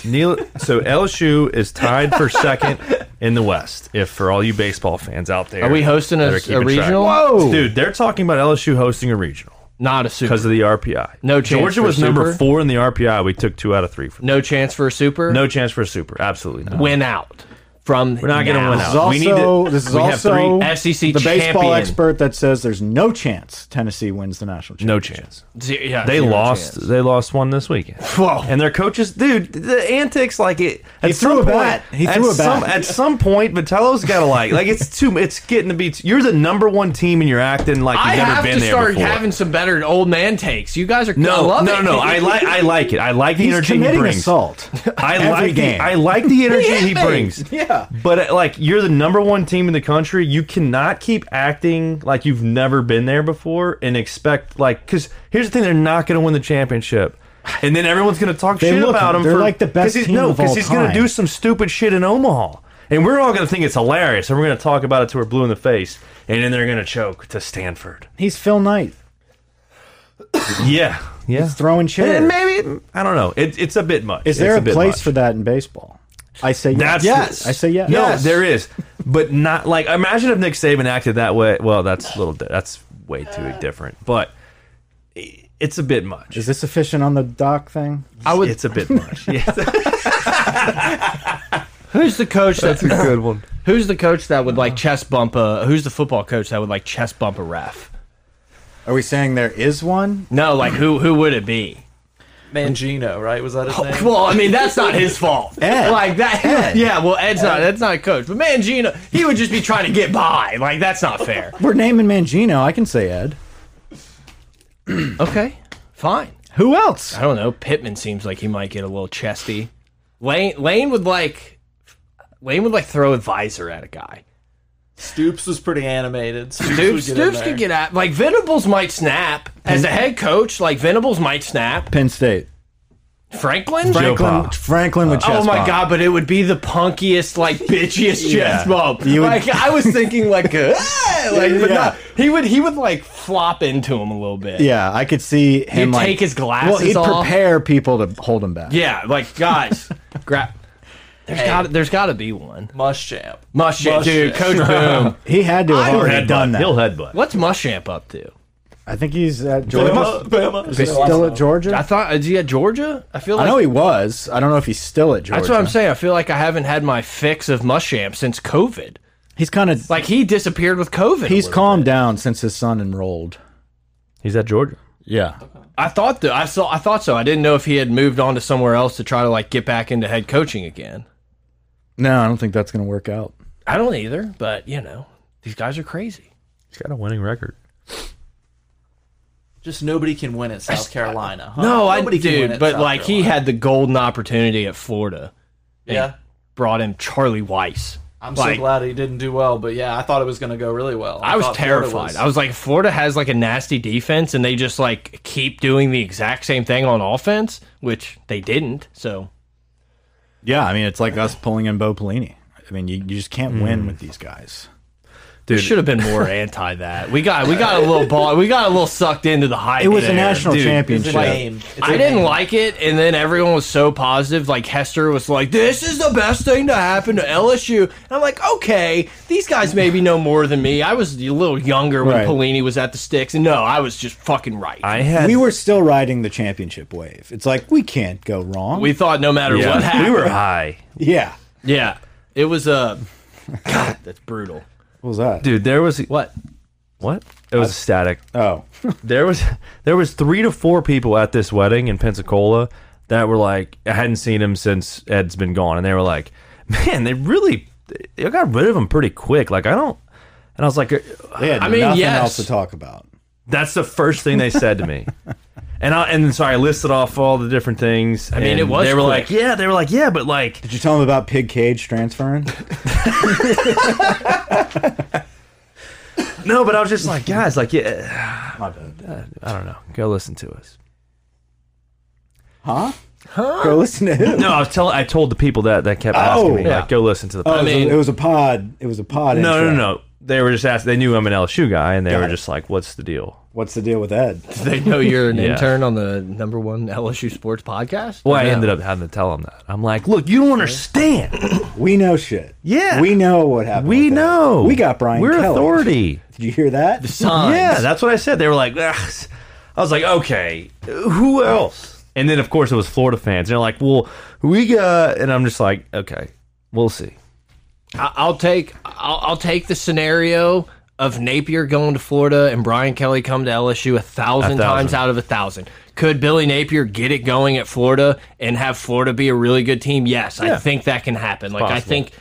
Speaker 2: Neil,
Speaker 3: <laughs>
Speaker 2: so LSU is tied for second in the West. If for all you baseball fans out there,
Speaker 3: Are we hosting a-
Speaker 2: that are
Speaker 3: a
Speaker 2: keeping track.
Speaker 3: regional?
Speaker 1: Whoa.
Speaker 2: dude? They're talking about LSU hosting a regional
Speaker 3: not a super.
Speaker 2: because of the RPI.
Speaker 3: No chance
Speaker 2: Georgia
Speaker 3: for
Speaker 2: was number
Speaker 3: super?
Speaker 2: four in the RPI. We took two out of three. For
Speaker 3: No chance for a super.
Speaker 2: no chance for a super. Absolutely not.
Speaker 3: win out from.
Speaker 2: We're not going to win out.
Speaker 1: This is also,
Speaker 2: we need to,
Speaker 1: this is
Speaker 2: we
Speaker 1: also
Speaker 2: have three,
Speaker 3: SEC
Speaker 1: the baseball
Speaker 3: champion.
Speaker 1: expert that says there's no chance Tennessee wins the national championship.
Speaker 2: no chance.
Speaker 3: Ze- yeah,
Speaker 2: They
Speaker 3: zero
Speaker 2: lost.
Speaker 3: chance.
Speaker 2: They lost one this weekend.
Speaker 1: Whoa.
Speaker 2: And their coaches, dude, the antics like it. He
Speaker 1: threw a bat. He threw
Speaker 2: at
Speaker 1: a bat.
Speaker 2: Some, at some point, Vitello's got to like, like it's too. It's getting to be. You're the number one team, and you're acting like you've
Speaker 3: I
Speaker 2: never
Speaker 3: have
Speaker 2: been
Speaker 3: to
Speaker 2: there
Speaker 3: start
Speaker 2: before.
Speaker 3: having some better old man takes. You guys are I
Speaker 2: no,
Speaker 3: love
Speaker 2: no,
Speaker 3: it.
Speaker 2: no. I like.
Speaker 3: <laughs>
Speaker 2: I like it. I like the
Speaker 1: He's
Speaker 2: energy he
Speaker 1: committing
Speaker 2: brings.
Speaker 1: assault.
Speaker 2: I
Speaker 1: every
Speaker 2: like
Speaker 1: game.
Speaker 2: the. I like
Speaker 1: <laughs>
Speaker 2: the energy
Speaker 3: hit
Speaker 2: he
Speaker 3: me.
Speaker 2: brings.
Speaker 1: Yeah.
Speaker 2: But uh, like, you're the number one team in the country. You cannot keep acting like you've never been there before and expect like. Because here's the thing: they're not going to win the championship. And then everyone's going to talk shit
Speaker 1: look-
Speaker 2: about him.
Speaker 1: they're
Speaker 2: for,
Speaker 1: like the best
Speaker 2: 'cause he's,
Speaker 1: team
Speaker 2: No,
Speaker 1: of all
Speaker 2: he's going to
Speaker 1: time.
Speaker 2: do some stupid shit in Omaha, and we're all going to think it's hilarious, and we're going to talk about it till we're blue in the face, and then they're going to choke to Stanford.
Speaker 1: He's Phil Knight <laughs>
Speaker 2: Yeah, yeah.
Speaker 1: throwing chairs.
Speaker 2: And maybe I don't know. It, it's a bit much.
Speaker 1: Is there
Speaker 2: It's
Speaker 1: a,
Speaker 2: bit
Speaker 1: place
Speaker 2: much.
Speaker 1: for that in baseball? I say yes.
Speaker 2: That's
Speaker 1: yes. I say yes.
Speaker 2: No,
Speaker 1: Yes.
Speaker 2: there is, but not like imagine if Nick Saban acted that way. Well, that's a little di- that's way too different, but i- it's a bit much.
Speaker 1: Is this a fishing on the dock thing?
Speaker 2: I would, it's a
Speaker 1: <laughs>
Speaker 2: bit much. Yeah,
Speaker 3: Who's the coach that's
Speaker 5: a good one. Uh-huh.
Speaker 3: Who's the coach that would like chest bump a? Who's the football coach that would like chest bump a ref?
Speaker 1: Are we saying there is one?
Speaker 3: No, like who who would it be?
Speaker 4: Mangino, right? Was that his name?
Speaker 3: Oh, Well, I mean that's not his fault.
Speaker 1: Ed.
Speaker 3: Like that.
Speaker 1: Ed.
Speaker 3: <laughs> Yeah. Well, Ed's not. That's not a coach. But Mangino, he would just be trying to get by. Like that's not fair.
Speaker 1: We're naming Mangino. I can say Ed.
Speaker 3: okay. Fine.
Speaker 1: Who else?
Speaker 3: I don't know. Pittman seems like he might get a little chesty. Lane Lane would like Lane would like throw a visor at a guy.
Speaker 4: Stoops was pretty animated. Stoops,
Speaker 3: Stoops,
Speaker 4: would get
Speaker 3: Stoops could
Speaker 4: in there.
Speaker 3: get at like Venables might snap as a head coach. Like Venables might snap.
Speaker 1: Penn State.
Speaker 3: Franklin.
Speaker 1: Franklin.
Speaker 2: Pa.
Speaker 1: Franklin with chest
Speaker 3: oh my
Speaker 1: bump.
Speaker 3: god! But it would be the punkiest,
Speaker 1: <laughs>
Speaker 3: like bitchiest chest bump.
Speaker 1: You would-
Speaker 3: like I was thinking, like, <laughs> uh, like but
Speaker 1: Yeah.
Speaker 3: no, he would he would like flop into him a little bit.
Speaker 1: Yeah, I could see him
Speaker 3: He'd
Speaker 1: like
Speaker 3: take his glasses
Speaker 1: Well, he'd
Speaker 3: off.
Speaker 1: prepare people to hold him back.
Speaker 3: Yeah,
Speaker 1: <laughs>
Speaker 3: like guys, grab. There's got got there's got to be one.
Speaker 4: Muschamp.
Speaker 3: Muschamp, dude, Coach
Speaker 1: <laughs>
Speaker 3: Boom.
Speaker 1: He had to have already done that.
Speaker 2: He'll headbutt.
Speaker 3: What's Muschamp up to?
Speaker 1: I think he's at Georgia.
Speaker 4: Bama.
Speaker 1: Is he still at
Speaker 3: Oh, I
Speaker 1: Georgia?
Speaker 3: thought is he at Georgia? I feel
Speaker 1: I
Speaker 3: like
Speaker 1: know he was. I don't know if he's still at Georgia.
Speaker 3: that's what I'm saying. I feel like I haven't had my fix of Muschamp since COVID.
Speaker 1: He's kind of
Speaker 3: Like he disappeared with COVID. a
Speaker 1: he's
Speaker 3: little
Speaker 1: calmed
Speaker 3: bit.
Speaker 1: down since his son enrolled.
Speaker 2: He's at Georgia.
Speaker 1: Yeah.
Speaker 3: I thought that I saw. I thought so. I didn't know if he had moved on to somewhere else to try to like get back into head coaching again.
Speaker 1: No, I don't think that's going to work out.
Speaker 3: I don't either, but you know these guys are crazy.
Speaker 2: He's got a winning record.
Speaker 4: Just nobody can win at South Carolina. Huh?
Speaker 3: No, I
Speaker 4: nobody can win
Speaker 3: dude,
Speaker 4: at
Speaker 3: but
Speaker 4: South
Speaker 3: like he
Speaker 4: Carolina.
Speaker 3: had the golden opportunity at Florida.
Speaker 4: Yeah.
Speaker 3: Brought him Charlie Weiss.
Speaker 4: I'm
Speaker 3: like-
Speaker 4: so glad he didn't do well, but yeah, I thought it was going to go really well.
Speaker 3: I was
Speaker 4: thought Florida
Speaker 3: terrified. I was like, Florida has like a nasty defense, and they just like keep doing the exact same thing on offense, which they didn't. So
Speaker 1: Yeah, I mean it's like us pulling in Bo Pelini. I mean you, you just can't win with these guys.
Speaker 3: we should have been more anti that. We got we got a little ball. We got a little sucked into the hype.
Speaker 1: It was a
Speaker 3: there.
Speaker 1: national
Speaker 2: dude,
Speaker 1: championship.
Speaker 4: It's a name. It's
Speaker 3: I
Speaker 4: a
Speaker 3: didn't
Speaker 4: name.
Speaker 3: like it, and then everyone was so positive. Like Hester was like, "This is the best thing to happen to LSU." And I'm like, "Okay, these guys maybe know more than me." I was a little younger when
Speaker 1: Right.
Speaker 3: Pelini was at the sticks, and no, I was just fucking right.
Speaker 2: I had.
Speaker 1: We were still riding the championship wave. It's like we can't go wrong.
Speaker 3: we thought no matter
Speaker 2: yeah,
Speaker 3: what happened,
Speaker 2: we were high,
Speaker 1: yeah.
Speaker 3: Yeah, it was Uh, God, that's brutal.
Speaker 1: What was that?
Speaker 2: dude. There was
Speaker 3: What?
Speaker 2: what? It was static.
Speaker 1: Oh.
Speaker 2: there was <laughs> there was three to four people at this wedding in Pensacola that were like I hadn't seen him since Ed's been gone, and they were like, "Man, they really they got rid of him pretty quick." Like I don't, and I was like, uh,
Speaker 1: They had
Speaker 3: I mean,
Speaker 1: nothing
Speaker 3: yes.
Speaker 1: else to talk about.
Speaker 2: "That's the first thing they said to me." And I and so I listed off all the different things. I
Speaker 3: mean, it was
Speaker 2: They were like,
Speaker 3: quick.
Speaker 2: "Yeah," they were like, "Yeah," but like,
Speaker 1: Did you tell him about Pig Cage
Speaker 3: <laughs>
Speaker 1: transferring?
Speaker 2: no. But I was just like, guys, like, yeah,
Speaker 1: My bad.
Speaker 2: I don't know. Go listen to us.
Speaker 1: Huh? Go listen to him.
Speaker 2: No, I was telling. I told the people that that kept asking
Speaker 1: Oh.
Speaker 2: me,
Speaker 1: Yeah.
Speaker 2: like, go listen to the.
Speaker 1: Oh, it, was
Speaker 3: mean-
Speaker 1: a, it was a pod. It was a pod.
Speaker 2: No,
Speaker 1: intro.
Speaker 2: no, no. They were just asking. They knew I'm an LSU guy, and they were
Speaker 1: it.
Speaker 2: just like, "What's the deal?"
Speaker 1: What's the deal with Ed?
Speaker 3: They know you're
Speaker 2: <laughs>
Speaker 3: an
Speaker 2: Yeah.
Speaker 3: intern on the number one LSU sports podcast.
Speaker 2: Well, I
Speaker 3: No.
Speaker 2: ended up having to tell him that. I'm like, "Look, you don't understand.
Speaker 1: We know shit.
Speaker 2: Yeah.
Speaker 1: We know what happened.
Speaker 2: <laughs> We
Speaker 1: with Ed.
Speaker 2: know.
Speaker 1: We got Brian
Speaker 2: We're
Speaker 1: Kelly.
Speaker 2: authority."
Speaker 1: Did you hear that?
Speaker 3: Signs.
Speaker 2: Yeah, that's what I said. They were like, "Ugh." "I was like, okay, who else?" And then, of course, it was Florida fans. They're like, "Well, we got," and I'm just like, "Okay, we'll see."
Speaker 3: I- I'll take I'll, I'll take the scenario of Napier going to Florida and Brian Kelly come to LSU a thousand,
Speaker 2: A thousand.
Speaker 3: times out of a thousand. Could Billy Napier get it going at Florida and have Florida be a really good team? Yes, I think that can happen. Like I
Speaker 2: possible.
Speaker 3: think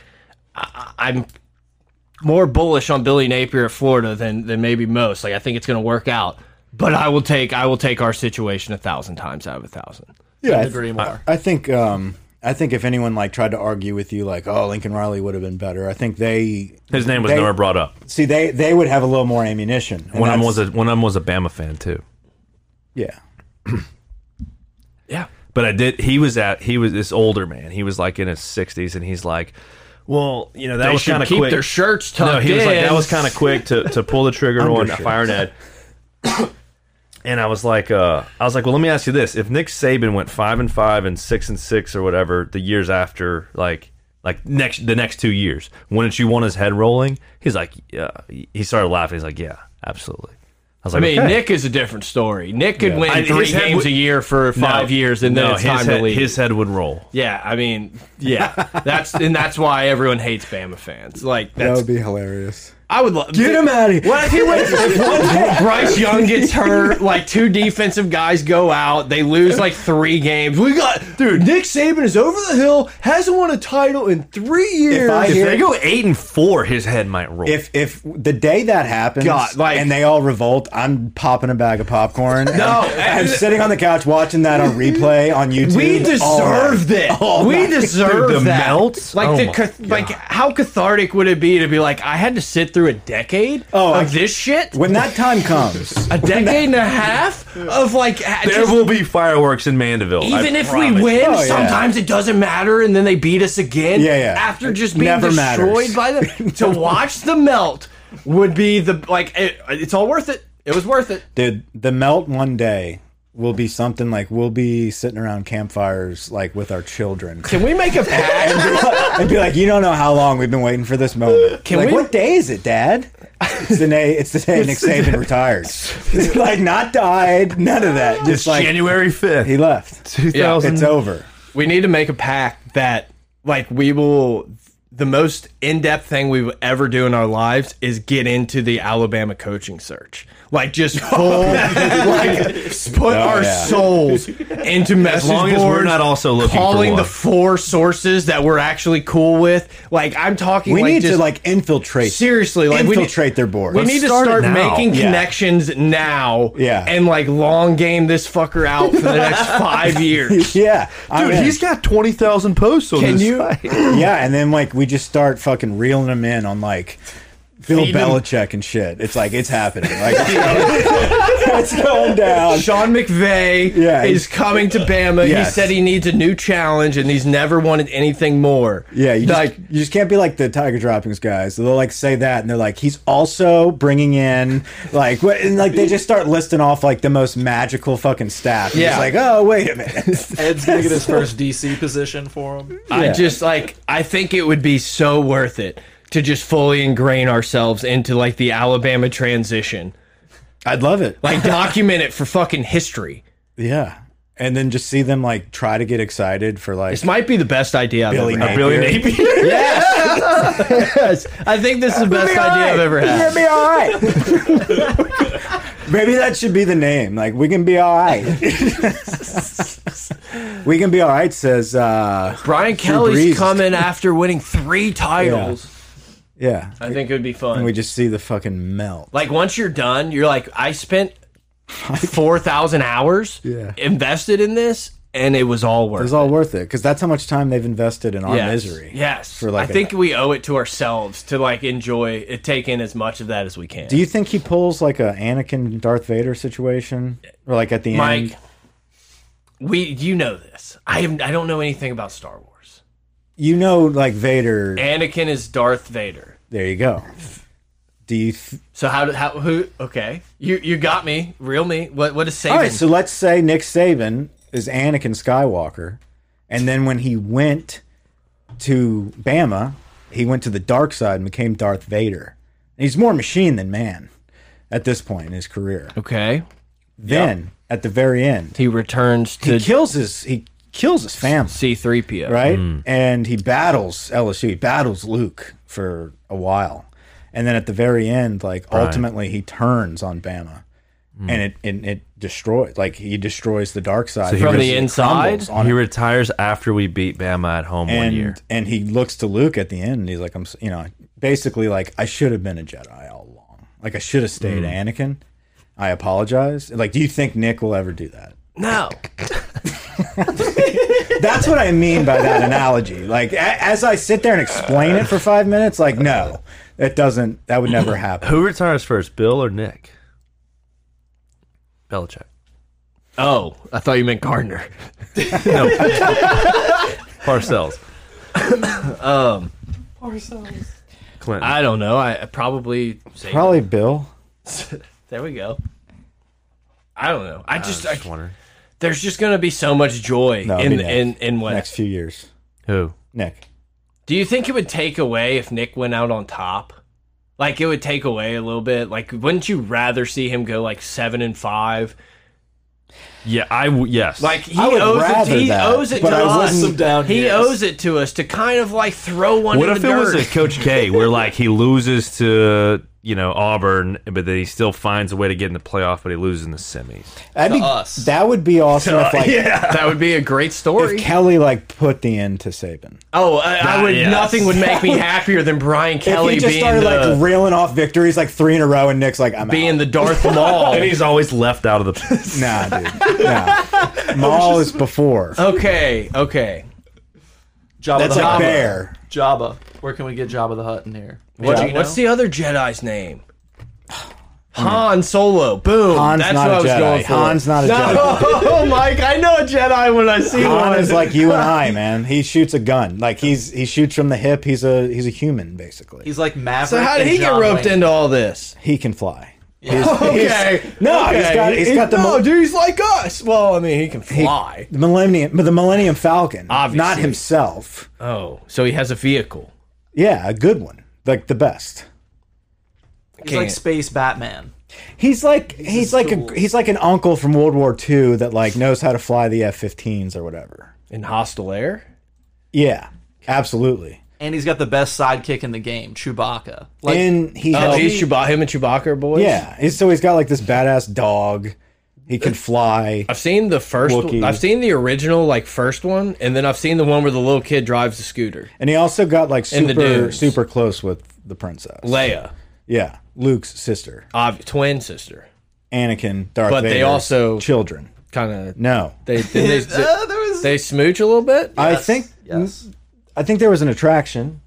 Speaker 3: I, I- I'm more bullish on Billy Napier at Florida than than maybe most. Like I think it's going to work out. But I will take I will take our situation a thousand times out of a thousand.
Speaker 1: Yeah. I, th-
Speaker 4: agree more.
Speaker 1: I think. Um, I think if anyone like tried to argue with you, like, oh, Lincoln Riley would have been better. I think they
Speaker 2: His name was
Speaker 1: They-
Speaker 2: never brought up.
Speaker 1: see they they would have a little more ammunition. And
Speaker 2: One of them
Speaker 1: that's-
Speaker 2: was a one of them was a Bama fan too.
Speaker 1: yeah.
Speaker 3: Yeah.
Speaker 2: But I did. He was at. He was this older man. He was like in his sixties, and he's like, "Well, you know, that
Speaker 3: They
Speaker 2: was
Speaker 3: should
Speaker 2: kind of
Speaker 3: keep
Speaker 2: quick."
Speaker 3: their shirts tucked
Speaker 2: no, he was like,
Speaker 3: in.
Speaker 2: "That was kind of quick to to pull the
Speaker 3: <laughs>
Speaker 2: trigger on
Speaker 1: Undershirts.
Speaker 2: firing Ed." And I was like, uh, I was like, well, let me ask you this: If Nick Saban went five and five and six and six or whatever the years after, like, like next the next two years. Wouldn't you want his head rolling? He's like, yeah. He started laughing. He's like, yeah, absolutely. I was
Speaker 3: I
Speaker 2: like,
Speaker 3: mean,
Speaker 2: okay.
Speaker 3: Nick is a different story. Nick could win
Speaker 2: I- his
Speaker 3: three
Speaker 2: head
Speaker 3: games
Speaker 2: would-
Speaker 3: a year for
Speaker 2: No,
Speaker 3: five years, and then
Speaker 2: no,
Speaker 3: it's
Speaker 2: his
Speaker 3: time
Speaker 2: head,
Speaker 3: to leave.
Speaker 2: His head would roll.
Speaker 3: yeah, I mean,
Speaker 2: <laughs>
Speaker 3: yeah, that's and that's why everyone hates Bama fans. Like
Speaker 1: That
Speaker 3: that's
Speaker 1: would be hilarious.
Speaker 3: I would love
Speaker 1: Get him out of here.
Speaker 3: <laughs> What if he wins? What if Bryce Young gets hurt. Like two defensive guys go out. They lose like three games. We got dude. Nick Saban is over the hill. Hasn't won a title in three years.
Speaker 1: I
Speaker 2: If
Speaker 1: hear-
Speaker 2: they go eight and four, his head might roll.
Speaker 1: If if the day that happens
Speaker 3: God, like-
Speaker 1: and they all revolt, I'm popping a bag of popcorn.
Speaker 3: No,
Speaker 1: and I'm sitting on the couch watching that on replay on YouTube.
Speaker 3: we
Speaker 1: all night.
Speaker 3: deserve that.
Speaker 1: All
Speaker 3: we
Speaker 1: night.
Speaker 3: deserve
Speaker 2: Dude, the
Speaker 3: that.
Speaker 2: melts?
Speaker 3: Like
Speaker 2: Oh
Speaker 3: the
Speaker 2: my
Speaker 3: cath- like how cathartic would it be to be like I had to sit through a decade
Speaker 1: Oh,
Speaker 3: of
Speaker 1: I-
Speaker 3: this shit.
Speaker 1: When that time comes,
Speaker 3: A decade and a half of like a-
Speaker 2: there
Speaker 3: just-
Speaker 2: will be fireworks in Mandeville. I
Speaker 3: even if we
Speaker 2: promise.
Speaker 3: win,
Speaker 1: Oh, yeah.
Speaker 3: sometimes it doesn't matter, and then they beat us again.
Speaker 1: Yeah, yeah.
Speaker 3: After just
Speaker 1: It
Speaker 3: being
Speaker 1: never matters.
Speaker 3: destroyed by
Speaker 1: <laughs>
Speaker 3: them, to watch the melt would be the like. It, it's all worth it. It was worth it.
Speaker 1: dude, the melt one day will be something like we'll be sitting around campfires like with our children. <laughs>
Speaker 3: Can we make a pact?
Speaker 1: I'd be like, you don't know how long we've been waiting for this moment.
Speaker 3: Can
Speaker 1: like,
Speaker 3: we-
Speaker 1: what day is it, Dad? It's the day. It's the day Nick Saban retired. <laughs> It's like not died, none of that. Just
Speaker 2: It's
Speaker 1: like
Speaker 2: January
Speaker 1: he
Speaker 2: fifth,
Speaker 1: left.
Speaker 2: two thousand.
Speaker 1: It's over.
Speaker 3: we need to make a pact that like we will. The most in-depth thing we will ever do in our lives is get into the Alabama coaching search. Like just full, like put our
Speaker 1: yeah.
Speaker 3: souls into message
Speaker 2: as long as we're
Speaker 3: boards,
Speaker 2: not also looking for
Speaker 3: calling
Speaker 2: one.
Speaker 3: the four sources that we're actually cool with. Like I'm talking,
Speaker 1: We
Speaker 3: like,
Speaker 1: need to
Speaker 3: just-
Speaker 1: like infiltrate.
Speaker 3: seriously, like we need-
Speaker 1: infiltrate their board.
Speaker 3: We need to
Speaker 2: start it
Speaker 3: start
Speaker 2: now.
Speaker 3: making
Speaker 1: Yeah.
Speaker 3: connections now,
Speaker 1: Yeah.
Speaker 3: and like long game this fucker out for the next five
Speaker 1: <laughs>
Speaker 3: years.
Speaker 1: yeah, I'm in.
Speaker 2: got twenty thousand posts on
Speaker 3: Can you?
Speaker 1: <clears throat> yeah, and then like we just start fucking reeling them in on like. Bill
Speaker 3: Feed 'em.
Speaker 1: Belichick and shit. It's like it's happening. Like <laughs> it's going down.
Speaker 3: Sean McVay
Speaker 1: Yeah, he's-
Speaker 3: is coming to Bama. He
Speaker 1: Yes.
Speaker 3: said he needs a new challenge, and he's never wanted anything more.
Speaker 1: Yeah, you just,
Speaker 3: like
Speaker 1: you just can't be like the tiger droppings guys. They'll like say that, and they're like, he's also bringing in like what, and like they just start listing off like the most magical fucking staff. And
Speaker 3: Yeah.
Speaker 1: it's like oh wait a
Speaker 3: <laughs>
Speaker 1: minute,
Speaker 4: Ed's gonna get his first DC position for him.
Speaker 3: I just like I think it would be so worth it to just fully ingrain ourselves into like the Alabama transition.
Speaker 1: I'd love it.
Speaker 3: Like document it for fucking history.
Speaker 1: Yeah, and then just see them like try to get excited for like
Speaker 3: This might be the best idea I've
Speaker 1: Billy
Speaker 3: ever had.
Speaker 1: Napier.
Speaker 2: Billy Napier.
Speaker 3: Yes. I think this is the best idea I've ever
Speaker 1: We're
Speaker 3: had.
Speaker 1: gonna be all right. <laughs> Maybe that should be the name. Like we can be all right. we can be all right. Says uh,
Speaker 3: Brian
Speaker 1: Brees
Speaker 3: Kelly's
Speaker 1: is-
Speaker 3: coming after winning three titles.
Speaker 1: yeah.
Speaker 3: I think it would be fun.
Speaker 1: We just see the fucking melt.
Speaker 3: like once you're done, you're like,
Speaker 1: <laughs>
Speaker 3: I spent four thousand hours
Speaker 1: Yeah.
Speaker 3: invested in this, and it was all worth.
Speaker 1: It was all worth it because that's how much time they've invested in our
Speaker 3: Yes.
Speaker 1: misery.
Speaker 3: Yes,
Speaker 1: For like
Speaker 3: I
Speaker 1: a-
Speaker 3: think we owe it to ourselves to like enjoy it, take in as much of that as we can.
Speaker 1: Do you think he pulls like a Anakin Darth Vader situation, or like at the
Speaker 3: Mike,
Speaker 1: end?
Speaker 3: we you know this. I am. I don't know anything about Star Wars.
Speaker 1: You know, like Vader.
Speaker 3: Anakin is Darth Vader.
Speaker 1: there you go. Do you? Th
Speaker 3: So how did how who? Okay, you you got me. Real me. What what is Saban?
Speaker 1: all right. So let's say Nick Saban is Anakin Skywalker, and then when he went to Bama, he went to the dark side and became Darth Vader. And he's more machine than man at this point in his career.
Speaker 3: okay,
Speaker 1: Then at the very end,
Speaker 3: he returns
Speaker 1: he
Speaker 3: to
Speaker 1: kills his he kills his family.
Speaker 3: C three PO.
Speaker 1: right? And he battles LSU. He battles Luke for a while, and then at the very end, like ultimately, he turns on Bama, and it and it destroys. Like he destroys the dark side
Speaker 2: he
Speaker 3: From the
Speaker 1: It
Speaker 3: inside?
Speaker 1: crumbles on
Speaker 2: He
Speaker 1: him.
Speaker 2: retires after we beat Bama at home one
Speaker 1: And
Speaker 2: year.
Speaker 1: and he looks to Luke at the end, and he's like, "I'm, s- you know, basically like I should have been a Jedi all along. Like I should have stayed Anakin. I apologize. Like, do you think Nick will ever do that?"
Speaker 3: No,
Speaker 1: That's what I mean by that analogy. Like, a- as I sit there and explain it for five minutes, like, no, that doesn't, that would never happen.
Speaker 2: Who retires first, Bill or Nick? <laughs> Belichick.
Speaker 3: Oh, I thought you meant Gardner.
Speaker 2: No. Parcells. Um,
Speaker 4: Ourselves.
Speaker 2: Clinton.
Speaker 3: I don't know. I I probably say
Speaker 1: Probably Bill.
Speaker 3: there we go. I don't know. I just, I,
Speaker 2: Just wondering.
Speaker 3: there's just gonna be so much joy
Speaker 1: No, it'd
Speaker 3: in
Speaker 1: be Nick.
Speaker 3: in in what
Speaker 1: Next few years.
Speaker 2: Who?
Speaker 1: Nick.
Speaker 3: Do you think it would take away if Nick went out on top? Like it would take away a little bit. Like, wouldn't you rather see him go like seven and five?
Speaker 2: Yeah, I w- yes.
Speaker 3: Like he
Speaker 1: I would
Speaker 3: owes it.
Speaker 1: rather
Speaker 3: he
Speaker 1: that,
Speaker 3: owes it
Speaker 1: but
Speaker 3: to
Speaker 1: I
Speaker 3: us.
Speaker 1: wouldn't-
Speaker 4: Down
Speaker 3: he
Speaker 4: here.
Speaker 3: owes it to us to kind of like throw one
Speaker 2: what
Speaker 3: in
Speaker 2: if
Speaker 3: the
Speaker 2: it
Speaker 3: dirt.
Speaker 2: was a Coach K where like he loses to you know Auburn, but then he still finds a way to get in the playoff, but he loses in the semis.
Speaker 1: That'd
Speaker 4: To
Speaker 1: be,
Speaker 4: us.
Speaker 1: That would be awesome if like
Speaker 3: <laughs> that would be a great story.
Speaker 1: if Kelly like put the end to Saban.
Speaker 3: oh, I, I would.
Speaker 2: yes.
Speaker 3: Nothing would make me
Speaker 1: <laughs>
Speaker 3: happier than Brian
Speaker 1: if
Speaker 3: Kelly
Speaker 1: he just
Speaker 3: being
Speaker 1: started
Speaker 3: the <laughs>
Speaker 1: like reeling off victories like three in a row and Nick's like I'm
Speaker 3: being the Darth
Speaker 1: <laughs>
Speaker 3: Maul.
Speaker 2: And he's always left out of the. <laughs>
Speaker 1: out. Nah, dude.
Speaker 3: <laughs>
Speaker 1: Nah. Maul is before.
Speaker 3: okay, okay.
Speaker 4: Jabba
Speaker 1: That's
Speaker 4: the
Speaker 1: like
Speaker 4: Hutt.
Speaker 1: bear.
Speaker 4: Jabba. Where can we get Jabba the Hutt in here?
Speaker 3: What,
Speaker 4: Did you
Speaker 3: What's
Speaker 4: know?
Speaker 3: the other Jedi's name? Han Solo. Boom.
Speaker 1: Han's
Speaker 3: That's
Speaker 1: not
Speaker 3: what
Speaker 1: a
Speaker 3: I was
Speaker 1: Jedi.
Speaker 3: going for.
Speaker 1: Han's not a Jedi.
Speaker 3: <laughs> Oh, Mike, I know a Jedi when Oh, I see
Speaker 1: Han
Speaker 3: one.
Speaker 1: is like you and I, man. He shoots a gun. Like he's he shoots from the hip. He's a he's a human basically.
Speaker 4: He's like Maverick.
Speaker 3: so how did
Speaker 4: and
Speaker 3: he get
Speaker 4: John
Speaker 3: roped
Speaker 4: Wayne.
Speaker 3: into all this?
Speaker 1: He can fly.
Speaker 3: Okay.
Speaker 1: no,
Speaker 3: okay.
Speaker 1: he's got- he's got the
Speaker 3: no,
Speaker 1: mo-
Speaker 3: dude. He's like us. Well, I mean, he can fly.
Speaker 1: The Millennium, the Millennium Falcon, not
Speaker 3: Obviously.
Speaker 1: himself.
Speaker 3: oh, so he has a vehicle.
Speaker 1: Yeah, a good one, like the best.
Speaker 4: He's like
Speaker 3: Can't.
Speaker 4: space Batman.
Speaker 1: He's like he's, like
Speaker 4: tool.
Speaker 1: a he's like an uncle from World War II that like knows how to fly the F-15s or whatever.
Speaker 3: In hostile air?
Speaker 1: Yeah, absolutely.
Speaker 4: And he's got the best sidekick in the game, Chewbacca. Like
Speaker 1: and he,
Speaker 3: Oh,
Speaker 1: has-
Speaker 3: he's Chewbacca, him and Chewbacca are boys?
Speaker 1: yeah, he's, so he's got like this badass dog. He can fly.
Speaker 3: I've seen the first
Speaker 1: Wookiee.
Speaker 3: one. I've seen the original, like, first one, and then I've seen the one where the little kid drives the scooter.
Speaker 1: And he also got like
Speaker 3: And the
Speaker 1: super
Speaker 3: dunes.
Speaker 1: super close with the princess.
Speaker 3: Leia,
Speaker 1: yeah, Luke's sister,
Speaker 3: ob- twin sister.
Speaker 1: Anakin, Darth
Speaker 3: But they
Speaker 1: Vader's
Speaker 3: also-
Speaker 1: children.
Speaker 3: Kind of.
Speaker 1: No,
Speaker 4: <laughs>
Speaker 3: They, they, they,
Speaker 4: Uh, there was,
Speaker 3: they smooch a little bit?
Speaker 1: I
Speaker 4: Yes,
Speaker 1: think
Speaker 4: yes.
Speaker 1: I think there was an attraction.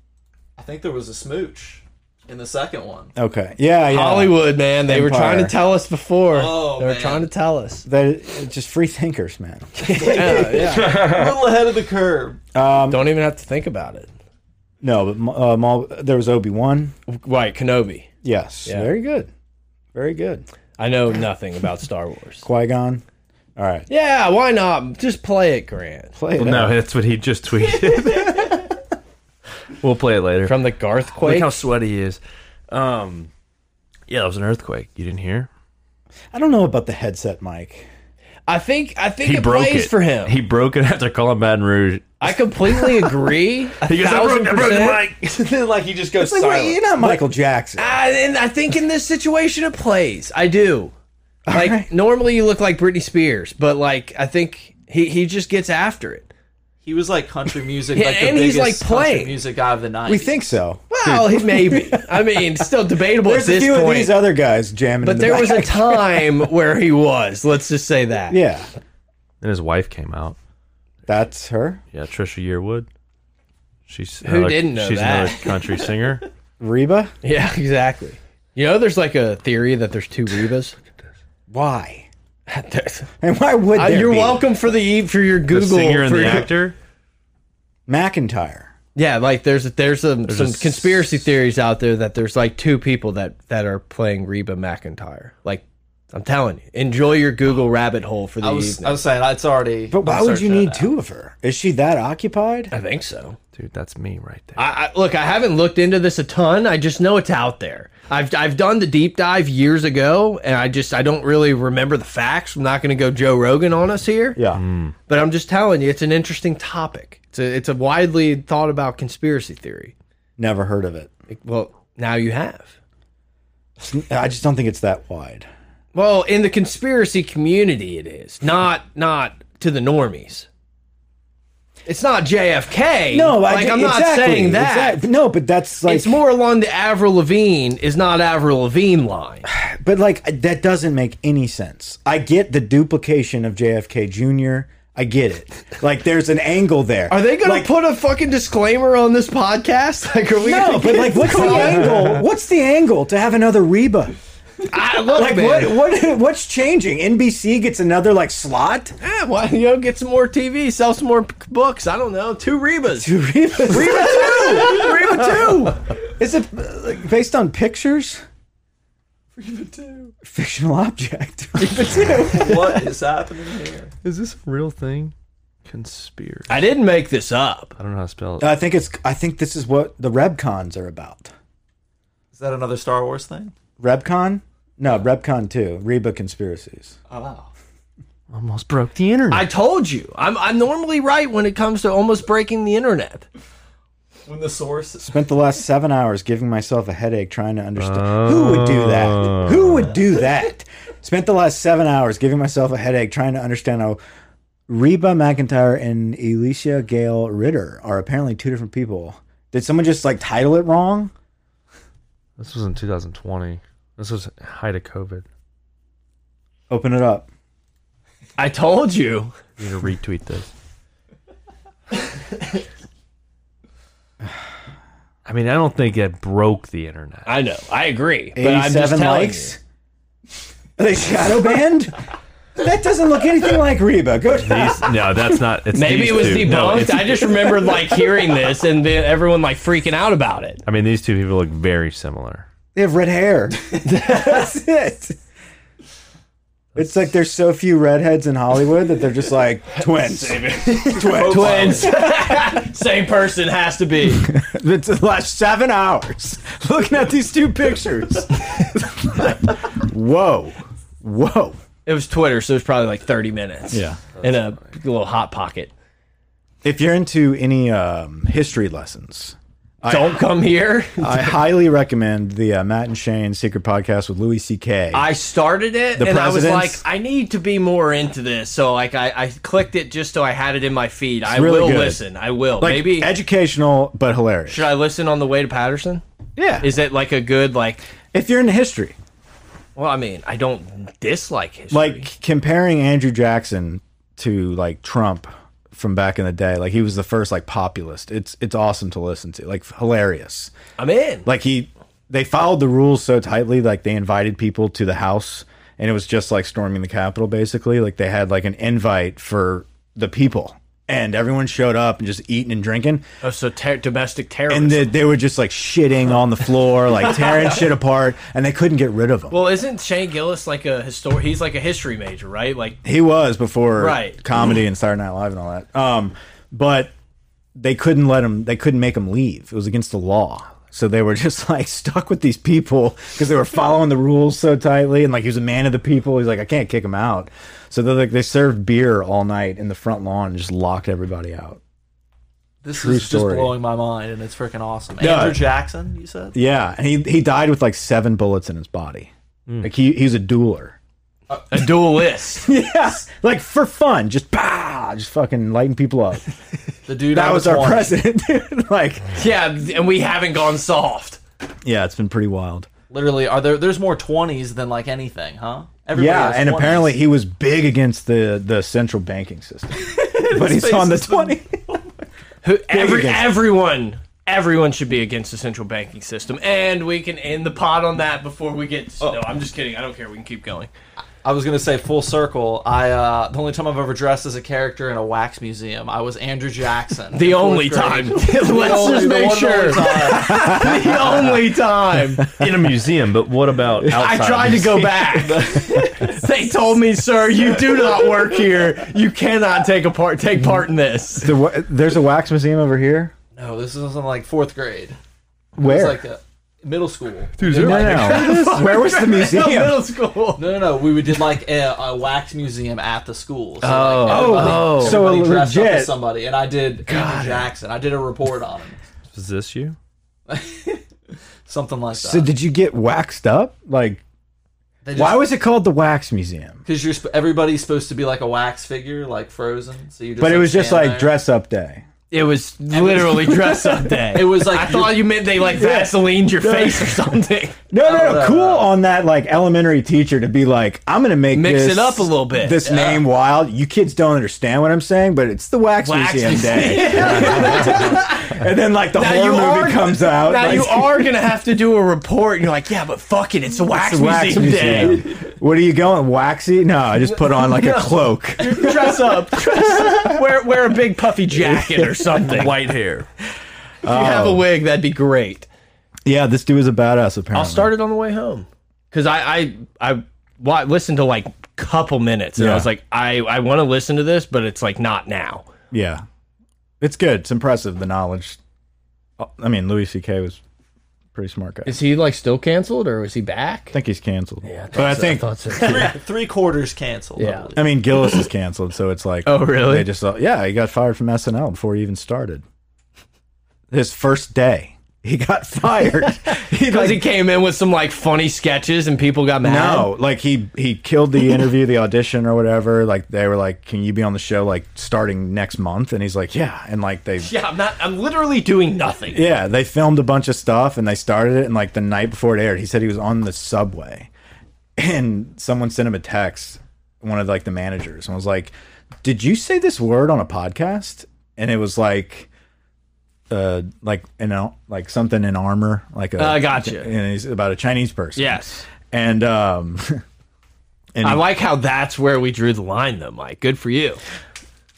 Speaker 4: I think there was a smooch in the
Speaker 3: <laughs>
Speaker 4: second one.
Speaker 1: Okay, yeah, yeah.
Speaker 3: Hollywood, man. They were
Speaker 1: Empire.
Speaker 3: trying to tell us before.
Speaker 4: Oh,
Speaker 3: they were
Speaker 4: man.
Speaker 3: trying to tell us.
Speaker 1: That just free thinkers, man. <laughs>
Speaker 4: A little ahead of the curve.
Speaker 3: Don't even have to think about it.
Speaker 1: Um, No, but uh, Maul, there was Obi Wan.
Speaker 3: Right, Kenobi.
Speaker 1: Yes, very good, very good.
Speaker 3: I know nothing about Star Wars.
Speaker 1: Qui Gon. All right,
Speaker 3: <laughs> Yeah, why not? Just play it, Grant.
Speaker 1: play it.
Speaker 2: no,
Speaker 1: out.
Speaker 2: that's what he just tweeted. <laughs> we'll play it later.
Speaker 3: From the Garth
Speaker 2: Look
Speaker 3: Quake.
Speaker 2: how sweaty he is. Um, yeah, that was an earthquake. You didn't hear?
Speaker 1: I don't know about the headset mic.
Speaker 3: I think I think
Speaker 2: He
Speaker 3: it
Speaker 2: broke
Speaker 3: plays
Speaker 2: it
Speaker 3: for him.
Speaker 2: He broke it after calling Baton Rouge.
Speaker 3: I <laughs> completely agree. A
Speaker 2: He goes, I broke,
Speaker 3: thousand
Speaker 2: I broke
Speaker 3: percent.
Speaker 2: the mic.
Speaker 4: like he just goes
Speaker 1: It's like, wait, you're not Michael Jackson.
Speaker 3: I, and I think in this situation it plays. I do. Like normally you look like Britney Spears, but like I think he he just gets after it.
Speaker 4: He was like country music,
Speaker 3: Yeah,
Speaker 4: like the
Speaker 3: and he's,
Speaker 4: biggest
Speaker 3: like, playing.
Speaker 4: country music guy of the nineties.
Speaker 1: we think so.
Speaker 3: Well, he maybe. <laughs> I mean, still debatable
Speaker 1: There's
Speaker 3: at
Speaker 1: a
Speaker 3: this
Speaker 1: few
Speaker 3: point.
Speaker 1: of these other guys jamming. in
Speaker 3: But
Speaker 1: the
Speaker 3: there was a
Speaker 1: back. <laughs>
Speaker 3: time where he was. Let's just say that.
Speaker 1: yeah,
Speaker 2: And his wife came out.
Speaker 1: that's her
Speaker 2: Yeah, Trisha Yearwood. She's who
Speaker 3: didn't know
Speaker 2: She's
Speaker 3: that?
Speaker 2: another
Speaker 3: <laughs>
Speaker 2: country singer.
Speaker 1: Reba.
Speaker 3: <laughs> Yeah, exactly. You know, there's like a theory that there's
Speaker 1: <laughs>
Speaker 3: two Rebas.
Speaker 1: Why?
Speaker 3: There's-
Speaker 1: And why would
Speaker 3: Uh,
Speaker 1: there
Speaker 3: you're
Speaker 1: be?
Speaker 3: welcome for the e for your
Speaker 2: The
Speaker 3: Google.
Speaker 2: singer and
Speaker 3: for
Speaker 2: the
Speaker 3: your-
Speaker 2: actor.
Speaker 1: McIntyre.
Speaker 3: Yeah, like there's there's some some
Speaker 2: a-
Speaker 3: conspiracy theories out there that there's like two people that that are playing Reba McIntyre. Like, I'm telling you, enjoy your Google rabbit hole for the
Speaker 4: I was,
Speaker 3: evening.
Speaker 4: I was saying it's already.
Speaker 1: But why
Speaker 4: I'm
Speaker 1: would you
Speaker 4: searching
Speaker 1: need
Speaker 4: it
Speaker 1: two of her? Is she that occupied?
Speaker 3: I think so.
Speaker 2: Dude, that's me right there.
Speaker 3: I, I look, I haven't looked into this a ton. I just know it's out there. I've I've done the deep dive years ago, and I just I don't really remember the facts. I'm not going to go Joe Rogan on us here,
Speaker 1: Yeah.
Speaker 3: but I'm just telling you, it's an interesting topic. It's a it's a widely thought about conspiracy theory.
Speaker 1: Never heard of it.
Speaker 3: Well, now you have.
Speaker 1: I just don't think it's that wide.
Speaker 3: Well, in the conspiracy community, it is not not to the normies. It's not JFK.
Speaker 1: No, I,
Speaker 3: like I, am not
Speaker 1: exactly,
Speaker 3: saying that.
Speaker 1: exact- no, but that's like
Speaker 3: It's more along the Avril Lavigne is not Avril Lavigne line.
Speaker 1: But like that doesn't make any sense. I get the duplication of JFK Jr. I get it. Like there's an angle there.
Speaker 3: Are they gonna
Speaker 1: like,
Speaker 3: put a fucking disclaimer on this podcast? <laughs> Like, are we?
Speaker 1: No,
Speaker 3: gonna
Speaker 1: but like what's the angle? What's the angle to have another Reba?
Speaker 3: I look,
Speaker 1: Like
Speaker 3: man.
Speaker 1: what what what's changing? NBC gets another like slot?
Speaker 3: Eh, why you know, get some more TV, sell some more p- books. I don't know. Two Rebas.
Speaker 1: Dude, Reba Reba too. Reba too. Is it uh, like, based on pictures?
Speaker 4: Reba too.
Speaker 6: <laughs>
Speaker 1: Fictional object. Reba too.
Speaker 4: What is happening here?
Speaker 2: Is this a real thing? Conspiracy.
Speaker 3: I didn't make this up.
Speaker 2: I don't know how to spell it.
Speaker 6: I think it's. I think this is what the RebCons are about.
Speaker 4: Is that another Star Wars thing?
Speaker 6: RebCon? No, RebCon two. Reba conspiracies.
Speaker 4: Oh wow.
Speaker 2: Almost broke the internet.
Speaker 3: I told you. I'm I'm normally right when it comes to almost breaking the internet.
Speaker 4: When the source is
Speaker 6: Spent the last seven hours giving myself a headache trying to understand. Who would do that?
Speaker 3: Oh.
Speaker 6: Who would do that? Spent the last seven hours giving myself a headache trying to understand how Reba McIntyre and Alicia Gale Ritter are apparently two different people. Did someone just like title it wrong?
Speaker 2: this was in 2020. This was height of COVID.
Speaker 6: Open it up.
Speaker 3: I told you.
Speaker 2: You need to retweet this. I mean, I don't think that broke the internet.
Speaker 3: I know. I agree. But I'm just
Speaker 6: 87
Speaker 3: telling
Speaker 6: likes. Are they shadow banned? that doesn't look anything like Reba. Go
Speaker 2: These, no, that's not. It's
Speaker 3: Maybe
Speaker 2: these
Speaker 3: it was
Speaker 2: two.
Speaker 3: debunked.
Speaker 2: No, it's-
Speaker 3: I just remember like hearing this and then everyone like freaking out about it.
Speaker 2: I mean, these two people look very similar.
Speaker 6: They have red
Speaker 1: <laughs>
Speaker 6: hair. That's it. It's like there's so few redheads in Hollywood that they're just
Speaker 1: <laughs>
Speaker 6: like twins. <laughs> twins.
Speaker 3: Twins. <laughs> Same person has to be.
Speaker 6: It's the last seven hours <laughs> looking at these two pictures.
Speaker 1: Whoa. Whoa.
Speaker 3: It was Twitter, so it was probably like 30 minutes.
Speaker 1: Yeah.
Speaker 3: In a little hot pocket.
Speaker 1: If you're into any um, history lessons,
Speaker 3: Don't come here.
Speaker 1: I highly recommend the uh, Matt and Shane Secret Podcast with Louis C.K.
Speaker 3: I started it
Speaker 1: The
Speaker 3: and I was like,
Speaker 1: presidents?
Speaker 3: I need to be more into this. So like I, I clicked it just so I had it in my feed. I
Speaker 1: really
Speaker 3: will
Speaker 1: good.
Speaker 3: listen. I will.
Speaker 1: like,
Speaker 3: Maybe
Speaker 1: educational but hilarious.
Speaker 3: should I listen on the way to Patterson?
Speaker 1: yeah.
Speaker 3: Is it like a good like
Speaker 1: if you're into history,
Speaker 3: well, I mean, I don't dislike history.
Speaker 1: like comparing Andrew Jackson to like Trump from back in the day, like he was the first like populist. It's it's awesome to listen to. Like hilarious.
Speaker 3: I'm in.
Speaker 1: Like he they followed the rules so tightly like they invited people to the house and it was just like storming the Capitol basically. Like they had like an invite for the people. And everyone showed up and just eating and drinking.
Speaker 3: oh, so ter domestic terrorism.
Speaker 1: And they, they were just like shitting on the floor, like tearing shit apart. And they couldn't get rid of them.
Speaker 3: well, isn't Shane Gillis like a histor he's like a history major, right? Like
Speaker 1: He was before
Speaker 3: Right.
Speaker 1: comedy and Saturday Night Live and all that. Um, but they couldn't let him. They couldn't make him leave. It was against the law. So they were <laughs> just like stuck with these people because they were following the rules so tightly. And like he was a man of the people. He's like, I can't kick him out. So they like they served beer all night in the front lawn and just locked everybody out.
Speaker 4: this
Speaker 1: True
Speaker 4: is
Speaker 1: story.
Speaker 4: just blowing my mind and it's freaking awesome.
Speaker 1: Yeah.
Speaker 4: Andrew Jackson, you said?
Speaker 1: Yeah, and he he died with like seven bullets in his body. Like he he's a <laughs> dueler.
Speaker 3: a duelist.
Speaker 1: Yeah, like for fun, just bah, just fucking lighting people up.
Speaker 4: The dude
Speaker 1: That
Speaker 4: I
Speaker 1: was our
Speaker 4: wanting.
Speaker 1: president, <laughs> dude. Like,
Speaker 3: yeah, and we haven't gone soft.
Speaker 1: yeah, it's been pretty wild.
Speaker 4: Literally, are there? There's more twenties than like anything, huh? Everybody
Speaker 1: Yeah,
Speaker 4: has
Speaker 1: and
Speaker 4: 20s.
Speaker 1: apparently he was big against the the central banking system, but he's on the twenty.
Speaker 3: Who, every,
Speaker 1: against-
Speaker 3: everyone, everyone should be against the central banking system, and we can end the pot on that before we get. No, I'm just kidding. I don't care. We can keep going.
Speaker 4: I was gonna say full circle. I uh, the only time I've ever dressed as a character in a wax museum, I was Andrew
Speaker 1: <laughs>
Speaker 4: Jackson.
Speaker 3: The
Speaker 4: in fourth
Speaker 3: only
Speaker 4: grade.
Speaker 3: time.
Speaker 4: The
Speaker 3: <laughs> Let's
Speaker 4: only-
Speaker 3: just
Speaker 4: the
Speaker 3: make
Speaker 4: one and
Speaker 3: sure.
Speaker 4: only
Speaker 3: <laughs>
Speaker 4: time.
Speaker 3: The only time
Speaker 2: In a museum, but what about
Speaker 3: I
Speaker 2: outside?
Speaker 3: tried to go back,
Speaker 1: <laughs>
Speaker 3: they told me, "Sir, you do not work here. You cannot take a part take part in this."
Speaker 1: The wa- there's a wax museum over here.
Speaker 4: No, this was in like fourth grade. It's
Speaker 1: Where?
Speaker 4: like a middle school.
Speaker 1: no, no, no. Where
Speaker 3: <laughs>
Speaker 1: was the museum?
Speaker 3: Middle school.
Speaker 4: No, no, no. We would- did like a, a wax museum at the school. So, like,
Speaker 2: Oh.
Speaker 4: everybody-
Speaker 2: Oh.
Speaker 1: So
Speaker 4: everybody dressed up
Speaker 1: legit.
Speaker 4: as somebody, and I did Andrew Jackson. I did a report on him,
Speaker 2: Is this you?
Speaker 4: something like that.
Speaker 1: So did you get waxed up? Like, why was it called the wax museum?
Speaker 4: Because you're sp- everybody's supposed to be like a wax figure, like frozen. So you. Just,
Speaker 1: But it was just
Speaker 4: stand
Speaker 1: like
Speaker 4: there.
Speaker 1: dress up day.
Speaker 3: It was literally dress up day.
Speaker 4: It was like
Speaker 3: I thought you meant they like Vaseline your face
Speaker 1: <laughs>
Speaker 3: or something.
Speaker 1: No, no, no.
Speaker 4: no,
Speaker 1: Cool
Speaker 4: no.
Speaker 1: on that like elementary teacher to be like, I'm gonna make
Speaker 3: Mix
Speaker 1: this-
Speaker 3: it up a little bit.
Speaker 1: This name wild. You kids don't understand what I'm saying, but it's the wax,
Speaker 3: Wax
Speaker 1: museum
Speaker 3: <laughs>
Speaker 1: day. <laughs> and then like the
Speaker 3: Now
Speaker 1: horror
Speaker 3: you
Speaker 1: movie
Speaker 3: are-
Speaker 1: comes out.
Speaker 3: Now
Speaker 1: like, <laughs>
Speaker 3: you are gonna have to do a report, and you're like, yeah, but fuck it, it's a wax,
Speaker 1: It's a wax
Speaker 3: museum, day.
Speaker 1: museum. What are you going waxy? No, I just put on like a cloak.
Speaker 3: <laughs> dress up, dress up. wear wear a big puffy
Speaker 1: <laughs>
Speaker 3: jacket or something.
Speaker 2: White hair.
Speaker 3: If you
Speaker 1: Oh.
Speaker 3: have a wig, that'd be great.
Speaker 1: Yeah, this dude is a badass. Apparently,
Speaker 3: I'll start it on the way home because I I I wa- listened to like couple minutes and I
Speaker 1: Yeah.
Speaker 3: was like, I I want to listen to this, but it's like not now.
Speaker 1: Yeah, it's good. It's impressive the knowledge. Oh, I mean, Louis C.K. was a pretty smart guy. I
Speaker 7: Is he like still canceled or is he back?
Speaker 1: think he's canceled. Yeah, but I think
Speaker 7: thought so. too.
Speaker 4: Three, three quarters canceled.
Speaker 7: Yeah.
Speaker 4: Yeah.
Speaker 1: I mean Gillis is canceled, so it's like
Speaker 3: Oh, really?
Speaker 1: They just thought, yeah, he got fired from SNL before he even started. His first day, he got <laughs>
Speaker 3: <laughs>
Speaker 1: fired. he
Speaker 3: Because
Speaker 1: like,
Speaker 3: he came in with some like funny sketches and people got mad.
Speaker 1: no, like he he killed the interview, the audition or whatever. Like they were like, "Can you be on the show like starting next month?" And he's like, "Yeah." And like they
Speaker 3: Yeah, I'm not. I'm literally doing nothing.
Speaker 1: Yeah, they filmed a bunch of stuff and they started it. And like the night before it aired, he said he was on the subway, <laughs> and someone sent him a text, one of like the managers, and was like, "Did you say this word on a podcast?" And it was like, uh, like you know, like something in armor, like a
Speaker 3: Uh, gotcha.
Speaker 1: and he's about a Chinese person.
Speaker 3: Yes.
Speaker 1: and um, <laughs>
Speaker 3: I like how that's where we drew the line, though, Mike. Good for you.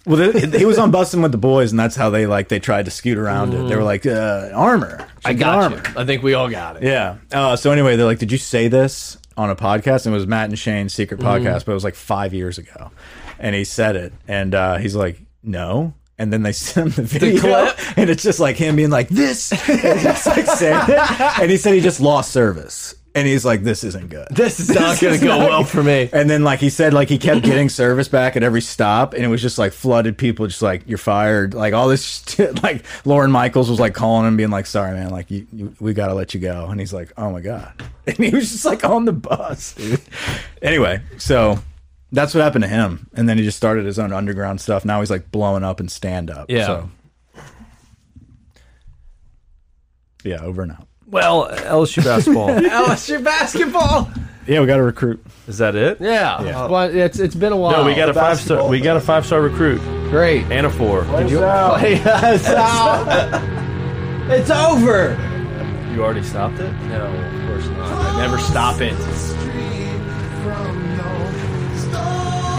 Speaker 1: well, they, he was on busting with the boys, and that's how they like they tried to scoot around it. They were like, uh, "Armor,
Speaker 3: I
Speaker 1: Check the
Speaker 3: got you. I think we all got it.
Speaker 1: Yeah. Uh, so anyway, they're like, "Did you say this on a podcast?" And it was Matt and Shane's secret podcast, but it was like five years ago, and he said it, and uh, he's like, "No." And then they <laughs> sent him the video,
Speaker 3: clip?
Speaker 1: and it's just like him being like this, and he's like saying it. and he said he just lost service, and he's like, "This isn't good."
Speaker 3: This is not going
Speaker 1: is
Speaker 3: to go
Speaker 1: not-
Speaker 3: well for me.
Speaker 1: And then like he said, like he kept getting service back at every stop, and it was just like flooded people, just like you're fired, like all this <laughs> shit. Like Lauren Michaels was like calling him, being like, "Sorry, man, like you, you we gotta let you go," and he's like, "Oh my god," <laughs> and he was just like on the bus, dude. Anyway, so that's what happened to him, and then he just started his own underground stuff. Now he's like blowing up and stand up.
Speaker 3: Yeah.
Speaker 1: So. Yeah, over and out.
Speaker 2: Well, LSU basketball.
Speaker 3: LSU basketball.
Speaker 1: Yeah, we got to recruit.
Speaker 2: <laughs> Is that it?
Speaker 7: Yeah. Well, it's it's been a while.
Speaker 2: No, we got a five star. We got a five star recruit
Speaker 7: great.
Speaker 2: and a four.
Speaker 7: it's out. It's over.
Speaker 2: You already stopped it.
Speaker 3: No, of course not. I never stop it.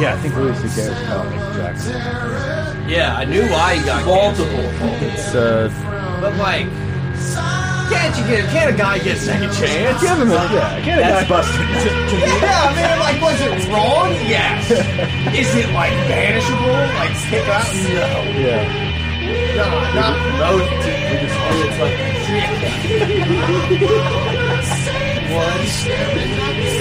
Speaker 1: Yeah, I think Louis C.K. was probably Jackson.
Speaker 3: Yeah, I knew why he got multiple.
Speaker 2: It's uh,
Speaker 3: But like, can't you get? Can't a guy get a second chance?
Speaker 1: Give him a yeah. Get a guy busted.
Speaker 3: Yeah, I mean, like, was it wrong? Yes. <laughs> Is it like banishable? Like, kick out? No.
Speaker 1: <laughs> yeah.
Speaker 3: Nah, not promoted. It's like,
Speaker 8: One.